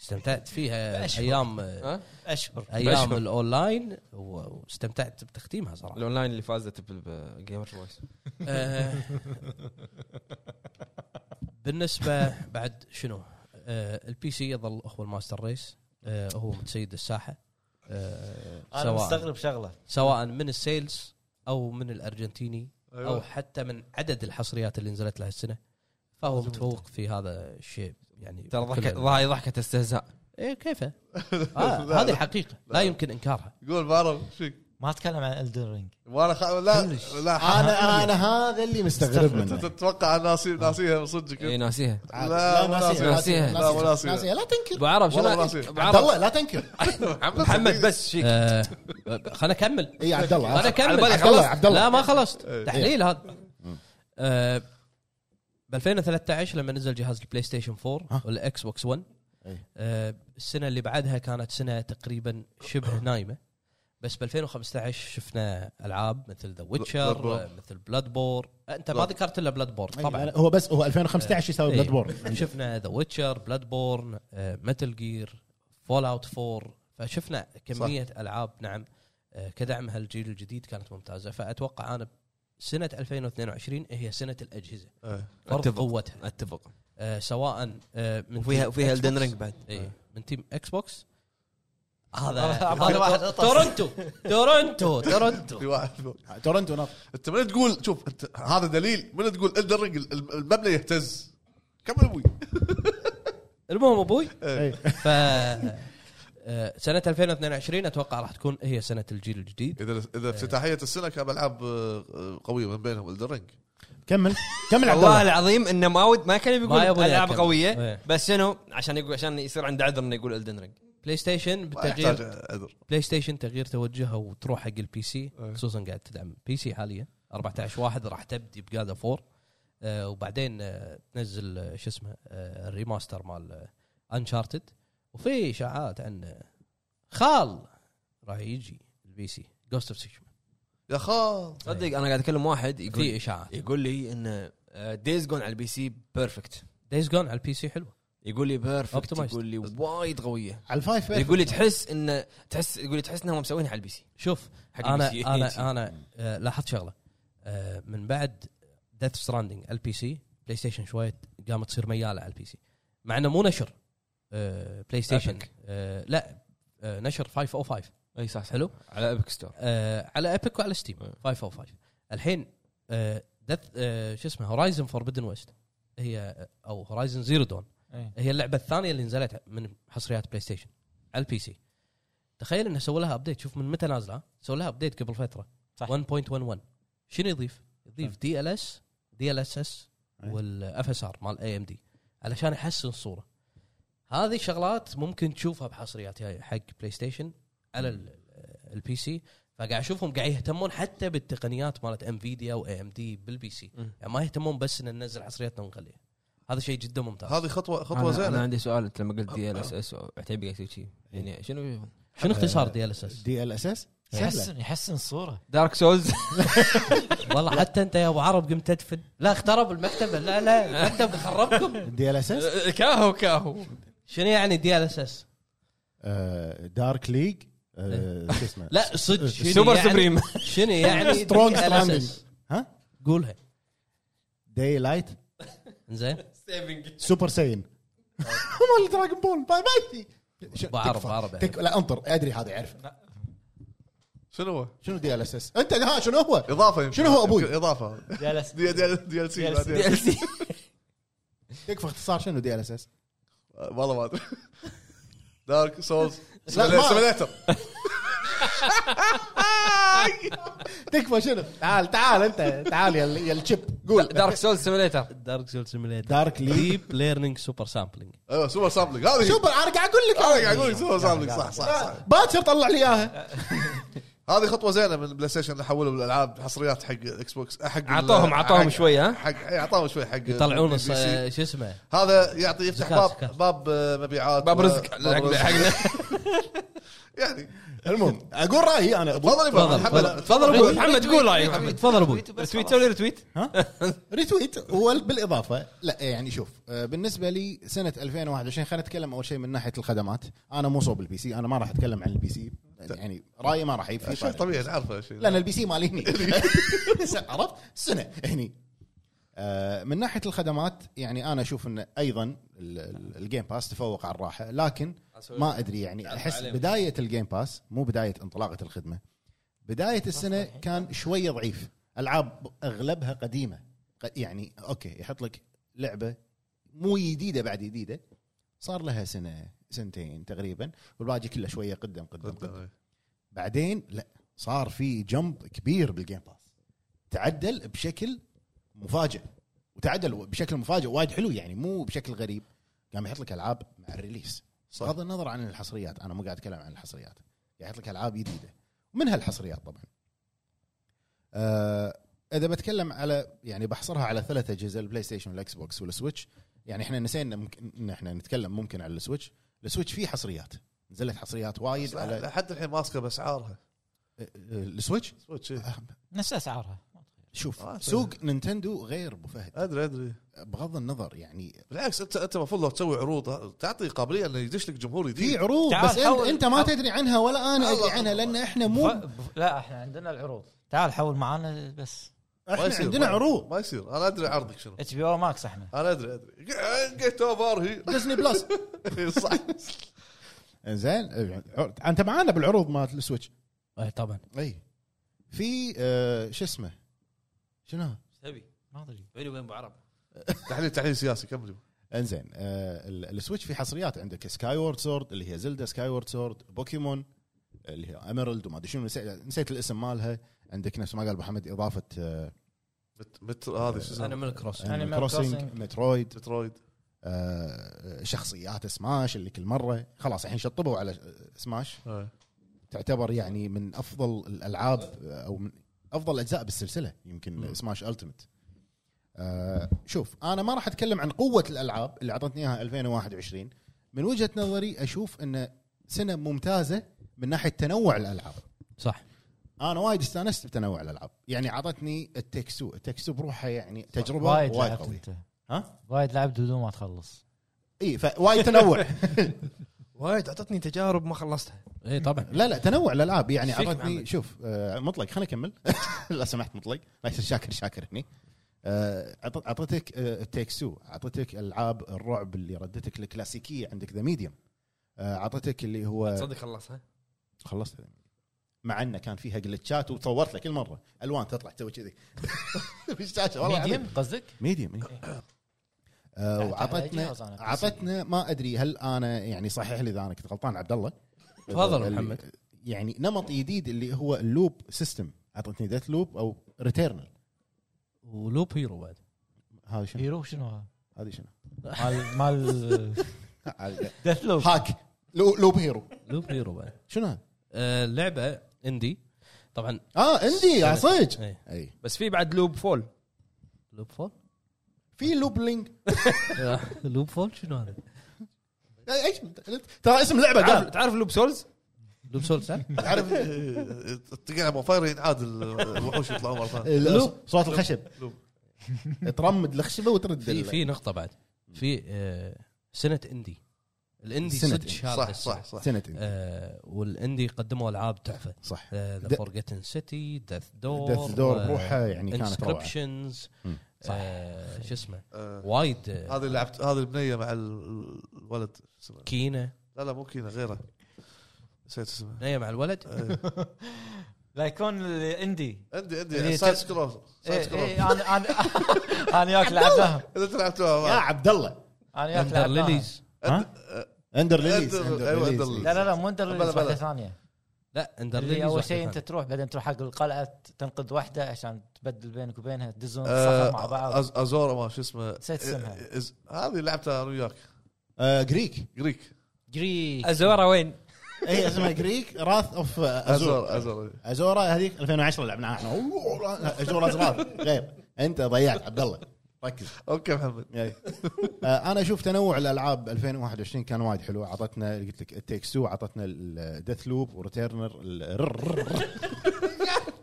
S4: استمتعت فيها آه، ايام
S1: ها؟
S2: اشهر
S4: ايام
S1: بأشهر.
S4: الاونلاين و- واستمتعت بتختيمها صراحه
S1: الاونلاين اللي فازت بالجيمر فويس
S4: آه، بالنسبه بعد شنو آه، البي سي يظل هو الماستر ريس آه، هو متسيد الساحه آه،
S2: انا مستغرب شغله
S4: سواء من السيلز او من الارجنتيني
S5: أيوة.
S4: او حتى من عدد الحصريات اللي نزلت لها السنه فهو متفوق في هذا الشيء يعني
S1: ترى
S4: بكل-
S1: ضحكه هاي ضحكه استهزاء
S4: ايه كيفه
S5: لا،
S4: آه
S5: لا.
S4: هذه حقيقه لا يمكن انكارها
S5: قول بعرف ايش فيك
S2: ما اتكلم عن الدن رينج
S5: وانا خ... لا
S4: كلش.
S5: لا ح-
S3: انا انا هذا اللي مستغرب
S5: ت-
S3: منه
S5: تتوقع ناسي إيه، ناسيها صدق
S1: اي ناسيها
S3: عادي.
S5: لا، مو
S3: ناسيها،
S5: ناسيها.
S3: ناسيها،
S5: لا، مو ناسيها.
S3: ناسيها لا تنكر
S1: ابو عرب شنو
S5: والله ما أصير.
S1: أبو
S3: عبد
S1: عرب
S3: الله لا تنكر
S1: محمد بس شيك
S4: آه خلنا اكمل
S3: اي عبد الله
S4: انا
S1: على
S4: اكمل
S1: بالي
S3: عبد الله
S1: خلصت.
S3: عبد الله
S4: لا ما خلصت
S5: إيه.
S4: تحليل هذا آه، ب 2013 لما نزل جهاز البلاي ستيشن 4
S3: ها.
S4: والاكس بوكس 1
S3: إيه.
S4: آه، السنه اللي بعدها كانت سنه تقريبا شبه نايمه بس ب 2015 شفنا العاب مثل ذا ويتشر
S5: Bloodborne.
S4: مثل بلاد بور انت ما
S5: Blood-
S4: ذكرت الا بلاد بور
S3: أي،
S4: طبعا
S3: أيوة، لا، هو بس هو 2015 يساوي
S4: إيه.
S3: بلاد بورن
S4: شفنا ذا ويتشر بلاد بورن متل جير فول اوت 4 فشفنا كميه صح. العاب نعم آه، كدعم هالجيل الجديد كانت ممتازه فاتوقع انا سنه 2022 هي سنه الاجهزه
S5: إيه.
S4: فرض
S1: أتفق.
S4: قوتها
S1: اتفق
S4: آه، سواء آه، من
S1: وفيها
S4: تيم
S1: وفيها
S4: Xbox-
S1: الدن رينج بعد
S4: إيه، من تيم اكس بوكس هذا
S2: في واحد
S4: هذا
S2: قطص.
S4: تورنتو تورنتو تورنتو
S5: في واحد
S3: تورنتو نط
S5: انت من تقول شوف انت هذا دليل من تقول الدر المبنى يهتز كمل ابوي
S4: المهم ابوي
S3: إيه.
S4: ف آه، سنه 2022 اتوقع راح تكون هي سنه الجيل الجديد
S5: اذا اذا افتتاحيه السنه كان العاب آه، قويه من بينهم الدرينج
S3: كمل كمل عبد
S1: والله
S3: الله
S1: العظيم انه ماود ما كان
S4: ما
S1: بيقول
S4: يبغى
S1: العاب
S4: يأكل.
S1: قويه
S4: إيه.
S1: بس شنو عشان يقول عشان يصير عنده عذر انه يقول الدن رينج
S4: بلاي ستيشن
S5: ما يحتاج
S4: بتغيير
S5: عذر
S4: بلاي ستيشن تغيير توجهها وتروح حق البي سي
S1: إيه.
S4: خصوصا قاعد تدعم بي سي حاليا 14 واحد راح تبدي بجادا 4 آه وبعدين آه تنزل آه، شو اسمه آه الريماستر مال انشارتد وفي اشاعات عن آه، خال راح يجي البي سي جوست اوف سيشما
S5: يا خال
S1: صدق انا قاعد اكلم واحد
S4: في
S1: يقول
S4: اشاعات
S1: يقول لي ان دايز جون على البي سي بيرفكت
S4: دايز جون على البي سي حلوه
S1: يقول لي بيرفكت
S4: Optimized.
S1: يقول لي وايد قويه
S3: على الفايف
S1: يقول لي تحس انه تحس يقول لي تحس انهم مسوينها على البي سي
S4: شوف
S1: حق
S4: انا
S1: البي سي.
S4: انا انا آه، لاحظت شغله آه، من بعد ديث ستراندنج على البي سي بلاي ستيشن شويه قامت تصير مياله على البي سي مع انه مو نشر آه، بلاي ستيشن
S1: Epic.
S4: آه، لا آه، نشر 505
S1: اي صح صح.
S4: حلو
S1: على ابيك ستور
S4: آه، على ايبك وعلى ستيم
S1: إيه.
S4: 505 الحين دث شو اسمه هورايزن فوربدن ويست هي آه، او هورايزن زيرو دون
S2: إيه.
S4: هي اللعبه الثانيه اللي نزلت من حصريات بلاي ستيشن على البي سي تخيل انه سووا لها ابديت شوف من متى نازله سووا لها ابديت قبل فتره
S2: صح.
S4: 1.11 شنو يضيف؟ يضيف دي ال اس دي ال اس اس
S3: إيه.
S4: والاف اس ار مال اي ام دي علشان يحسن الصوره هذه شغلات ممكن تشوفها بحصريات هاي حق بلاي ستيشن على ال- البي سي فقاعد اشوفهم قاعد يهتمون حتى بالتقنيات مالت انفيديا واي ام دي بالبي سي
S1: مم.
S4: يعني ما يهتمون بس ان ننزل حصريتنا ونخليها هذا شيء جدا ممتاز
S5: هذه خطوه خطوه
S1: انا, أنا
S5: زينه
S1: عندي سؤال انت لما قلت دي ال اس اس عتيبي قاعد يسوي شي. يعني شنو
S4: شنو اختصار دي ال اس اس؟
S3: دي ال اس اس سهله
S2: يحسن يحسن الصوره
S1: دارك سولز
S4: والله حتى انت يا ابو عرب قمت تدفن لا اخترب المكتبه لا لا المكتب خربكم
S3: دي ال اس
S1: إيه.
S3: اس
S1: كاهو كاهو
S4: شنو يعني دي ال اس اس؟
S3: آه، دارك ليج آه، شو اسمه
S4: لا صدق شنو
S1: سوبر
S4: يعني-
S1: سبريم
S4: شنو يعني
S3: Strong
S4: DLSS?
S3: stranding. ها
S4: قولها
S3: داي لايت
S4: زين
S3: سوبر ساين مال دراجون بول باي باي
S4: بعرف- بعرف يعني.
S3: تك... لا انطر ادري هذا يعرف
S5: شنو هو؟
S3: شنو دي ال اس اس انت ها شنو هو
S5: اضافه يمكن
S3: شنو هو أبوي؟
S5: يمكن اضافه
S2: جالس
S5: دي دي دي ال سي
S2: DLC.
S5: بعدين.
S3: تكفى اختصار شنو دي ال اس اس
S5: آه، والله ما ادري دارك سولز
S3: ما-
S5: سيميليتر
S3: تكفى شنو تعال تعال انت تعال يا ال- يا الشيب قول
S1: دارك سولز سيميليتر
S4: دارك سول سيميليتر
S3: دارك ليج
S4: ديب ليرنينج سوبر سامبلينج
S5: ايوه سوبر سامبلينج هذه آه،
S3: سوبر انا قاعد اقول لك
S5: انا قاعد اقول لك سوبر سامبلينج صح صح صح
S3: باكر طلع لي اياها
S5: هذه خطوه زينه من بلاي ستيشن اللي حولوا الالعاب حصريات حق اكس بوكس حق ال-
S1: اعطوهم اعطوهم
S5: حق-
S1: شوي ها
S5: حق إي، اعطاهم شوي حق
S4: يطلعون
S5: بي
S4: الص-
S5: سي.
S4: شو اسمه
S5: هذا يعطي يفتح
S4: زكاة،
S5: باب باب آه، مبيعات
S1: باب
S5: و-
S1: رزق
S5: باب
S1: حق-
S5: رزق.
S1: حقنا
S5: يعني
S3: المهم اقول رايي انا
S5: تفضل يا
S4: تفضل،
S5: محمد،
S4: تفضل.
S5: تفضل
S1: قول، محمد قول أيوة. رايك محمد.
S4: تفضل ابوي
S1: ريتويت سوي لي ريتويت
S3: ريتويت وبالاضافه لا يعني شوف آه، بالنسبه لي سنه 2021 خلينا نتكلم اول شيء من ناحيه الخدمات انا مو صوب البي سي انا ما راح اتكلم عن البي سي يعني رايي ما راح يفيد
S5: شيء طبيعي نعرفه شيء
S3: لان البي سي مالي هني عرفت سنه هني آه، من ناحيه الخدمات يعني انا اشوف ان ايضا ال- ال- الجيم باس تفوق على الراحه لكن ما ادري يعني احس بدايه الجيم باس مو بدايه انطلاقه الخدمه بدايه السنه كان شويه ضعيف العاب اغلبها قديمه ق- يعني اوكي يحط لك لعبه مو جديده بعد جديده صار لها سنه سنتين تقريبا والباقي كله شويه قدم قدم قدم بعدين لا صار في جمب كبير بالجيم باس تعدل بشكل مفاجئ وتعدل بشكل مفاجئ وايد حلو يعني مو بشكل غريب قام يحط لك العاب مع الريليس بغض النظر عن الحصريات انا مو قاعد اتكلم عن الحصريات قاعد يحط لك العاب جديده من هالحصريات طبعا آه اذا بتكلم على يعني بحصرها على ثلاث اجهزه البلاي ستيشن والاكس بوكس والسويتش يعني احنا نسينا ممكن ان احنا نتكلم ممكن على السويتش السويتش فيه حصريات نزلت حصريات وايد على
S5: لحد الحين ماسكه باسعارها
S3: آه، آه، السويتش
S5: سويتش إيه.
S2: نفس اسعارها
S3: شوف
S5: آه،
S3: سوق نينتندو غير ابو فهد
S5: ادري ادري
S3: بغض النظر يعني
S5: بالعكس انت انت المفروض لو تسوي عروض تعطي قابليه انه يدش لك جمهور
S3: في
S5: جديد
S3: عروض
S2: تعال
S3: بس
S2: حول-
S3: انت, انت ما تدري عنها ولا انا ادري
S5: إيه، الله.
S3: عنها لان احنا مو
S2: ف- ف- لا احنا عندنا العروض تعال حول معانا بس
S5: ما
S3: احنا
S5: يصير،
S3: عندنا
S5: ما-
S3: عروض
S5: ما يصير انا ادري عرضك شنو
S2: اتش بي او ماكس احنا
S5: انا ادري ادري جيت اوفر هي
S3: ديزني بلس
S5: صح
S3: زين عر- انت معانا بالعروض مالت السويتش
S4: إيه، طبعا
S3: اي في آه، شو اسمه شنو
S1: تبي
S2: ما ادري
S1: علي وين ابو عرب
S5: تحليل تحليل سياسي كملوا
S3: انزين آه، ال- السويتش في حصريات عندك سكاي وورد سورد اللي هي زلدا سكاي وورد سورد بوكيمون اللي هي اميرالد وما ادري شنو نسيت- نسيت الاسم مالها عندك نفس ما قال ابو حمد اضافه آه،
S5: مت- مت هذه شو
S4: انا
S5: اسمها
S4: من الكروس
S2: Animal
S3: Crossing،
S2: Crossing.
S3: مترويد
S5: مترويد
S3: آه، شخصيات سماش اللي كل مره خلاص الحين شطبوا على سماش
S5: آه.
S3: تعتبر يعني من افضل الالعاب آه، او من افضل اجزاء بالسلسله يمكن
S5: مم.
S3: سماش التيمت شوف انا ما راح اتكلم عن قوه الالعاب اللي اعطتني اياها 2021 من وجهه نظري اشوف ان سنه ممتازه من ناحيه تنوع الالعاب
S4: صح
S3: انا وايد استانست بتنوع الالعاب يعني اعطتني التكسو التكسو بروحها يعني تجربه
S2: وايد
S3: وايد, وايد
S2: لعبت
S3: قويه
S2: انت
S3: ها
S2: وايد لعبت بدون ما تخلص
S3: اي فوايد تنوع
S1: وايد اعطتني تجارب ما خلصتها
S4: اي طبعا
S3: لا لا تنوع الالعاب يعني
S1: إيش فيك
S3: عرفتني
S1: محمد؟
S3: شوف آه، مطلق خليني اكمل لا سمحت مطلق لا يصير شاكر شاكر هني آه، عط- اعطتك تيك سو اعطتك العاب الرعب اللي ردتك الكلاسيكيه عندك ذا ميديوم اعطتك اللي هو
S1: تصدق خلصها
S3: خلصت The Medium. مع انه كان فيها جلتشات وصورت لك كل مره الوان تطلع تسوي كذي بالشاشه والله يعني- آه،
S2: ميديم قصدك؟
S3: ميديوم
S2: على
S3: وعطتنا
S2: الجهاز أنا.
S3: عطتنا ما ادري هل انا يعني صحيح لي اذا انا كنت غلطان عبد الله
S4: تفضل
S3: اللي-
S4: محمد.
S3: يعني نمط جديد اللي هو اللوب سيستم اعطتني ديث لوب او ريتيرنال
S4: ولوب هيرو بعد
S3: هذا شنو؟
S2: هيرو شنو هذا؟
S3: هذه شنو؟
S2: مال مال
S3: هذا-
S2: ديث لوب
S3: هاك لو- لوب هيرو
S4: لوب هيرو بعد
S3: شنو هذا؟
S4: آه، لعبه اندي طبعا
S3: اه عندي يا صدق
S4: إيه.
S3: اي
S1: بس في بعد لوب فول
S4: لوب فول
S3: في لوب لينك
S4: لوب فول آه، شنو هذا؟
S3: أي- أي- ترى اسم لعبه
S1: تعرف
S3: قال
S1: تعرف لوب سولز
S4: لوب سولز
S5: تعرف تقلع مو فاير ينعاد ال- الوحوش يطلعون مره ثانيه
S3: لوب صوت الخشب
S5: لوب.
S3: ترمد الخشبه وترد
S4: في
S3: ال-
S4: في نقطه بعد في آه، سنه اندي الاندي
S3: سنة
S4: صدق
S3: إندي.
S4: شارك
S5: صح
S4: السنة.
S5: صح صح
S3: سنتين
S4: آه، والاندي قدموا آه، العاب تحفه
S3: صح
S4: ذا
S3: د-
S4: فورجيتن سيتي ديث دور
S3: ديث دور بروحها يعني كانت روعه
S4: انسكربشنز
S3: مم.
S4: شو اسمه
S5: آه،
S4: وايد آه،
S5: هذه اللي لعبت هذه البنيه مع ال- الولد اسمه.
S4: كينا
S5: لا لا مو كينا غيره نسيت اسمه
S4: نايه مع الولد
S2: آه،
S5: إيه.
S2: لا يكون إيه، الاندي
S5: عندي عندي
S2: اللي
S5: سايد
S2: إيه، ت-
S5: سكرول سايد
S2: اي
S5: سكرول
S2: اي انا انا انا وياك لعبناها
S5: اذا
S3: يا
S5: تلعبتوها
S3: عبد الله
S2: انا وياك
S4: اندر
S2: لعبناها
S4: ليليز
S3: ها؟ اندر ليليز
S5: أندر- أيوة، أندر ليليز.
S2: لا لا لا مو اندر ليليز
S5: بلا- بلا.
S2: واحده ثانيه
S4: لا اندر ليليز
S2: اللي اول
S4: واحدة
S2: شيء انت
S4: ثانية. مع
S2: تروح بعدين تروح حق القلعه تنقذ واحده عشان تبدل بينك وبينها تدزون
S5: آه،
S2: الصخر مع بعض
S5: أز- ازورا ما شو اسمه
S2: نسيت اسمها.
S5: إيه، إز- هذه لعبتها انا وياك
S3: آه، جريك
S5: جريك
S2: جريك
S1: الزواره وين؟
S3: هي اسمها جريك راث اوف ازور
S5: ازور ازور
S3: ازورا هذيك 2010 لعبناها احنا ازورا ازرار غير انت ضيعت عبد الله ركز
S5: اوكي محمد
S3: يعني. آه، انا اشوف تنوع الالعاب 2021 كان وايد حلو عطتنا قلت لك التيكس 2 عطتنا الديث لوب وريتيرنر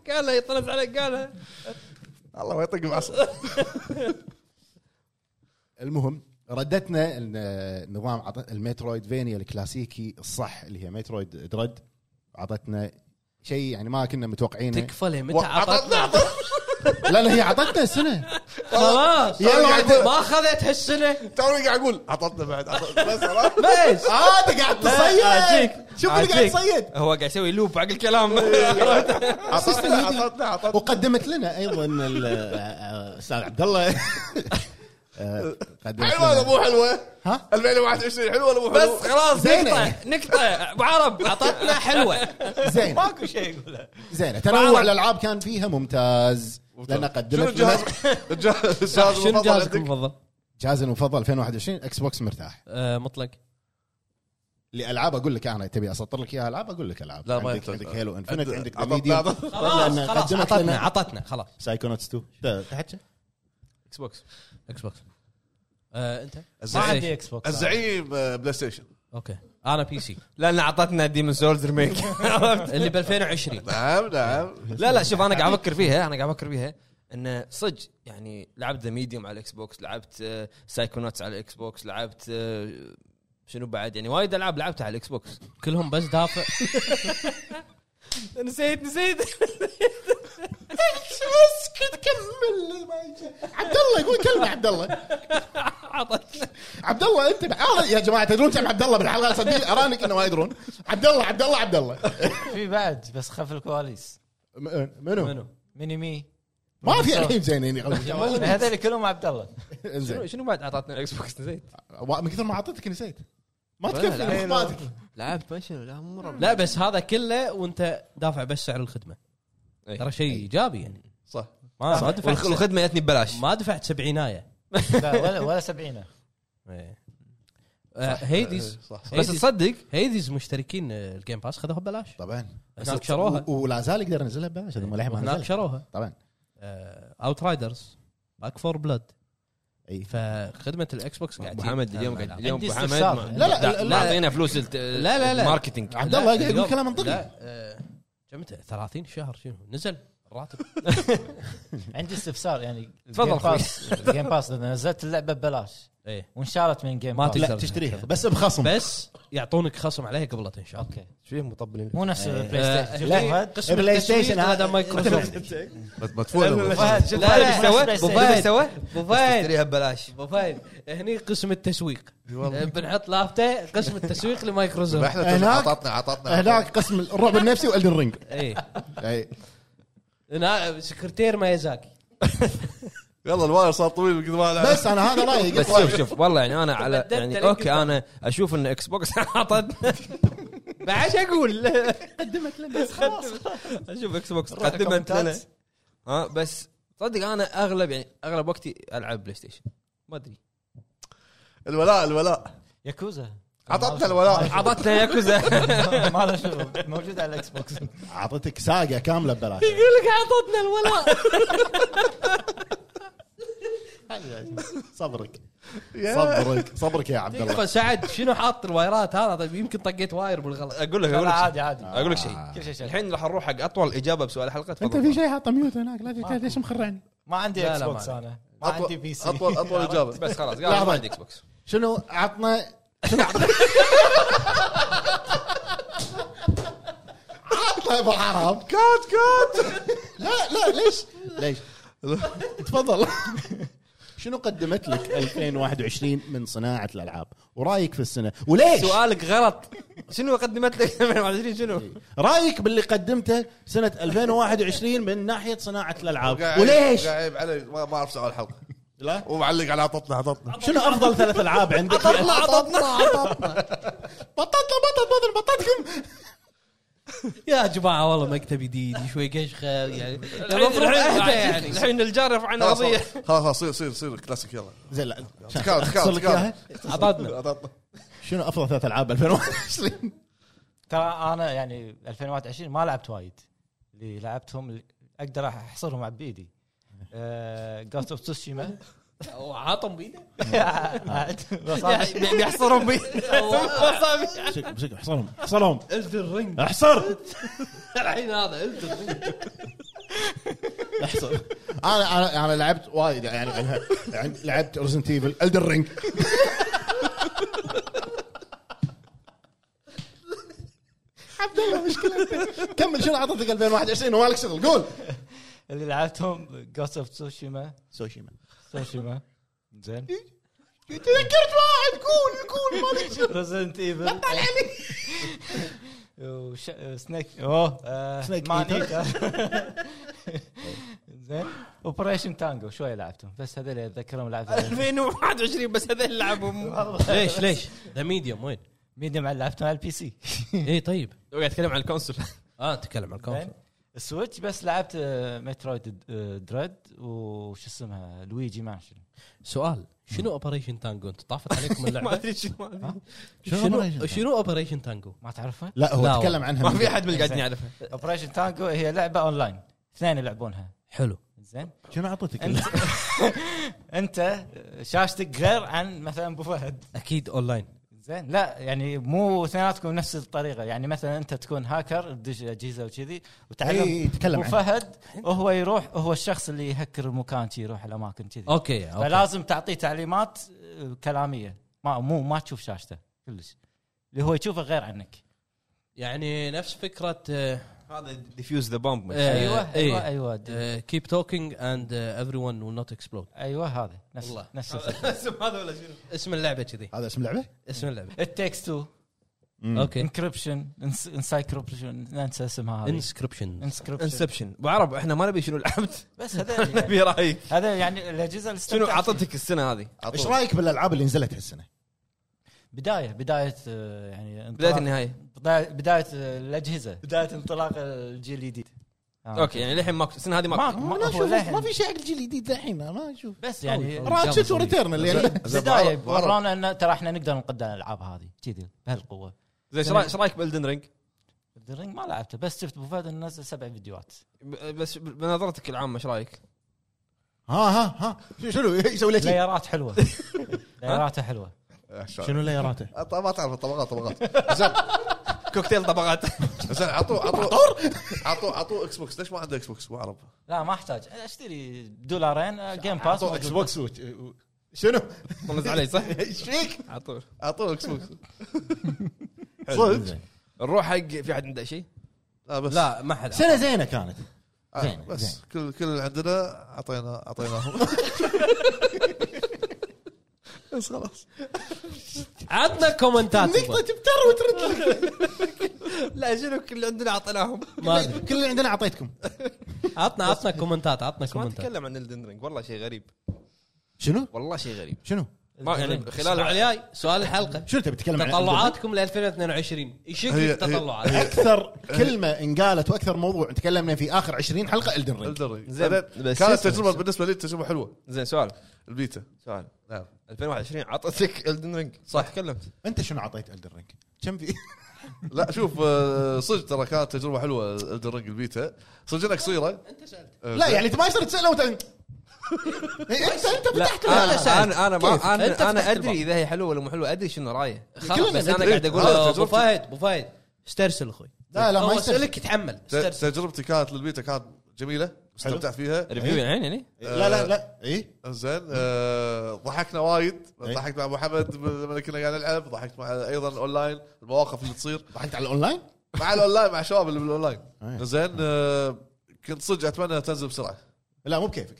S1: قالها يطلع عليك قالها
S5: الله ما يطق بعصا
S3: المهم ردتنا إن نظام عط- المترويد فينيا الكلاسيكي الصح اللي هي مترويد درد عطتنا شيء يعني ما كنا متوقعينه
S4: تكفى لي متى
S5: عطتنا
S4: عطتنا
S5: عطتنا
S3: لان هي عطتنا سنه
S4: خلاص
S3: يلا عطنا.
S4: ما اخذت هالسنه
S5: توني قاعد اقول عطتنا بعد عطتنا بس خلاص.
S4: ليش؟
S3: اه انت قاعد تصيد
S4: أعجيك.
S3: شوف اللي قاعد
S4: أعجيك.
S3: تصيد
S1: هو قاعد يسوي لوب حق الكلام
S5: عطتنا عطتنا عطتنا
S3: وقدمت لنا ايضا ال- استاذ عبد الله آه، قدمت
S5: حلوه ولا
S3: لنا-
S5: مو حلوه؟
S3: ها
S5: 2021 حلوه ولا مو حلوه؟
S1: بس خلاص
S3: زينة.
S1: نقطه نقطه ابو عرب عطتنا حلوه
S3: زين
S2: ماكو شيء يقوله
S3: زين تنوع الالعاب كان فيها ممتاز لان
S5: شنو
S3: قدمت
S5: الجهاز
S3: لنا
S5: الجهاز الجهاز
S4: شنو
S5: المفضل عندك؟
S4: جهازك المفضل؟
S3: جهازي المفضل 2021 اكس بوكس مرتاح
S4: آه، مطلق
S3: لالعاب اقول لك انا تبي اسطر لك اياها العاب اقول لك العاب
S5: لا، ما
S3: عندك
S5: ينفع.
S3: عندك هيلو انفنت
S5: عند-
S3: عندك ذا
S5: عطتنا-
S3: ميديوم
S5: عطتنا.
S4: خلاص
S3: لأن
S4: خلاص،
S3: قدمت
S4: عطتنا
S3: لنا
S4: عطتنا خلاص
S3: سايكونوتس 2
S4: تحكي
S1: اكس بوكس
S4: اكس بوكس آه، انت
S2: ما
S5: الزعيم
S2: عندي اكس بوكس
S5: الزعيم آه، بلاي ستيشن
S4: اوكي انا بي سي
S1: لان عطتنا ديمون سولز ريميك
S4: اللي ب 2020
S5: نعم نعم
S1: لا لا شوف انا قاعد افكر فيها انا قاعد افكر فيها انه صدق يعني لعبت ذا ميديوم على الاكس بوكس لعبت سايكونوتس على الاكس بوكس لعبت آه، شنو بعد يعني وايد العاب لعبتها على الاكس بوكس
S4: كلهم بس دافع
S1: نسيت نسيت
S3: اسكت كمل عبد الله يقول كلمه عبد الله
S1: عطتنا
S3: عبد الله انت هذا يا جماعه تدرون كم عبد الله بالحلقه صدق ارانك انه ما يدرون عبد الله عبد الله عبد الله
S2: في بعد بس خلف الكواليس
S3: م- منو؟
S4: منو؟
S2: ميني مي
S3: ما في الحين زينين
S2: هذول كلهم عبد الله
S1: شنو
S3: زين
S1: شنو بعد عطتنا الاكس بوكس نسيت
S3: من كثر ما اعطيتك نسيت ما
S1: ولا
S3: تكفي
S1: لا.
S3: اخباتك
S1: لعبت ما شنو لا مره
S4: لا بس هذا كله وانت دافع بس سعر الخدمه
S1: أي.
S4: ترى شيء ايجابي يعني
S5: صح
S1: آه،
S4: ما ما دفعت
S1: والخدمه جتني ببلاش
S4: ما دفعت سبعينايه
S2: لا ولا ولا سبعينه
S4: إيه. آه، هيديز
S5: صح صح
S1: إيه. بس
S4: هيديز-
S1: تصدق
S4: هيديز مشتركين آه، الجيم باس خذوها ببلاش
S3: طبعا
S4: هناك شروها
S3: و- ولا زال يقدر ينزلها ببلاش هذا ملحم ما
S4: هناك
S3: نزلها.
S4: شروها آه،
S3: طبعا
S4: اوت رايدرز باك فور بلاد
S3: اي
S4: فخدمه الاكس بوكس قاعد
S1: ابو حمد اليوم قاعد اليوم
S2: عندي
S1: ابو حمد
S2: استفسار.
S1: ما-
S3: لا، لا، لا،
S1: لا
S3: لا.
S1: اعطينا فلوس
S4: لا، لا، لا.
S1: ماركتينج
S3: عبد الله قاعد يقول كلام منطقي
S4: لا آه، كم انت 30 شهر شنو نزل الراتب
S2: عندي استفسار يعني
S1: تفضل
S2: Game Pass- Game Pass اذا نزلت اللعبه ببلاش
S4: ايه
S2: وانشالت من جيم
S4: ما
S2: باس
S4: تقدر.
S3: لا تشتريها بس بخصم
S4: بس يعطونك خصم عليها قبل تنشر
S2: اوكي
S1: ايش فيهم مطبلين
S2: مو نفس البلاي ستيشن
S4: آه، لا،
S2: شوف فهد.
S4: قسم
S3: بلاي
S4: التسويق
S3: ستيشن
S4: هذا
S3: هذا.
S4: مايكروسوفت
S5: مدفوع له.
S2: فهد شوف
S1: لا
S2: فهد
S1: ايش سوى؟
S2: نفس
S1: ابو
S2: بلاي
S1: فهد
S2: ستيشن.
S1: ايش سوى؟
S4: ابو فهد
S1: اشتريها ببلاش
S4: ابو فهد هني قسم التسويق آه، بنحط لافته قسم التسويق لمايكروسوفت
S5: احنا تقول
S3: هناك-
S5: عطتنا عطتنا إيه.
S3: هناك قسم الرعب النفسي والدن رينج
S4: اي
S3: اي
S4: هنا إيه. سكرتير مايزاكي
S5: يلا الواير صار طويل من كثر ما أنا-
S3: بس انا هذا رايي
S1: بس شوف شوف والله يعني انا على
S4: بدلت
S1: يعني
S4: الإنجليزي.
S1: اوكي انا اشوف ان اكس بوكس عطتنا بعد شو اقول
S2: قدمت لنا بس خلاص
S1: اشوف اكس بوكس قدمت لنا ها بس صدق انا اغلب يعني اغلب وقتي العب بلاي ستيشن ما ادري
S5: الولاء الولاء
S2: ياكوزا
S5: عطتنا الولاء
S1: عطتنا ياكوزا
S2: ما له شغل موجود على الاكس بوكس
S3: اعطيتك ساقه كامله ببلاش
S4: يقول لك عطتنا الولاء
S3: صبرك
S5: يا.
S3: صبرك صبرك يا عبد الله
S4: دقيقة سعد شنو حاط الوايرات هذا طيب يمكن طقيت واير بالغلط
S1: اقول لك
S2: لا
S1: اقول
S2: لا،
S1: لك
S2: عادي آه. عادي
S1: اقول لك شيء
S2: كل شيء شيء
S1: الحين راح نروح حق اطول اجابه بسؤال الحلقه
S3: انت
S1: تفضل.
S3: في شيء حاطه ميوت هناك لا ليش مخرعني
S2: ما عندي
S4: لا،
S2: اكس
S4: لا، ما
S2: بوكس
S4: عندي.
S2: انا ما
S5: أطول-
S2: عندي بي سي
S5: اطول اطول اجابه
S1: بس خلاص
S3: لحظة.
S1: قال ما عندي اكس بوكس
S3: شنو عطنا عطنا يا ابو حرام
S5: كات كات
S3: لا لا ليش ليش تفضل شنو قدمت لك 2021 من صناعه الالعاب ورايك في السنه وليش
S1: سؤالك غلط شنو قدمت لك 2020 شنو؟
S3: رايك باللي قدمته سنه 2021 من ناحيه صناعه الالعاب
S5: قاعد-
S3: وليش
S5: قاعد يعيب علي ما ما اعرف سؤال الحلقه
S3: لا
S5: ومعلق على عطتنا عطتنا
S3: شنو افضل ثلاث العاب عندك
S1: عطتنا، عطتنا،
S3: عطتنا بطاطا بطل بطل بطلكم
S4: يا جماعة والله مكتب جديد شوي قشخة يعني المفروض
S1: الحين-
S4: اهدى
S1: الحين-
S4: يعني
S1: الحين الجار يرفع عنا
S5: خلاص
S1: قضيه
S5: خلاص خلاص صير صير صير كلاسيك يلا
S3: زين لا
S5: تكال تكال
S3: أختصر لك إياها؟
S5: تكال
S4: عطتنا
S5: عطتنا
S3: شنو افضل ثلاث العاب 2021
S2: ترى انا يعني 2021 ما لعبت وايد اللي لعبتهم اللي اقدر احصرهم بايدي جوست اوف تسوشيما
S4: وعاطم بيده
S2: يعني
S1: بيحصرهم بي
S3: بشك بشك احصرهم احصرهم
S4: الدر رينج
S3: احصر
S4: الحين هذا الدر رينج
S3: احصر انا انا انا لعبت وايد يعني أنا- عند- لعبت ريزنت ايفل الدر رينج عبد الله مشكلة كمل شنو اعطيتك 2021 ومالك شغل قول
S2: اللي لعبتهم جوست اوف تسوشيما
S3: سوشيما
S2: تسوشيما زين
S3: تذكرت واحد قول قول مالك شغل
S2: ريزنت ايفل بطل علي وش... سنيك اوه آه،
S3: Snake
S2: مان
S3: Eater.
S2: Eater. زين اوبريشن تانجو شوي لعبتهم بس هذول اتذكرهم لعبت
S1: 2021 بس هذا اللي لعبهم
S4: ليش ليش ذا ميديوم وين؟
S2: ميديم على لعبتهم على البي سي
S4: اي طيب
S1: قاعد اتكلم عن الكونسول
S4: اه تكلم عن
S2: زين
S4: الكونسول
S2: السويتش بس لعبت آه، مترويد آه، دريد وش اسمها لويجي مانشن
S4: سؤال شنو اوبريشن تانجو انت طافت عليكم
S1: ما
S4: اللعبه
S1: ادري شنو
S4: شنو شنو اوبريشن تانجو
S2: ما تعرفها؟
S3: لا
S4: لا
S3: هو تكلم عنها
S1: ما في احد من اللي قاعدين يعرفها
S2: اوبريشن تانجو هي لعبه اونلاين اثنين يلعبونها
S4: حلو
S2: زين
S3: شنو اعطيتك
S2: انت انت شاشتك غير عن مثلا ابو فهد
S4: اكيد اونلاين
S2: زين لا يعني مو اثنيناتكم نفس الطريقه يعني مثلا انت تكون هاكر تدش اجهزه وكذي
S3: اي
S2: وتعلم
S3: يتكلم
S2: ابو
S3: عنها
S2: فهد وهو يروح هو الشخص اللي يهكر المكان شي يروح الاماكن كذي
S4: اوكي اوكي
S2: فلازم تعطيه تعليمات آه، كلاميه ما مو ما تشوف شاشته كلش اللي هو يشوفه غير عنك
S4: يعني نفس فكره آه،
S1: هذا ديفيوز ذا بومب
S4: آه،
S2: ايوه ايوه
S4: إيه.
S2: ايوه دي-
S4: كيب توكينج اند ايفري ون ويل نوت اكسبلود
S2: ايوه هذا نفس
S4: والله.
S2: نفس
S1: اسم هذا ولا شنو
S4: اسم اللعبه كذي
S3: هذا اسم لعبه؟
S4: اسم اللعبه
S2: التكست تو
S4: اوكي
S2: انكربشن انسايكروبشن ننسى اسمها هذه
S4: انسكربشن
S2: انسكربشن
S1: انسبشن ابو عرب احنا ما نبي شنو لعبت
S2: بس هذا
S1: نبي رايك
S2: هذا يعني الاجهزه اللي
S1: شنو
S2: استمتعت
S1: عطتك السنه هذه
S3: ايش رايك بالالعاب اللي نزلت هالسنه؟
S2: فيها. بدايه بدايه آه، يعني
S1: بدايه
S2: انطلاق-
S1: النهايه
S2: بدايه بدايه آه، الاجهزه بدايه انطلاق الجيل الجديد آه.
S1: اوكي يعني للحين ماكو السنه هذه
S2: ما
S1: ماكو
S2: ما
S3: أنا
S2: هو
S3: أشوف ما
S2: لحن
S3: في شيء حق الجيل الجديد الحين أنا ما اشوف
S2: بس يعني
S4: أوه.
S3: راتشت وريتيرنال يعني
S2: بدايه طيب، ورانا ان ترى احنا نقدر نقدم الالعاب هذه كذي بهالقوه
S1: زين ايش رايك- ايش رايك بالدن رينج؟
S2: الرينج ما لعبته بس شفت ابو فهد إنه نزل سبع فيديوهات
S1: بس بنظرتك العامه ايش رايك؟
S3: ها ها ها شو- شنو يسوي لك شي؟
S2: ليرات حلوه ليراته حلوه
S5: شنو
S3: ليراته؟
S5: ما تعرف طبقات طبقات
S1: كوكتيل طبقات
S5: زين عطوه عطوه عطوه عطوه اكس بوكس ليش ما عنده اكس بوكس ما اعرف
S2: لا ما احتاج اشتري دولارين آه، جيم باس
S3: عطوه اكس بوكس و- و- شنو؟
S1: طنز علي صح؟
S3: ايش فيك؟
S1: عطول
S5: اعطوه اكس بوكس
S3: صدق
S1: نروح حق في احد عنده شيء؟
S5: لا آه، بس
S4: لا ما حد
S3: سنه زينه كانت
S5: آه،
S3: زين،
S5: بس
S3: زين.
S5: كل كل اللي عندنا اعطينا اعطيناهم بس خلاص
S4: عطنا كومنتات
S3: نقطه طيب، تبتر وترد لك
S1: لا شنو كل اللي عندنا اعطيناهم
S4: ما أدري.
S3: كل اللي عندنا اعطيتكم
S4: عطنا عطنا كومنتات عطنا
S1: ما
S4: كومنتات
S1: نتكلم عن الدن رينج والله شيء غريب
S3: شنو؟
S1: والله شيء غريب
S3: شنو؟
S1: ما يعني خلال
S4: الاسبوع الجاي سؤال الحلقه
S3: شنو تبي تتكلم عن-
S4: تطلعاتكم ل 2022 ايش شكل
S5: هي-
S4: التطلعات؟
S3: اكثر كلمه انقالت واكثر موضوع تكلمنا فيه اخر 20 حلقه الدن رينج
S5: الدرج
S1: زين، بس
S5: كانت
S1: اسمع،
S5: تجربه
S1: اسمع.
S5: بالنسبه لي تجربه حلوه
S1: زين سؤال
S5: البيتا
S1: سؤال
S5: نعم
S1: 2021 عطتك الدن رينج صح تكلمت
S3: انت شنو اعطيت الدن رينج؟ كم في؟
S5: لا شوف آه، صدق ترى كانت تجربه حلوه الدرج البيتا صدق انها قصيره
S4: انت سالت
S5: آه،
S3: لا
S5: زين.
S3: يعني انت ما يصير تساله وانت انت انت
S1: لا
S3: إيه،
S1: آه،
S3: فتحت
S4: أنا
S1: انا
S4: سألت.
S1: انا انا ما
S4: أنت
S1: انا, أنا
S4: فتحت
S1: ادري
S4: الباب.
S1: اذا هي حلوه ولا مو حلوه ادري شنو رايه
S4: خلاص
S1: بس
S4: بس
S1: انا قاعد اقول
S5: هذا
S4: ابو
S5: تجربتي.
S4: فهد ابو فهد استرسل اخوي
S3: لا لا ما
S4: هو
S3: يصير
S4: اسالك يتحمل
S5: ت-
S4: استرسل
S5: تجربتي كانت للبيتا كانت جميله استمتعت فيها
S1: ريفيو يعني يعني
S3: لا لا لا إيه؟ اي
S5: زين آه، ضحكنا وايد
S3: إيه.
S5: ضحكت مع محمد لما كنا قاعد نلعب ضحكت مع ايضا اونلاين المواقف اللي تصير
S3: ضحكت على الاونلاين
S5: مع الاونلاين مع الشباب اللي بالاونلاين
S3: إيه.
S5: زين آه، كنت صدق اتمنى تنزل بسرعه
S3: لا مو بكيفك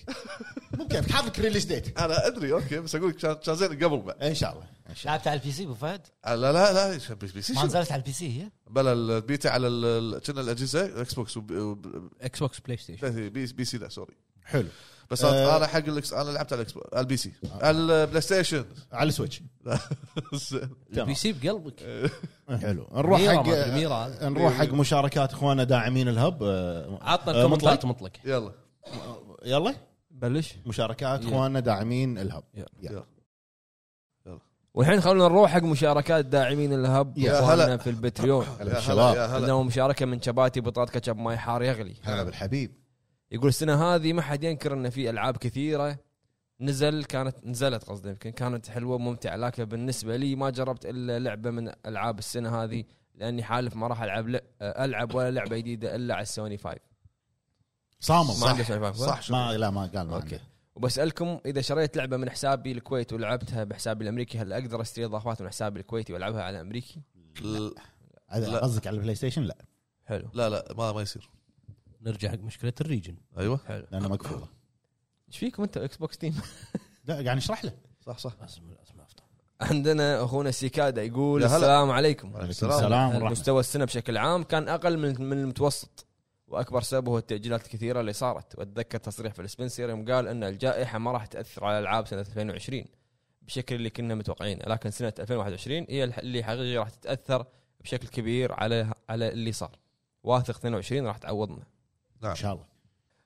S3: مو بكيفك حاطك ريليس ديت
S5: انا ادري اوكي بس اقول لك كان كان زين قبل بعد
S3: ان شاء الله ان شاء
S2: لعبت على البي سي ابو فهد
S5: آه، لا لا لا شو بي بي سي
S2: ما
S5: شنو؟
S2: نزلت على البي سي هي
S5: بلا البيتا على ال- ال- كنا الاجهزه اكس بوكس وب- وب-
S4: اكس بوكس بلاي ستيشن
S5: بي بي سي لا سوري
S3: الله حلو
S5: بس
S3: آه.
S5: انا حق الاكس انا لعبت على الاكس بوكس على البي سي على البلاي ستيشن
S3: على السويتش
S5: زين.
S3: تمام.
S4: البي سي بقلبك
S3: حلو نروح
S4: ميرا
S3: حق
S4: ما أدري، ميرا هذا.
S3: نروح حق مشاركات اخواننا داعمين الهب آه،
S4: عطنا
S3: آه، مطلق.
S4: كومنتات مطلق
S5: يلا
S3: يلا
S1: بلش
S3: مشاركات اخواننا داعمين الهب
S5: يلا
S1: والحين خلونا نروح حق مشاركات داعمين الهب
S3: يا
S1: وإخواننا
S5: هلا.
S1: في البتريون
S3: هلا
S5: يا
S3: بالشباب.
S5: يا هلا
S1: عندنا مشاركه من شباتي بطاط كاتشب ماي حار يغلي
S3: هلا بالحبيب
S1: يقول السنه هذه ما حد ينكر ان في العاب كثيره نزل كانت نزلت قصدي يمكن كانت حلوه وممتعه لكن بالنسبه لي ما جربت الا لعبه من العاب السنه هذه لاني حالف ما راح العب ل- العب ولا لعبه جديده الا على السوني 5
S3: صامل
S1: ما عنده
S3: صح
S1: سوني 5
S5: صح شو
S3: ما لا ما قال ما
S1: اوكي
S3: اوكي
S1: وبسالكم اذا شريت لعبه من حسابي الكويت ولعبتها بحسابي الامريكي هل اقدر اشتري اضافات من حسابي الكويتي والعبها على امريكي؟
S5: لا.
S3: قصدك على البلاي ستيشن لا
S1: حلو
S5: لا لا ما ما يصير
S4: نرجع حق مشكله الريجن
S5: ايوه
S1: حلو
S3: لانه مقفوله
S1: ايش فيكم انت اكس بوكس تيم؟
S3: لا قاعد نشرح له
S5: صح صح
S4: لازم لازم افضل
S1: عندنا اخونا سيكادا يقول
S5: يا هلا.
S1: السلام عليكم
S5: وعليكم
S3: عليكم السلام ورحمه
S1: مستوى السنه بشكل عام كان اقل من من المتوسط واكبر سبب هو التاجيلات الكثيره اللي صارت واتذكر تصريح في السبنسر يوم قال ان الجائحه ما راح تاثر على العاب سنه 2020 بالشكل اللي كنا متوقعينه لكن سنه 2021 هي الح- اللي حقيقي راح تتاثر بشكل كبير على على اللي صار واثق 22 راح تعوضنا
S5: نعم.
S3: ان شاء الله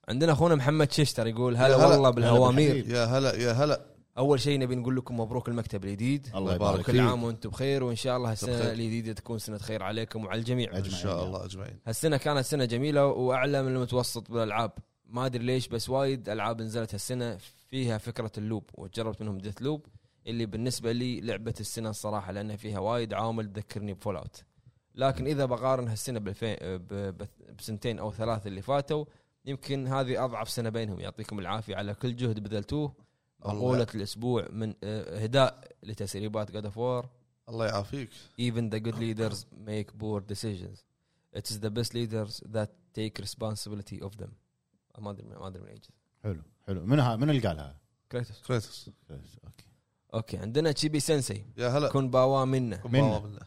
S1: عندنا اخونا محمد ششتر يقول هلا
S5: يا هلا.
S1: والله
S3: بالحبيب.
S1: بالهوامير
S5: يا هلا يا هلا
S1: اول شيء نبي نقول لكم مبروك المكتب الجديد
S3: الله
S5: يبارك
S3: يبارك
S1: كل
S3: فيك
S1: عام وانتم بخير وان شاء الله
S5: أنت
S1: السنه
S5: بخير.
S1: الجديده تكون سنه خير عليكم وعلى الجميع
S5: ان
S3: أجمعين.
S5: شاء الله اجمعين
S1: هالسنه كانت سنه جميله واعلى من المتوسط بالالعاب ما ادري ليش بس وايد العاب نزلت هالسنه فيها فكره اللوب وجربت منهم ديث لوب اللي بالنسبه لي لعبه السنه الصراحه لان فيها وايد عوامل تذكرني بفول اوت لكن اذا بقارن هالسنه بالفين ب- ب- بسنتين او ثلاث اللي فاتوا يمكن هذه اضعف سنه بينهم يعطيكم العافيه على كل جهد بذلتوه
S5: الله.
S1: مقوله الاسبوع من آه، هداء لتسريبات جاد اوف وور
S5: الله يعافيك
S1: even the good leaders make poor decisions it is the best leaders that take responsibility of them ما ادري من- ما ادري من ايش
S3: حلو حلو من ها من اللي قالها؟
S1: كريتوس
S5: كريتوس
S3: اوكي
S1: اوكي عندنا تشيبي سensei
S5: يا هلا
S1: كن باوا منا
S5: كن
S3: منا.
S5: باوا منا.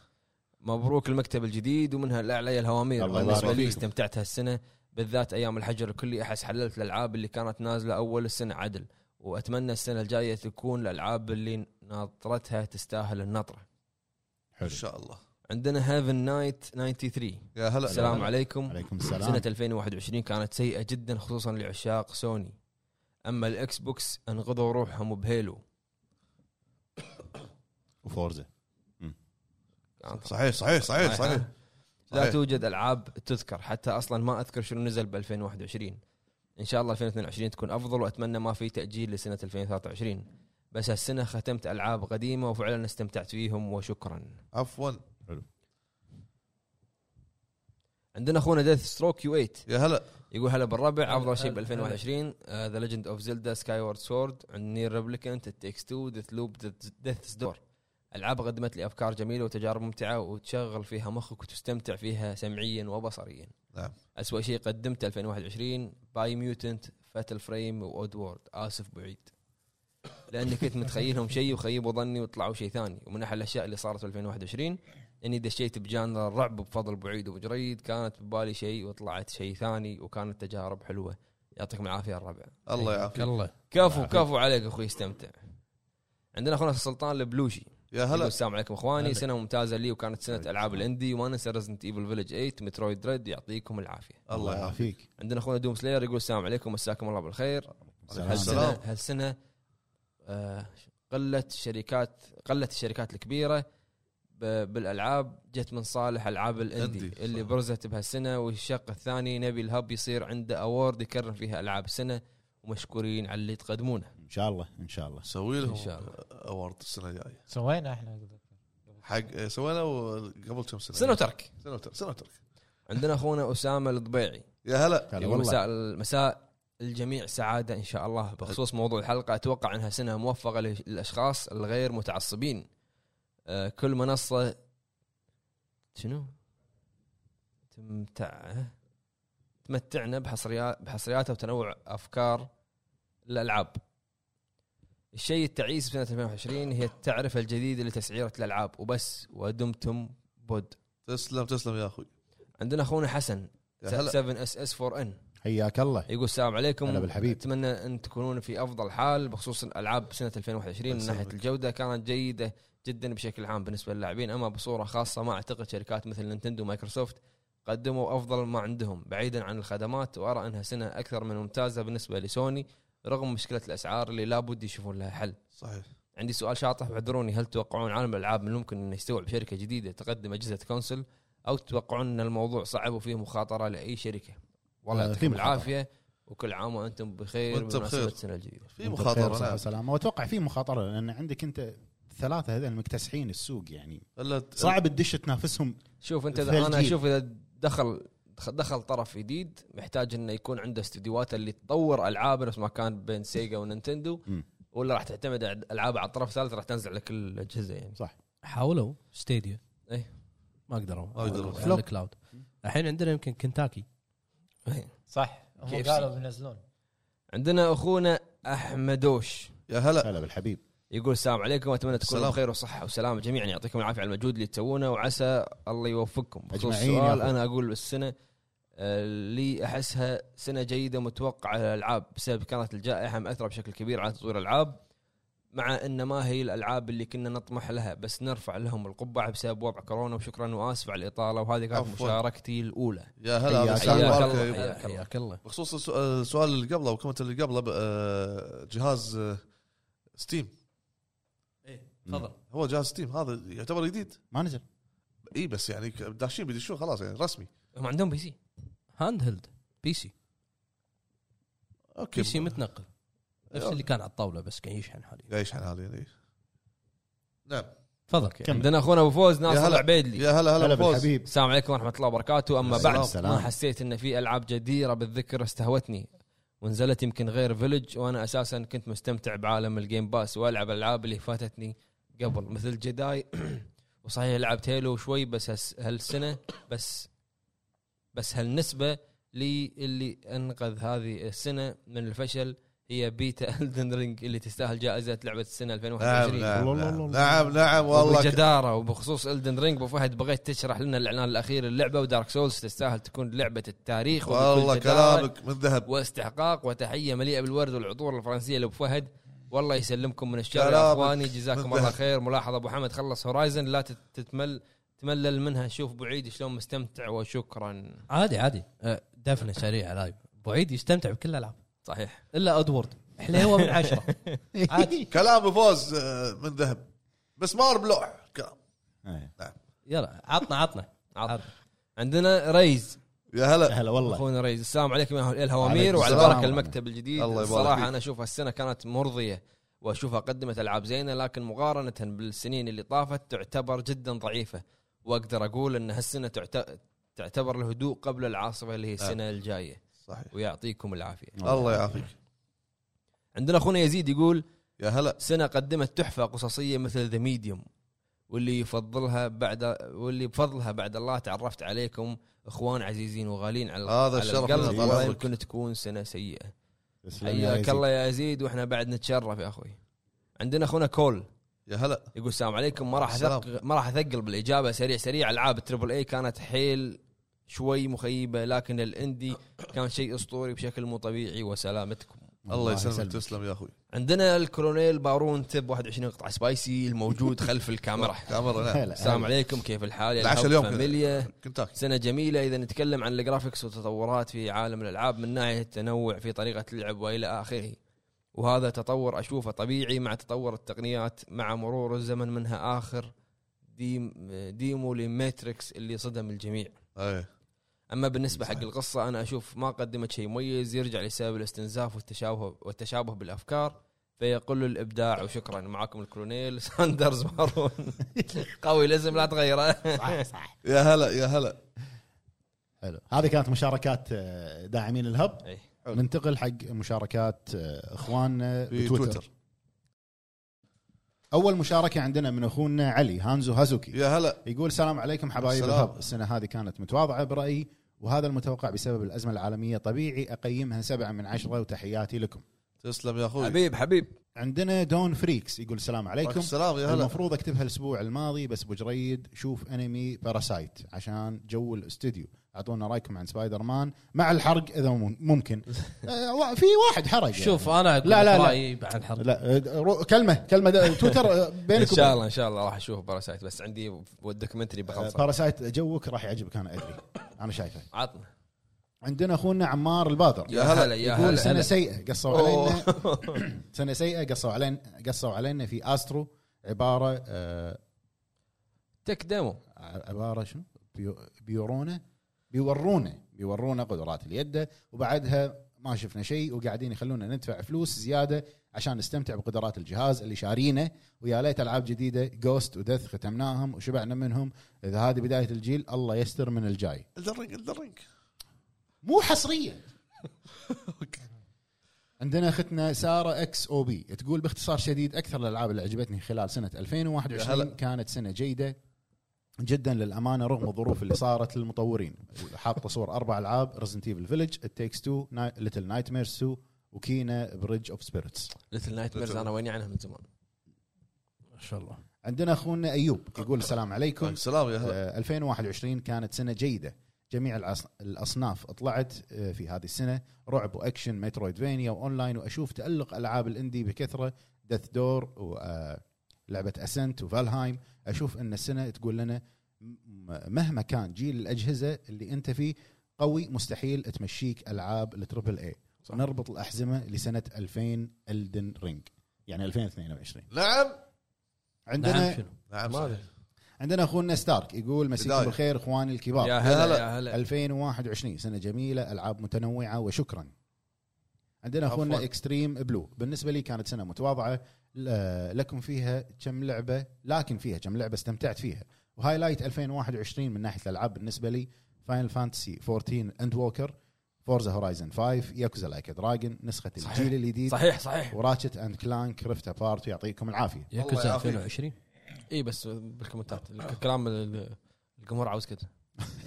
S1: مبروك المكتب الجديد ومنها الاعلى الهوامير
S3: الله
S1: بالنسبه
S5: يبارك
S1: لي
S5: فيك.
S1: استمتعت هالسنه بالذات ايام الحجر الكلي احس حللت الالعاب اللي كانت نازله اول السنه عدل واتمنى السنه الجايه تكون الالعاب اللي ناطرتها تستاهل النطره
S5: ان
S3: حلو
S5: شاء الله
S1: عندنا هيفن نايت 93
S5: يا هلا
S1: السلام عليكم
S3: عليكم
S1: سنة
S3: السلام
S1: 2021 كانت سيئة جدا خصوصا لعشاق سوني اما الاكس بوكس انقذوا روحهم بهيلو
S3: وفورزا
S1: كانت-
S5: صحيح صحيح صحيح صحيح
S1: لا
S5: صحيح.
S1: توجد العاب تذكر حتى اصلا ما اذكر شنو نزل ب 2021 ان شاء الله 2022 تكون افضل واتمنى ما في تاجيل لسنه 2023 بس هالسنه ختمت العاب قديمه وفعلا استمتعت فيهم وشكرا
S5: عفوا
S1: عندنا اخونا ديث ستروك يو 8
S5: يا هلا
S1: يقول هلا بالربع
S4: هلا،
S1: افضل شيء آه، ب
S4: هلا،
S1: 2021 ذا ليجند اوف زيلدا سكاي وورد سورد نير ريبليكنت تيكس تو ديث لوب ديث دور العاب قدمت لي افكار جميله وتجارب ممتعه وتشغل فيها مخك وتستمتع فيها سمعيا وبصريا
S5: نعم.
S1: اسوء شيء قدمته 2021 باي ميوتنت فاتل فريم واود وورد اسف بعيد لاني كنت متخيلهم شيء وخيبوا ظني وطلعوا شيء ثاني ومن احلى الاشياء اللي صارت في 2021 اني دشيت بجانر الرعب بفضل بعيد وبجريد كانت ببالي شيء وطلعت شيء ثاني وكانت تجارب حلوه يعطيكم العافيه الربع
S5: الله يعافيك
S4: يلا
S1: كفو كفو عليك اخوي استمتع عندنا اخونا السلطان البلوشي
S5: يا
S1: يقول
S5: هلا
S1: السلام عليكم اخواني
S4: هلا.
S1: سنه ممتازه لي وكانت سنه العاب الاندي وما ننسى ريزنت ايفل فيلج 8 مترويد ريد يعطيكم العافيه
S5: الله يعافيك
S1: عندنا اخونا دوم سلاير يقول السلام عليكم مساكم الله بالخير
S3: السلام
S5: السلام.
S1: هالسنه هالسنه آه، قلت الشركات قلت الشركات الكبيره ب- بالالعاب جت من صالح العاب الاندي
S5: اندي،
S1: اللي
S5: صح.
S1: برزت بهالسنه والشق الثاني نبي الهب يصير عنده اوورد يكرم فيها العاب السنه ومشكورين على اللي تقدمونه
S3: ان شاء الله ان شاء الله
S5: سوي لهم
S1: إن شاء الله.
S5: اوارد السنه الجايه
S2: سوينا احنا
S5: حق إيه، سوينا قبل كم سنه
S1: سنه وترك
S5: سنه وترك سنه وترك
S1: عندنا اخونا اسامه الضبيعي
S5: يا هلا
S3: هلا
S1: يقول
S3: والله
S1: يعني مساء مساء الجميع سعادة إن شاء الله بخصوص موضوع الحلقة أتوقع أنها سنة موفقة لل- للأشخاص الغير متعصبين آه، كل منصة شنو تمتع تمتعنا بحصريات بحصرياتها وتنوع أفكار الألعاب الشيء التعيس بسنة 2020 هي التعرفة الجديدة لتسعيرة الألعاب وبس ودمتم بود
S5: تسلم تسلم يا اخوي
S1: عندنا أخونا حسن
S5: يا هلا
S1: 7 اس اس 4 ان
S3: حياك الله
S1: يقول السلام عليكم
S3: هلا بالحبيب.
S1: اتمنى ان تكونون في افضل حال بخصوص الالعاب سنه 2021 من
S5: الله
S1: ناحيه
S5: يسلمك.
S1: الجوده كانت جيده جدا بشكل عام بالنسبه للاعبين اما بصوره خاصه ما اعتقد شركات مثل نينتندو ومايكروسوفت قدموا افضل ما عندهم بعيدا عن الخدمات وارى انها سنه اكثر من ممتازه بالنسبه لسوني رغم مشكله الاسعار اللي لابد يشوفون لها حل
S5: صحيح
S1: عندي سؤال شاطح واعذروني هل تتوقعون عالم الالعاب من الممكن انه يستوعب شركه جديده تقدم اجهزه كونسل او تتوقعون ان الموضوع صعب وفيه مخاطره لاي شركه؟ والله
S3: آه، في
S1: يعطيكم
S3: مخاطرة.
S1: العافيه وكل عام وانتم بخير
S5: وأنت
S1: بمناسبه
S5: بخير.
S1: السنه الجديده.
S5: في مخاطره نعم.
S3: سلام واتوقع في مخاطره لان عندك انت ثلاثه هذول المكتسحين السوق يعني
S5: الا
S3: صعب تدش تنافسهم
S1: شوف انت
S3: ثلجين.
S1: اذا انا اشوف اذا دخل دخل طرف جديد محتاج انه يكون عنده استديوهات اللي تطور العابه نفس ما كان بين سيجا وننتندو
S3: مم.
S1: ولا راح تعتمد على العاب على الطرف الثالث راح تنزل على كل الاجهزه يعني
S4: حاولوا ستيديا
S1: إيه.
S4: ما قدروا ما
S5: قدروا.
S4: على الكلاود الحين عندنا يمكن كنتاكي
S2: صح هم
S1: KFC.
S2: قالوا بينزلون
S1: عندنا اخونا احمدوش
S5: يا هلا
S3: هلا بالحبيب
S1: يقول السلام عليكم اتمنى تكونوا
S5: السلام.
S1: بخير وصحه وسلامه جميعا يعطيكم العافيه على المجهود اللي تسوونه وعسى الله يوفقكم بخصوص
S3: أجمعين يا
S1: السؤال
S3: أخوي.
S1: انا اقول السنه آه، اللي احسها سنه جيده متوقعه للالعاب بسبب كانت الجائحه مأثره بشكل كبير على تطوير الالعاب مع ان ما هي الالعاب اللي كنا نطمح لها بس نرفع لهم القبعه بسبب وضع كورونا وشكرا واسف على الاطاله وهذه كانت
S5: عفواً.
S1: مشاركتي الاولى
S5: يا هلا هذا
S3: حياك
S5: سؤال
S1: الله.
S5: مبارك.
S1: حياك الله.
S4: حياك حياك الله
S5: بخصوص السؤ- السؤال اللي قبله والكومنت اللي قبله ب- آه، جهاز آه، ستيم
S1: إيه،
S4: تفضل
S5: هو جهاز ستيم هذا يعتبر جديد
S3: ما نزل
S5: اي بس يعني ك- داشين بيدشون خلاص يعني رسمي
S1: هم عندهم بي سي
S4: هاند هيلد بي سي
S5: اوكي
S4: بي سي متنقل نفس اللي كان على الطاوله بس كان يشحن حاليا
S5: قايش عن هذه يعني. نعم
S4: تفضل
S3: كمل.
S1: عندنا اخونا ابو فوز ناصر
S5: هلا.
S1: العبيدلي
S5: يا هلا
S3: هلا
S5: هلا فوز
S3: بالحبيب
S1: السلام عليكم ورحمه الله وبركاته اما
S3: السلام.
S1: بعد
S3: طيب. السلام.
S1: ما حسيت ان في العاب جديره بالذكر استهوتني ونزلت يمكن غير فيلج وانا اساسا كنت مستمتع بعالم الجيم باس والعب الالعاب اللي فاتتني قبل مثل جداي وصحيح لعبت هيلو شوي بس هس- هالسنه بس بس هالنسبه لي اللي انقذ هذه السنه من الفشل هي بيتا الدن رينج اللي تستاهل جائزه لعبه السنه
S5: نعم
S1: 2021
S5: نعم،
S3: والله،
S5: نعم
S3: والله.
S5: نعم نعم والله ك-
S1: وبجداره وبخصوص الدن رينج ابو فهد بغيت تشرح لنا الاعلان الاخير اللعبه ودارك سولز تستاهل تكون لعبه التاريخ وبكل
S5: والله
S1: جدارة
S5: كلامك من ذهب
S1: واستحقاق وتحيه مليئه بالورد والعطور الفرنسيه لابو فهد والله يسلمكم من الشارع يا
S5: كلامك
S1: اخواني جزاكم
S5: مبهر.
S1: الله خير ملاحظه ابو حمد خلص هورايزن لا تت- تتمل تملل منها شوف بعيد شلون مستمتع وشكرا
S4: عادي عادي آه، دفنه سريعه لايف بعيد يستمتع بكل الالعاب
S1: صحيح
S4: الا ادوارد حليوه من عشره عادي
S5: كلام فوز آه، من ذهب مسمار بلوع كلام نعم.
S3: إيه.
S4: يلا عطنا عطنا
S1: عطنا. عندنا ريز
S5: يا هلا
S3: إيه. هلا والله
S1: اخونا ريز السلام عليكم يا أهل الهوامير
S3: وعليكم
S1: وعلى
S5: السلام
S1: بركه
S3: ورحمة
S1: المكتب الجديد
S5: الله يبارك فيك.
S1: الصراحه انا اشوف السنه كانت مرضيه واشوفها قدمت العاب زينه لكن مقارنه بالسنين اللي طافت تعتبر جدا ضعيفه واقدر اقول ان هالسنه تعت- تعتبر الهدوء قبل العاصفه
S5: آه.
S1: اللي هي السنه الجايه
S5: صحيح
S1: ويعطيكم العافيه
S5: الله يعافيك
S1: عندنا اخونا يزيد يقول
S5: يا هلا
S1: سنه قدمت تحفه قصصيه مثل ذا ميديوم واللي يفضلها بعد واللي بفضلها بعد الله تعرفت عليكم اخوان عزيزين وغالين على
S5: هذا
S1: على
S5: الشرف
S1: القلب
S5: لنا،
S1: والله
S5: طال عمرك.
S1: يمكن تكون سنه سيئه
S3: تسلم يا
S1: حياك
S3: يزيد.
S1: الله يا يزيد واحنا بعد نتشرف يا اخوي عندنا اخونا كول
S5: يا هلا
S1: يقول السلام عليكم ما راح
S5: السلام.
S1: أثق- ما راح اثقل بالاجابه سريع سريع العاب التربل اي كانت حيل شوي مخيبه لكن الاندي كان شيء اسطوري بشكل مو طبيعي وسلامتكم
S5: الله يسلمك تسلم يا اخوي
S1: عندنا الكولونيل بارون تب 21 قطعه سبايسي الموجود خلف الكاميرا
S5: كاميرا نعم
S3: هلا
S1: السلام عليكم كيف الحال يا
S5: العشاء
S1: الهب
S5: اليوم كذا.
S1: فاميليا
S5: كنتاكي
S1: سنة جميلة إذا نتكلم عن الجرافكس والتطورات في عالم الألعاب من ناحية التنوع في طريقة اللعب وإلى آخره وهذا تطور أشوفه طبيعي مع تطور التقنيات مع مرور الزمن منها آخر ديم ديمو لماتريكس اللي صدم الجميع
S5: ايه
S1: أما بالنسبة حق القصة أنا أشوف ما قدمت شيء مميز يرجع لسبب الاستنزاف والتشابه والتشابه بالأفكار فيقل الإبداع وشكرا معكم الكولونيل ساندرز مارون قوي لازم لا تغيره
S3: صح صح
S5: يا هلا يا هلا
S3: حلو هذه كانت مشاركات آه، داعمين الهب
S1: إيه.
S3: ننتقل حق مشاركات آه، اخواننا
S5: في
S3: بتويتر
S5: تويتر.
S3: اول مشاركه عندنا من اخونا علي هانزو هازوكي
S5: يا هلا
S3: يقول السلام عليكم حبايب
S5: السلام.
S3: الهب السنة هذه كانت متواضعة برأيي وهذا المتوقع بسبب الأزمة العالمية طبيعي أقيمها سبعة من عشرة وتحياتي لكم
S5: تسلم يا اخوي
S1: حبيب حبيب
S3: عندنا دون فريكس يقول السلام
S5: عليكم
S3: عليكم
S5: السلام يا هلا
S3: المفروض اكتبها الاسبوع الماضي بس بجريد شوف انمي باراسايت عشان جو الاستوديو اعطونا رايكم عن سبايدر مان مع الحرق اذا مم- ممكن آه، وا- في واحد حرق يعني.
S4: شوف انا اقول
S3: لا، لا،
S4: لك
S3: لا.
S4: رايي بعد الحرب
S3: لا آه، رو- كلمه كلمه دا- تويتر آه،
S1: ان
S3: بينك
S1: شاء الله ان شاء الله راح اشوف باراسايت بس عندي
S3: آه،
S1: والدوكيومنتري بخلصه
S3: باراسايت جوك راح يعجبك انا ادري انا شايفه
S1: عطنا
S3: عندنا اخونا عمار البادر
S1: يا هلا يا
S3: يقول سنه
S1: هلا
S3: سيئه قصوا علينا سنه سيئه قصوا علينا قصوا علينا في استرو عباره آه
S1: تك ديمو
S3: عباره شنو؟ بيو بيورونا بيورونا بيورونا قدرات اليد وبعدها ما شفنا شيء وقاعدين يخلونا ندفع فلوس زياده عشان نستمتع بقدرات الجهاز اللي شارينه ويا ليت العاب جديده جوست ودث ختمناهم وشبعنا منهم اذا هذه بدايه الجيل الله يستر من الجاي
S5: الدرنج الدرنج
S3: مو حصريه عندنا اختنا ساره اكس او بي تقول باختصار شديد اكثر الالعاب اللي عجبتني خلال سنه
S5: يا
S3: 2021
S5: هلا.
S3: كانت سنه جيده جدا للامانه رغم الظروف اللي صارت للمطورين حاطه صور اربع العاب ريزنت ايفل فيلج التيكس 2 ليتل نايت ميرز 2 وكينا بريدج اوف سبيرتس
S1: ليتل نايت ميرز انا ويني عنها من زمان
S4: ما شاء الله
S3: عندنا اخونا ايوب يقول السلام عليكم
S5: سلام يا هلا
S3: آه، 2021 كانت سنه جيده جميع العص- الاصناف طلعت آه، في هذه السنه رعب واكشن مترويدفينيا واونلاين واشوف تالق العاب الاندي بكثره دث دور آه، ولعبه اسنت وفالهايم اشوف ان السنه تقول لنا م- مهما كان جيل الاجهزه اللي انت فيه قوي مستحيل تمشيك العاب التربل اي نربط الاحزمه لسنه 2000 الدن رينج يعني 2022
S5: نعم
S3: عندنا
S4: نعم شنو
S5: نعم
S1: ما
S5: صحيح.
S3: عندنا اخونا ستارك يقول مساكم
S5: بداية.
S3: بالخير اخواني الكبار
S1: يا هلا
S5: هلا.
S1: يا هلا
S3: 2021 سنه جميله العاب متنوعه وشكرا عندنا اخونا
S5: عفواً.
S3: اكستريم بلو بالنسبه لي كانت سنه متواضعه ل- لكم فيها كم لعبه لكن فيها كم لعبه استمتعت فيها وهايلايت 2021 من ناحيه الالعاب بالنسبه لي فاينل فانتسي 14 اند ووكر فورزا هورايزن 5 ياكوزا لايك دراجون نسخه
S1: صحيح.
S3: الجيل الجديد
S1: صحيح صحيح
S3: وراتشت اند كلانك ريفت ابارت ويعطيكم العافيه
S5: الله
S4: ياكوزا
S5: يعافيك.
S4: 2020
S1: اي بس بالكومنتات الكلام ال- ال- الجمهور عاوز كذا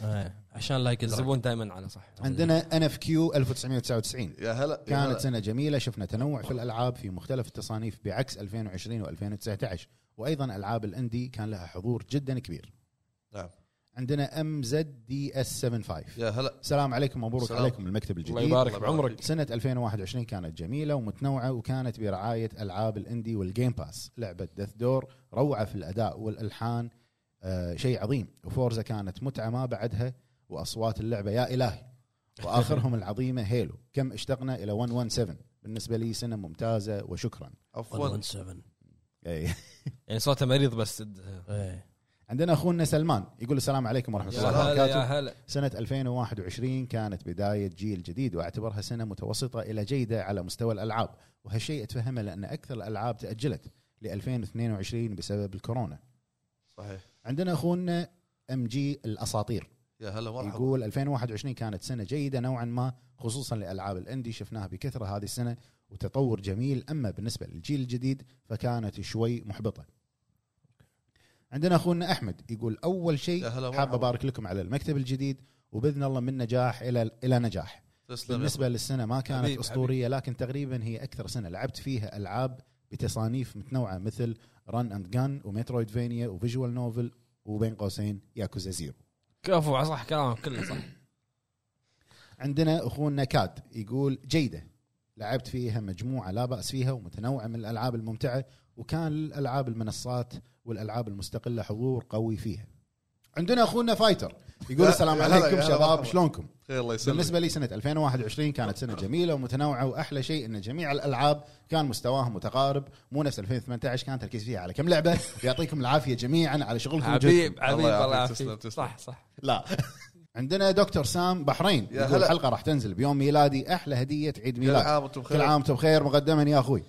S4: آه، عشان لايك الزبون
S1: الزبون دائما على صح
S3: عندنا ان اف كيو 1999
S5: يا هلا يا هلا.
S3: كانت سنة جميلة شفنا تنوع في الألعاب في مختلف التصانيف بعكس 2020 و2019 وأيضا ألعاب الأندي كان لها حضور جدا كبير
S5: نعم.
S3: عندنا ام زد دي اس 75
S5: يا هلا
S3: السلام عليكم مبروك
S5: سلام.
S3: عليكم المكتب
S1: الله
S3: الجديد
S1: يبارك بعمرك
S3: سنة 2021 كانت جميلة ومتنوعة وكانت برعاية ألعاب الأندي والجيم باس لعبة دث دور روعة في الأداء والألحان آه شيء عظيم وفورزا كانت متعة ما بعدها وأصوات اللعبة يا إلهي وآخرهم العظيمة هيلو كم اشتقنا إلى 117 بالنسبة لي سنة ممتازة وشكرا
S5: عفوا
S4: 117
S3: أي.
S1: يعني صوته مريض بس
S4: إيه.
S3: عندنا أخونا سلمان يقول السلام عليكم ورحمة
S1: يا
S3: الله
S1: هلا يا
S3: وبركاته
S1: هلا
S3: سنة 2021 كانت بداية جيل جديد واعتبرها سنة متوسطة إلى جيدة على مستوى الألعاب وهالشيء أتفهمه لأن أكثر الألعاب تأجلت ل 2022 بسبب الكورونا
S5: صحيح
S3: عندنا أخونا ام جي الاساطير
S5: يا هلا مرحبا
S3: يقول 2021 كانت سنه جيده نوعا ما خصوصا لالعاب الاندي شفناها بكثره هذه السنه وتطور جميل اما بالنسبه للجيل الجديد فكانت شوي محبطه. عندنا اخونا احمد يقول اول شيء
S5: يا هلا
S3: حاب
S5: مرحبا.
S3: ابارك لكم على المكتب الجديد وباذن الله من نجاح الى الى نجاح.
S5: تسلم يا
S3: بالنسبه للسنه ما كانت
S1: حبيب-
S3: اسطوريه لكن تقريبا هي اكثر سنه لعبت فيها العاب بتصانيف متنوعه مثل ران اند جان ومترويد فينيا وفيجوال نوفل وبين قوسين ياكوزا زيرو.
S1: كفو صح كلامك كله صح
S3: عندنا اخونا كاد يقول جيده لعبت فيها مجموعه لا باس فيها ومتنوعه من الالعاب الممتعه وكان الالعاب المنصات والالعاب المستقله حضور قوي فيها. عندنا اخونا فايتر يقول
S5: يا-
S3: السلام
S5: يا هلا- يا
S3: عليكم
S5: هلا
S3: شباب
S5: مرحبا.
S3: شلونكم؟
S5: خير الله يسلمك
S3: بالنسبه لي سنه 2021 كانت سنه جميله ومتنوعه واحلى شيء ان جميع الالعاب كان مستواها متقارب مو نفس 2018 كان تركيز فيها على كم لعبه يعطيكم العافيه جميعا على شغلكم وجهدكم.
S1: حبيب حبيب
S5: الله
S1: الله
S5: يعافيك، تسلم-
S1: يعافيك
S5: تسلم.
S1: صح صح
S3: لا عندنا دكتور سام بحرين
S5: يا
S3: يقول
S5: هلا.
S3: الحلقه راح تنزل بيوم ميلادي احلى هديه عيد
S5: كل
S3: ميلاد
S5: عام وانتم
S3: كل
S5: بخير
S3: عام وانتم بخير مقدما يا اخوي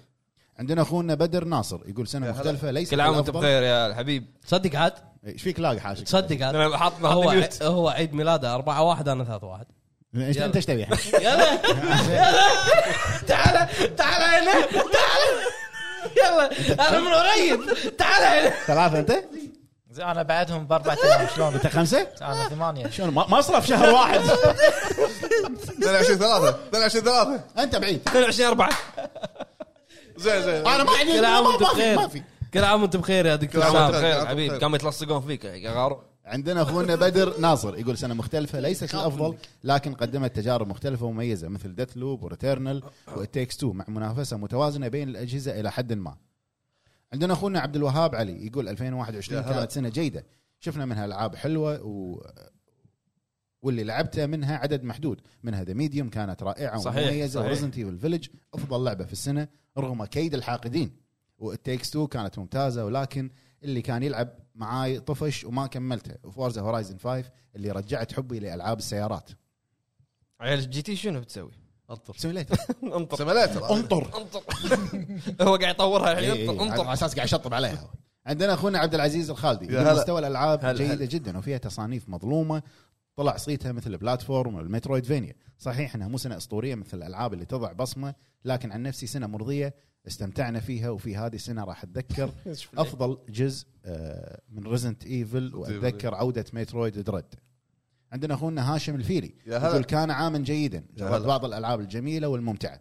S3: عندنا اخونا بدر ناصر يقول سنه
S5: يا هلا.
S3: مختلفه ليس
S1: كل عام وانت
S3: بالأفضل.
S1: بخير يا الحبيب
S4: تصدق عاد
S3: ايش فيك لاقي حاجه
S4: تصدق عاد
S1: انا حاط حاطني
S4: هو
S1: ميوت.
S4: هو عيد ميلاده 4 1 انا 3 1
S3: ايش
S4: يلا.
S3: انت ايش تبي الحين؟
S4: يلا تعال تعال هنا تعال يلا انا من قريب تعال هنا
S3: ثلاثه انت؟
S2: زين انا بعدهم باربع ايام شلون
S3: انت خمسه؟
S2: انا ثمانيه
S3: شلون ما- مصرف شهر واحد
S5: 22 3 22 3
S3: انت بعيد
S1: 22 4
S5: زين زين
S3: انا
S1: يعني
S3: ما عندي
S4: كل عام
S3: ما-
S4: وانت
S3: ما في-
S4: بخير.
S3: ما في
S4: كل عام وانت بخير يا
S1: كل
S4: دكتور
S1: عام
S5: عام
S1: وانت
S5: وأنت
S1: بخير
S5: بخير.
S1: حبيب قاموا يتلصقون فيك يا غارو
S3: عندنا اخونا بدر ناصر يقول سنه مختلفه ليست الافضل لكن قدمت تجارب مختلفه ومميزه مثل ديث لوب وريتيرنال والتيكس تو مع منافسه متوازنه بين الاجهزه الى حد ما. عندنا اخونا عبد الوهاب علي يقول 2021
S5: يا هلا.
S3: كانت سنه جيده شفنا منها العاب حلوه و واللي لعبته منها عدد محدود منها ذا ميديوم كانت رائعه
S1: صحيح،
S3: ومميزه
S1: صحيح.
S3: وريزنت ايفل فيلج افضل لعبه في السنه رغم كيد الحاقدين والتيكس تو كانت ممتازه ولكن اللي كان يلعب معاي طفش وما كملته وفورزا هورايزن 5 اللي رجعت حبي لالعاب السيارات
S1: عيال جي تي شنو بتسوي؟
S5: انطر
S3: سيميليتر
S1: انطر
S5: سيميليتر
S3: انطر
S1: انطر هو قاعد يطورها
S3: إي
S1: الحين
S3: إي،
S1: انطر
S3: إيه، على
S1: انطر
S3: اساس قاعد يشطب عليها هو. عندنا اخونا عبد العزيز الخالدي
S5: يا
S3: يقول
S5: هلا.
S3: مستوى الالعاب
S5: هلا،
S3: جيده
S5: هلا.
S3: جدا وفيها تصانيف مظلومه طلع صيتها مثل بلاتفورم المترويد فينيا صحيح انها مو سنه اسطوريه مثل الالعاب اللي تضع بصمه لكن عن نفسي سنه مرضيه استمتعنا فيها وفي هذه السنه راح اتذكر افضل جزء آه، من ريزنت ايفل واتذكر عوده مترويد دريد عندنا اخونا هاشم الفيلي
S5: يا هلا.
S3: يقول كان عاما جيدا
S5: يا
S3: جربت
S5: هلا.
S3: بعض الالعاب الجميله والممتعه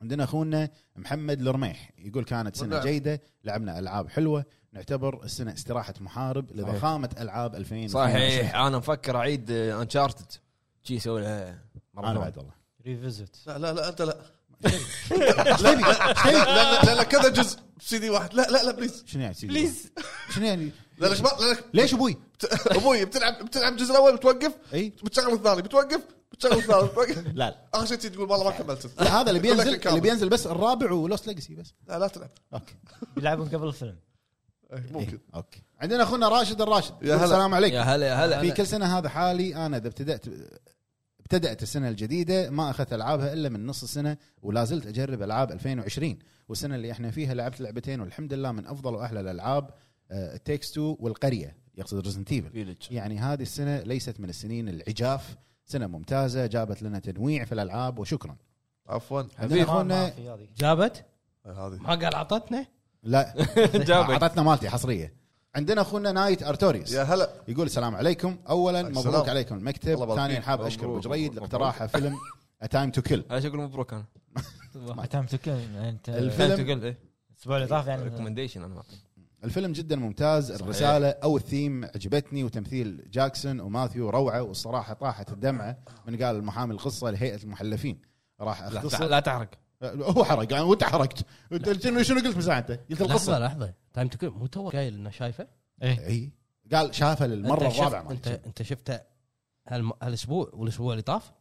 S3: عندنا اخونا محمد الرميح يقول كانت سنه
S5: والله.
S3: جيده لعبنا العاب حلوه نعتبر السنه استراحه محارب لضخامه العاب 2000
S1: صحيح انا مفكر اعيد انشارتد شي يسوي لها
S3: انا
S1: مره
S3: بعد والله
S2: ريفيزت
S5: لا لا لا انت لا
S3: ايش تبي؟ إيش تبي؟
S5: لا لا لا كذا جزء سي دي واحد لا لا لا بليز
S3: شنو يعني بليز شنو يعني
S5: لا لا شباب، لا لا
S3: ليش ابوي؟
S5: بت- ابوي بتلعب بتلعب الجزء الاول بتوقف
S3: اي
S5: بتشغل الثاني بتوقف بتشغل الثالث بتوقف
S3: لا لا
S5: اخر شيء تقول والله ما كملت
S3: لا، هذا اللي
S5: كله
S3: بينزل
S5: كامل.
S3: اللي بينزل بس الرابع ولوست ليجسي بس
S5: لا لا تلعب
S3: اوكي
S2: يلعبون قبل الفيلم
S5: إيه، ممكن
S3: إيه، اوكي عندنا اخونا راشد الراشد
S5: يا هلا.
S3: السلام عليكم
S1: يا هلا يا هلا
S3: في كل سنه هذا حالي انا اذا ابتدات ابتدات السنه الجديده ما اخذت العابها الا من نص السنه ولا زلت اجرب العاب 2020 والسنه اللي احنا فيها لعبت لعبتين والحمد لله من افضل واحلى الالعاب تيكس تو والقريه يقصد ريزنت ايفل
S1: فيلج
S5: إيه.
S3: يعني هذه السنه ليست من السنين العجاف سنه ممتازه جابت لنا تنويع في الالعاب وشكرا
S5: عفوا
S3: عندنا
S2: ما- ما
S3: اخونا
S2: في هذه
S4: جابت
S5: هذه
S4: ما قال عطتنا
S3: لا
S1: جابك
S3: اعطتنا مالتي حصريه عندنا اخونا نايت ارتوريوس
S5: يا هلا
S3: يقول السلام عليكم اولا
S5: السلام.
S3: مبروك عليكم
S5: الله
S3: المكتب
S5: يبارك
S3: ثانيا
S5: فيك.
S3: حاب اشكر ابو
S5: مبروك،
S3: جريد
S5: مبروك.
S3: لاقتراحه فيلم ا تايم تو كيل
S1: ايش اقول مبروك انا؟
S2: انت متكل انت
S3: الفيلم.
S1: انت قل ايه
S2: الاسبوع اللي طاف يعني
S1: ريكومنديشن انا معطي
S3: الفيلم جدا ممتاز
S1: صحيح.
S3: الرساله او الثيم عجبتني وتمثيل جاكسون وماثيو روعه والصراحه طاحت الدمعه من قال المحامي القصه لهيئه المحلفين راح اختصر
S1: لا تحرق
S3: هو حرق يعني وانت حرقت انت شنو شنو قلت من ساعه انت؟ قلت
S4: لحظه
S3: القصه
S4: لحظه تايم تو مو تو قايل انه شايفه
S2: ايه
S3: اي قال شافها للمره
S4: أنت شفت-
S3: الرابعه
S4: انت
S3: مالت.
S4: انت شفته هالم... هالاسبوع والاسبوع اللي طاف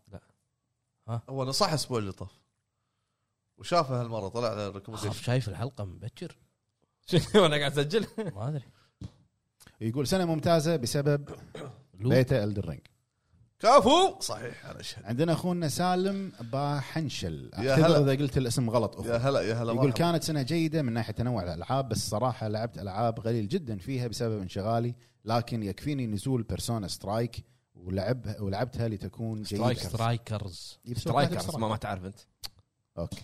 S5: هو نصح الاسبوع اللي طاف وشافه هالمره طلع له
S4: خاف
S5: ريكومنديشن
S4: شايف الحلقه مبكر
S1: شنو انا قاعد اسجل
S4: ما ادري
S3: يقول سنه ممتازه بسبب بيتا الدرينج
S5: كفو صحيح انا اشهد
S3: عندنا اخونا سالم باحنشل
S5: يا
S3: اعتذر
S5: هلا.
S3: اذا قلت الاسم غلط أخوي.
S5: يا هلا يا هلا
S3: يقول
S5: مرحبا.
S3: كانت سنه جيده من ناحيه تنوع الالعاب بس صراحه لعبت العاب قليل جدا فيها بسبب انشغالي لكن يكفيني نزول بيرسونا سترايك ولعبها ولعبتها لتكون جيده
S4: سترايك سترايكرز
S3: يبسط واحد
S1: سترايكرز
S3: بسرعة.
S1: ما, ما تعرف انت
S3: اوكي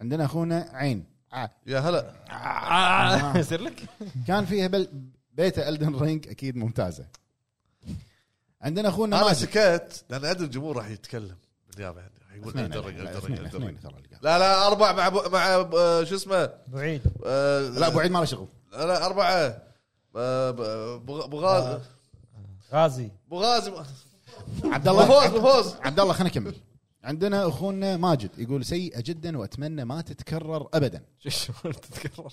S3: عندنا اخونا عين ع-
S5: يا هلا
S2: آه،
S3: آه.
S1: يصير لك
S3: كان فيها بل بيتا الدن رينج اكيد ممتازه عندنا اخونا
S5: انا
S3: ماجد
S5: سكت لان ادري الجمهور راح يتكلم بالنيابه عني يقول
S3: اثنين
S5: أدرج-
S3: لا،
S5: أدرج-
S3: اثنين-
S5: أدرج.
S3: اثنين ترى اللي قال.
S5: لا لا اربع مع أبو- مع أبو- شو اسمه
S2: بعيد
S5: آه،
S3: لا ابو عيد ما له شغل
S5: لا اربعه آه، ب- بغ- بغاز
S3: آه.
S2: غازي
S5: بغاز
S3: عبد
S5: بفوز
S3: الله
S5: بفوز
S3: عبد الله خلينا نكمل عندنا اخونا ماجد يقول سيئه جدا واتمنى ما تتكرر ابدا
S1: شو تتكرر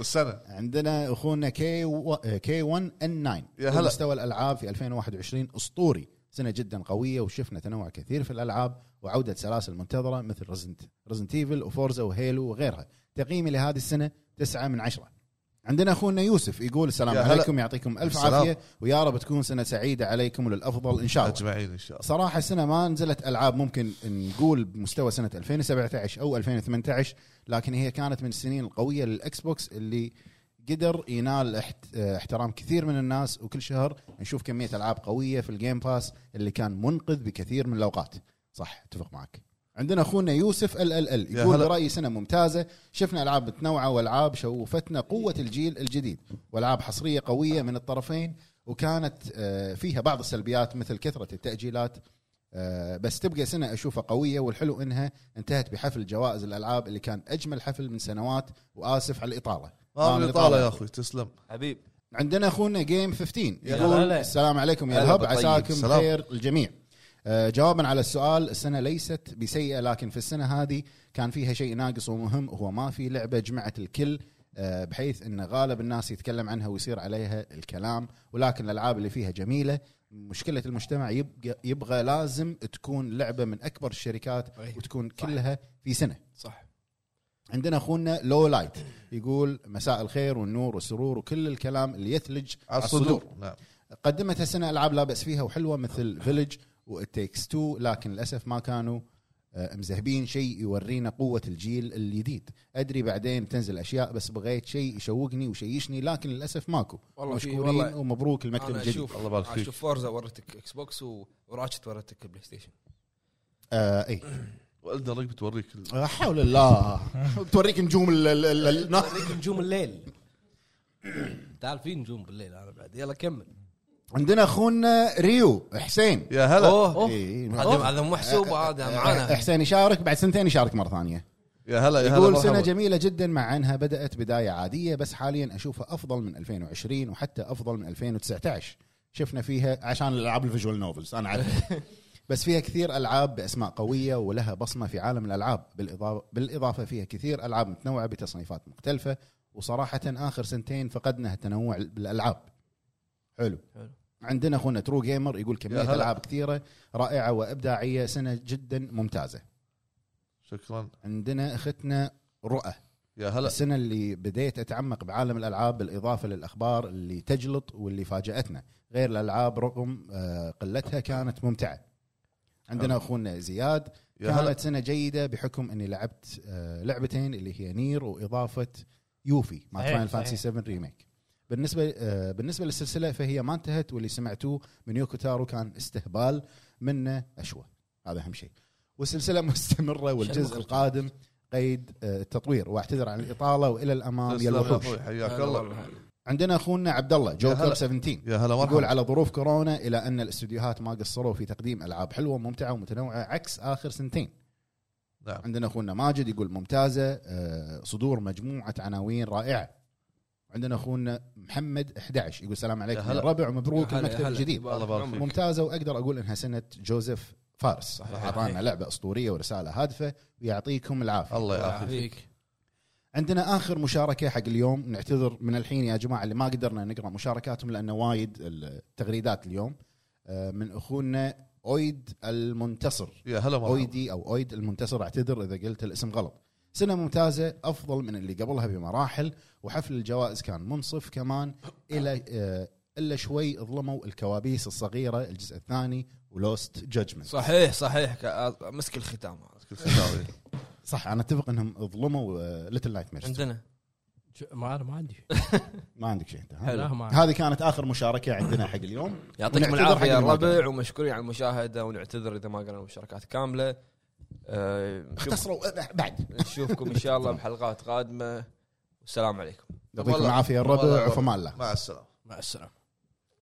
S5: السنه
S3: عندنا اخونا كي و... كي 1 ان 9
S5: يا هلا.
S3: مستوى الالعاب في 2021 اسطوري سنه جدا قويه وشفنا تنوع كثير في الالعاب وعوده سلاسل منتظره مثل رزنت رزنت ايفل وفورزا وهيلو وغيرها تقييمي لهذه السنه 9 من 10 عندنا اخونا يوسف يقول السلام
S5: يا هلا.
S3: عليكم يعطيكم الف
S5: السلام.
S3: عافيه ويا رب تكون سنه سعيده عليكم وللافضل ان شاء الله
S5: اجمعين ان شاء الله
S3: صراحه السنه ما نزلت العاب ممكن نقول بمستوى سنه 2017 او 2018 لكن هي كانت من السنين القويه للاكس بوكس اللي قدر ينال احت- احترام كثير من الناس وكل شهر نشوف كميه العاب قويه في الجيم باس اللي كان منقذ بكثير من الاوقات صح اتفق معك عندنا اخونا يوسف ال ال ال
S5: يا
S3: يقول
S5: هلا.
S3: برايي سنه ممتازه شفنا العاب متنوعه والعاب شوفتنا قوه الجيل الجديد والعاب حصريه قويه من الطرفين وكانت آه، فيها بعض السلبيات مثل كثره التاجيلات آه، بس تبقى سنه اشوفها قويه والحلو انها انتهت بحفل جوائز الالعاب اللي كان اجمل حفل من سنوات واسف على الاطاله
S5: ما من طالع يا اخوي تسلم
S1: حبيب
S3: عندنا اخونا جيم 15
S5: يا
S3: يقول
S4: هلا.
S3: السلام عليكم يا
S5: هلا
S3: الهب
S5: بالطيب.
S3: عساكم
S5: سلام.
S3: بخير الجميع آه، جوابا على السؤال السنه ليست بسيئه لكن في السنه هذه كان فيها شيء ناقص ومهم هو ما في لعبه جمعت الكل آه، بحيث ان غالب الناس يتكلم عنها ويصير عليها الكلام ولكن الالعاب اللي فيها جميله مشكله المجتمع يبقى يبغى لازم تكون لعبه من اكبر الشركات
S1: أي.
S3: وتكون كلها في سنه
S1: صح
S3: عندنا اخونا لو لايت يقول مساء الخير والنور والسرور وكل الكلام اللي يثلج
S5: على الصدور نعم
S3: قدمت هالسنه العاب لا باس فيها وحلوه مثل فيلج والتيكس تو لكن للاسف ما كانوا آه، مذهبين شيء يورينا قوه الجيل الجديد ادري بعدين تنزل اشياء بس بغيت شيء يشوقني ويشيشني لكن للاسف ماكو
S1: والله في-
S3: مشكورين
S1: والله
S3: ومبروك المكتب
S1: انا
S3: الجديد
S1: اشوف
S5: الله يبارك
S1: أنا
S5: فيك.
S1: اشوف فورزا ورتك اكس بوكس و- وراتشت ورتك بلاي ستيشن
S3: آه اي
S5: والدر رينج بتوريك ال-
S3: آه، حول الله بتوريك نجوم ال- ال- ال- النا-
S4: نجوم الليل تعال في نجوم بالليل انا بعد يلا كمل
S3: عندنا اخونا ريو حسين
S5: يا هلا
S1: اوه
S3: إي،
S1: هذا هذا مو محسوب هذا معانا
S3: حسين يشارك بعد سنتين يشارك مره ثانيه
S5: يا هلا يا هلا
S3: يقول
S5: مرحبا.
S3: سنه جميله جدا مع انها بدات بدايه عاديه بس حاليا اشوفها افضل من 2020 وحتى افضل من 2019 شفنا فيها عشان الالعاب الفيجوال نوفلز انا عارف بس فيها كثير العاب باسماء قويه ولها بصمه في عالم الالعاب بالاضافه بالاضافه فيها كثير العاب متنوعه بتصنيفات مختلفه وصراحه اخر سنتين فقدنا التنوع بالالعاب حلو
S1: حلو.
S3: عندنا اخونا ترو جيمر يقول كميه
S5: هلا.
S3: العاب كثيره رائعه وابداعيه سنه جدا ممتازه
S5: شكرا
S3: عندنا اختنا رؤى
S5: يا هلا
S3: السنه اللي بديت اتعمق بعالم الالعاب بالاضافه للاخبار اللي تجلط واللي فاجاتنا غير الالعاب رغم آه، قلتها كانت ممتعه عندنا اخونا زياد
S5: يا هلا
S3: كانت سنه جيده بحكم اني لعبت آه، لعبتين اللي هي نير واضافه يوفي مع
S2: صحيح،
S3: فاينل فانسي
S2: صحيح.
S3: 7 ريميك بالنسبه آه، بالنسبه للسلسله فهي ما انتهت واللي سمعتوه من يوكو تارو كان استهبال منه اشوى هذا اهم شيء والسلسله مستمره والجزء القادم قيد آه، التطوير واعتذر عن الاطاله والى الامام يا
S5: تسلم يا
S3: الوحوش
S5: أخوي، حياك الله
S3: عندنا اخونا عبد الله جوكر
S5: هلا.
S3: 17
S5: يا هلا
S3: يقول
S5: مرحبا
S3: على ظروف كورونا الى ان الاستديوهات ما قصروا في تقديم العاب حلوه وممتعه ومتنوعه عكس اخر سنتين
S5: نعم
S3: عندنا اخونا ماجد يقول ممتازه آه، صدور مجموعه عناوين رائعه عندنا اخونا محمد 11 يقول السلام عليكم
S5: يا هلا.
S3: يا الربع ومبروك المكتب الجديد
S5: الله يبارك فيك.
S3: ممتازه واقدر اقول انها سنه جوزيف فارس اعطانا لعبه اسطوريه ورساله هادفه ويعطيكم العافيه
S5: الله يعافيك
S1: فيك
S3: عندنا اخر مشاركه حق اليوم نعتذر من الحين يا جماعه اللي ما قدرنا نقرا مشاركاتهم لانه وايد التغريدات اليوم آه، من اخونا اويد المنتصر
S5: يا هلا مرحبا
S3: اويدي او اويد المنتصر اعتذر اذا قلت الاسم غلط سنه ممتازه افضل من اللي قبلها بمراحل وحفل الجوائز كان منصف كمان الى آه، الا شوي ظلموا الكوابيس الصغيره الجزء الثاني ولوست جادجمنت
S1: صحيح صحيح ك- مسك الختام هذا.
S5: كل سنة وأنت.
S3: صح انا اتفق انهم ظلموا آه، ليتل نايت ميرز
S1: عندنا
S4: ما انا ما عندي
S3: ما عندك شيء انت ها؟
S1: حلو.
S4: لا ما عندي.
S3: هذه كانت اخر مشاركه عندنا حق اليوم
S1: يعطيكم
S3: ونعتذر
S1: العافيه
S3: حق
S1: يا
S3: اللي ما قدروا.
S1: الربع ومشكورين على المشاهده ونعتذر اذا ما قرأنا المشاركات كامله آه، نشوف-
S3: اختصروا بعد
S1: نشوفكم ان شاء الله بحلقات قادمه والسلام عليكم
S3: يعطيكم
S5: والله-
S3: العافيه يا
S5: والله يا
S3: الربع
S5: الربع.
S3: فما الله
S5: مع السلامه
S4: مع السلامه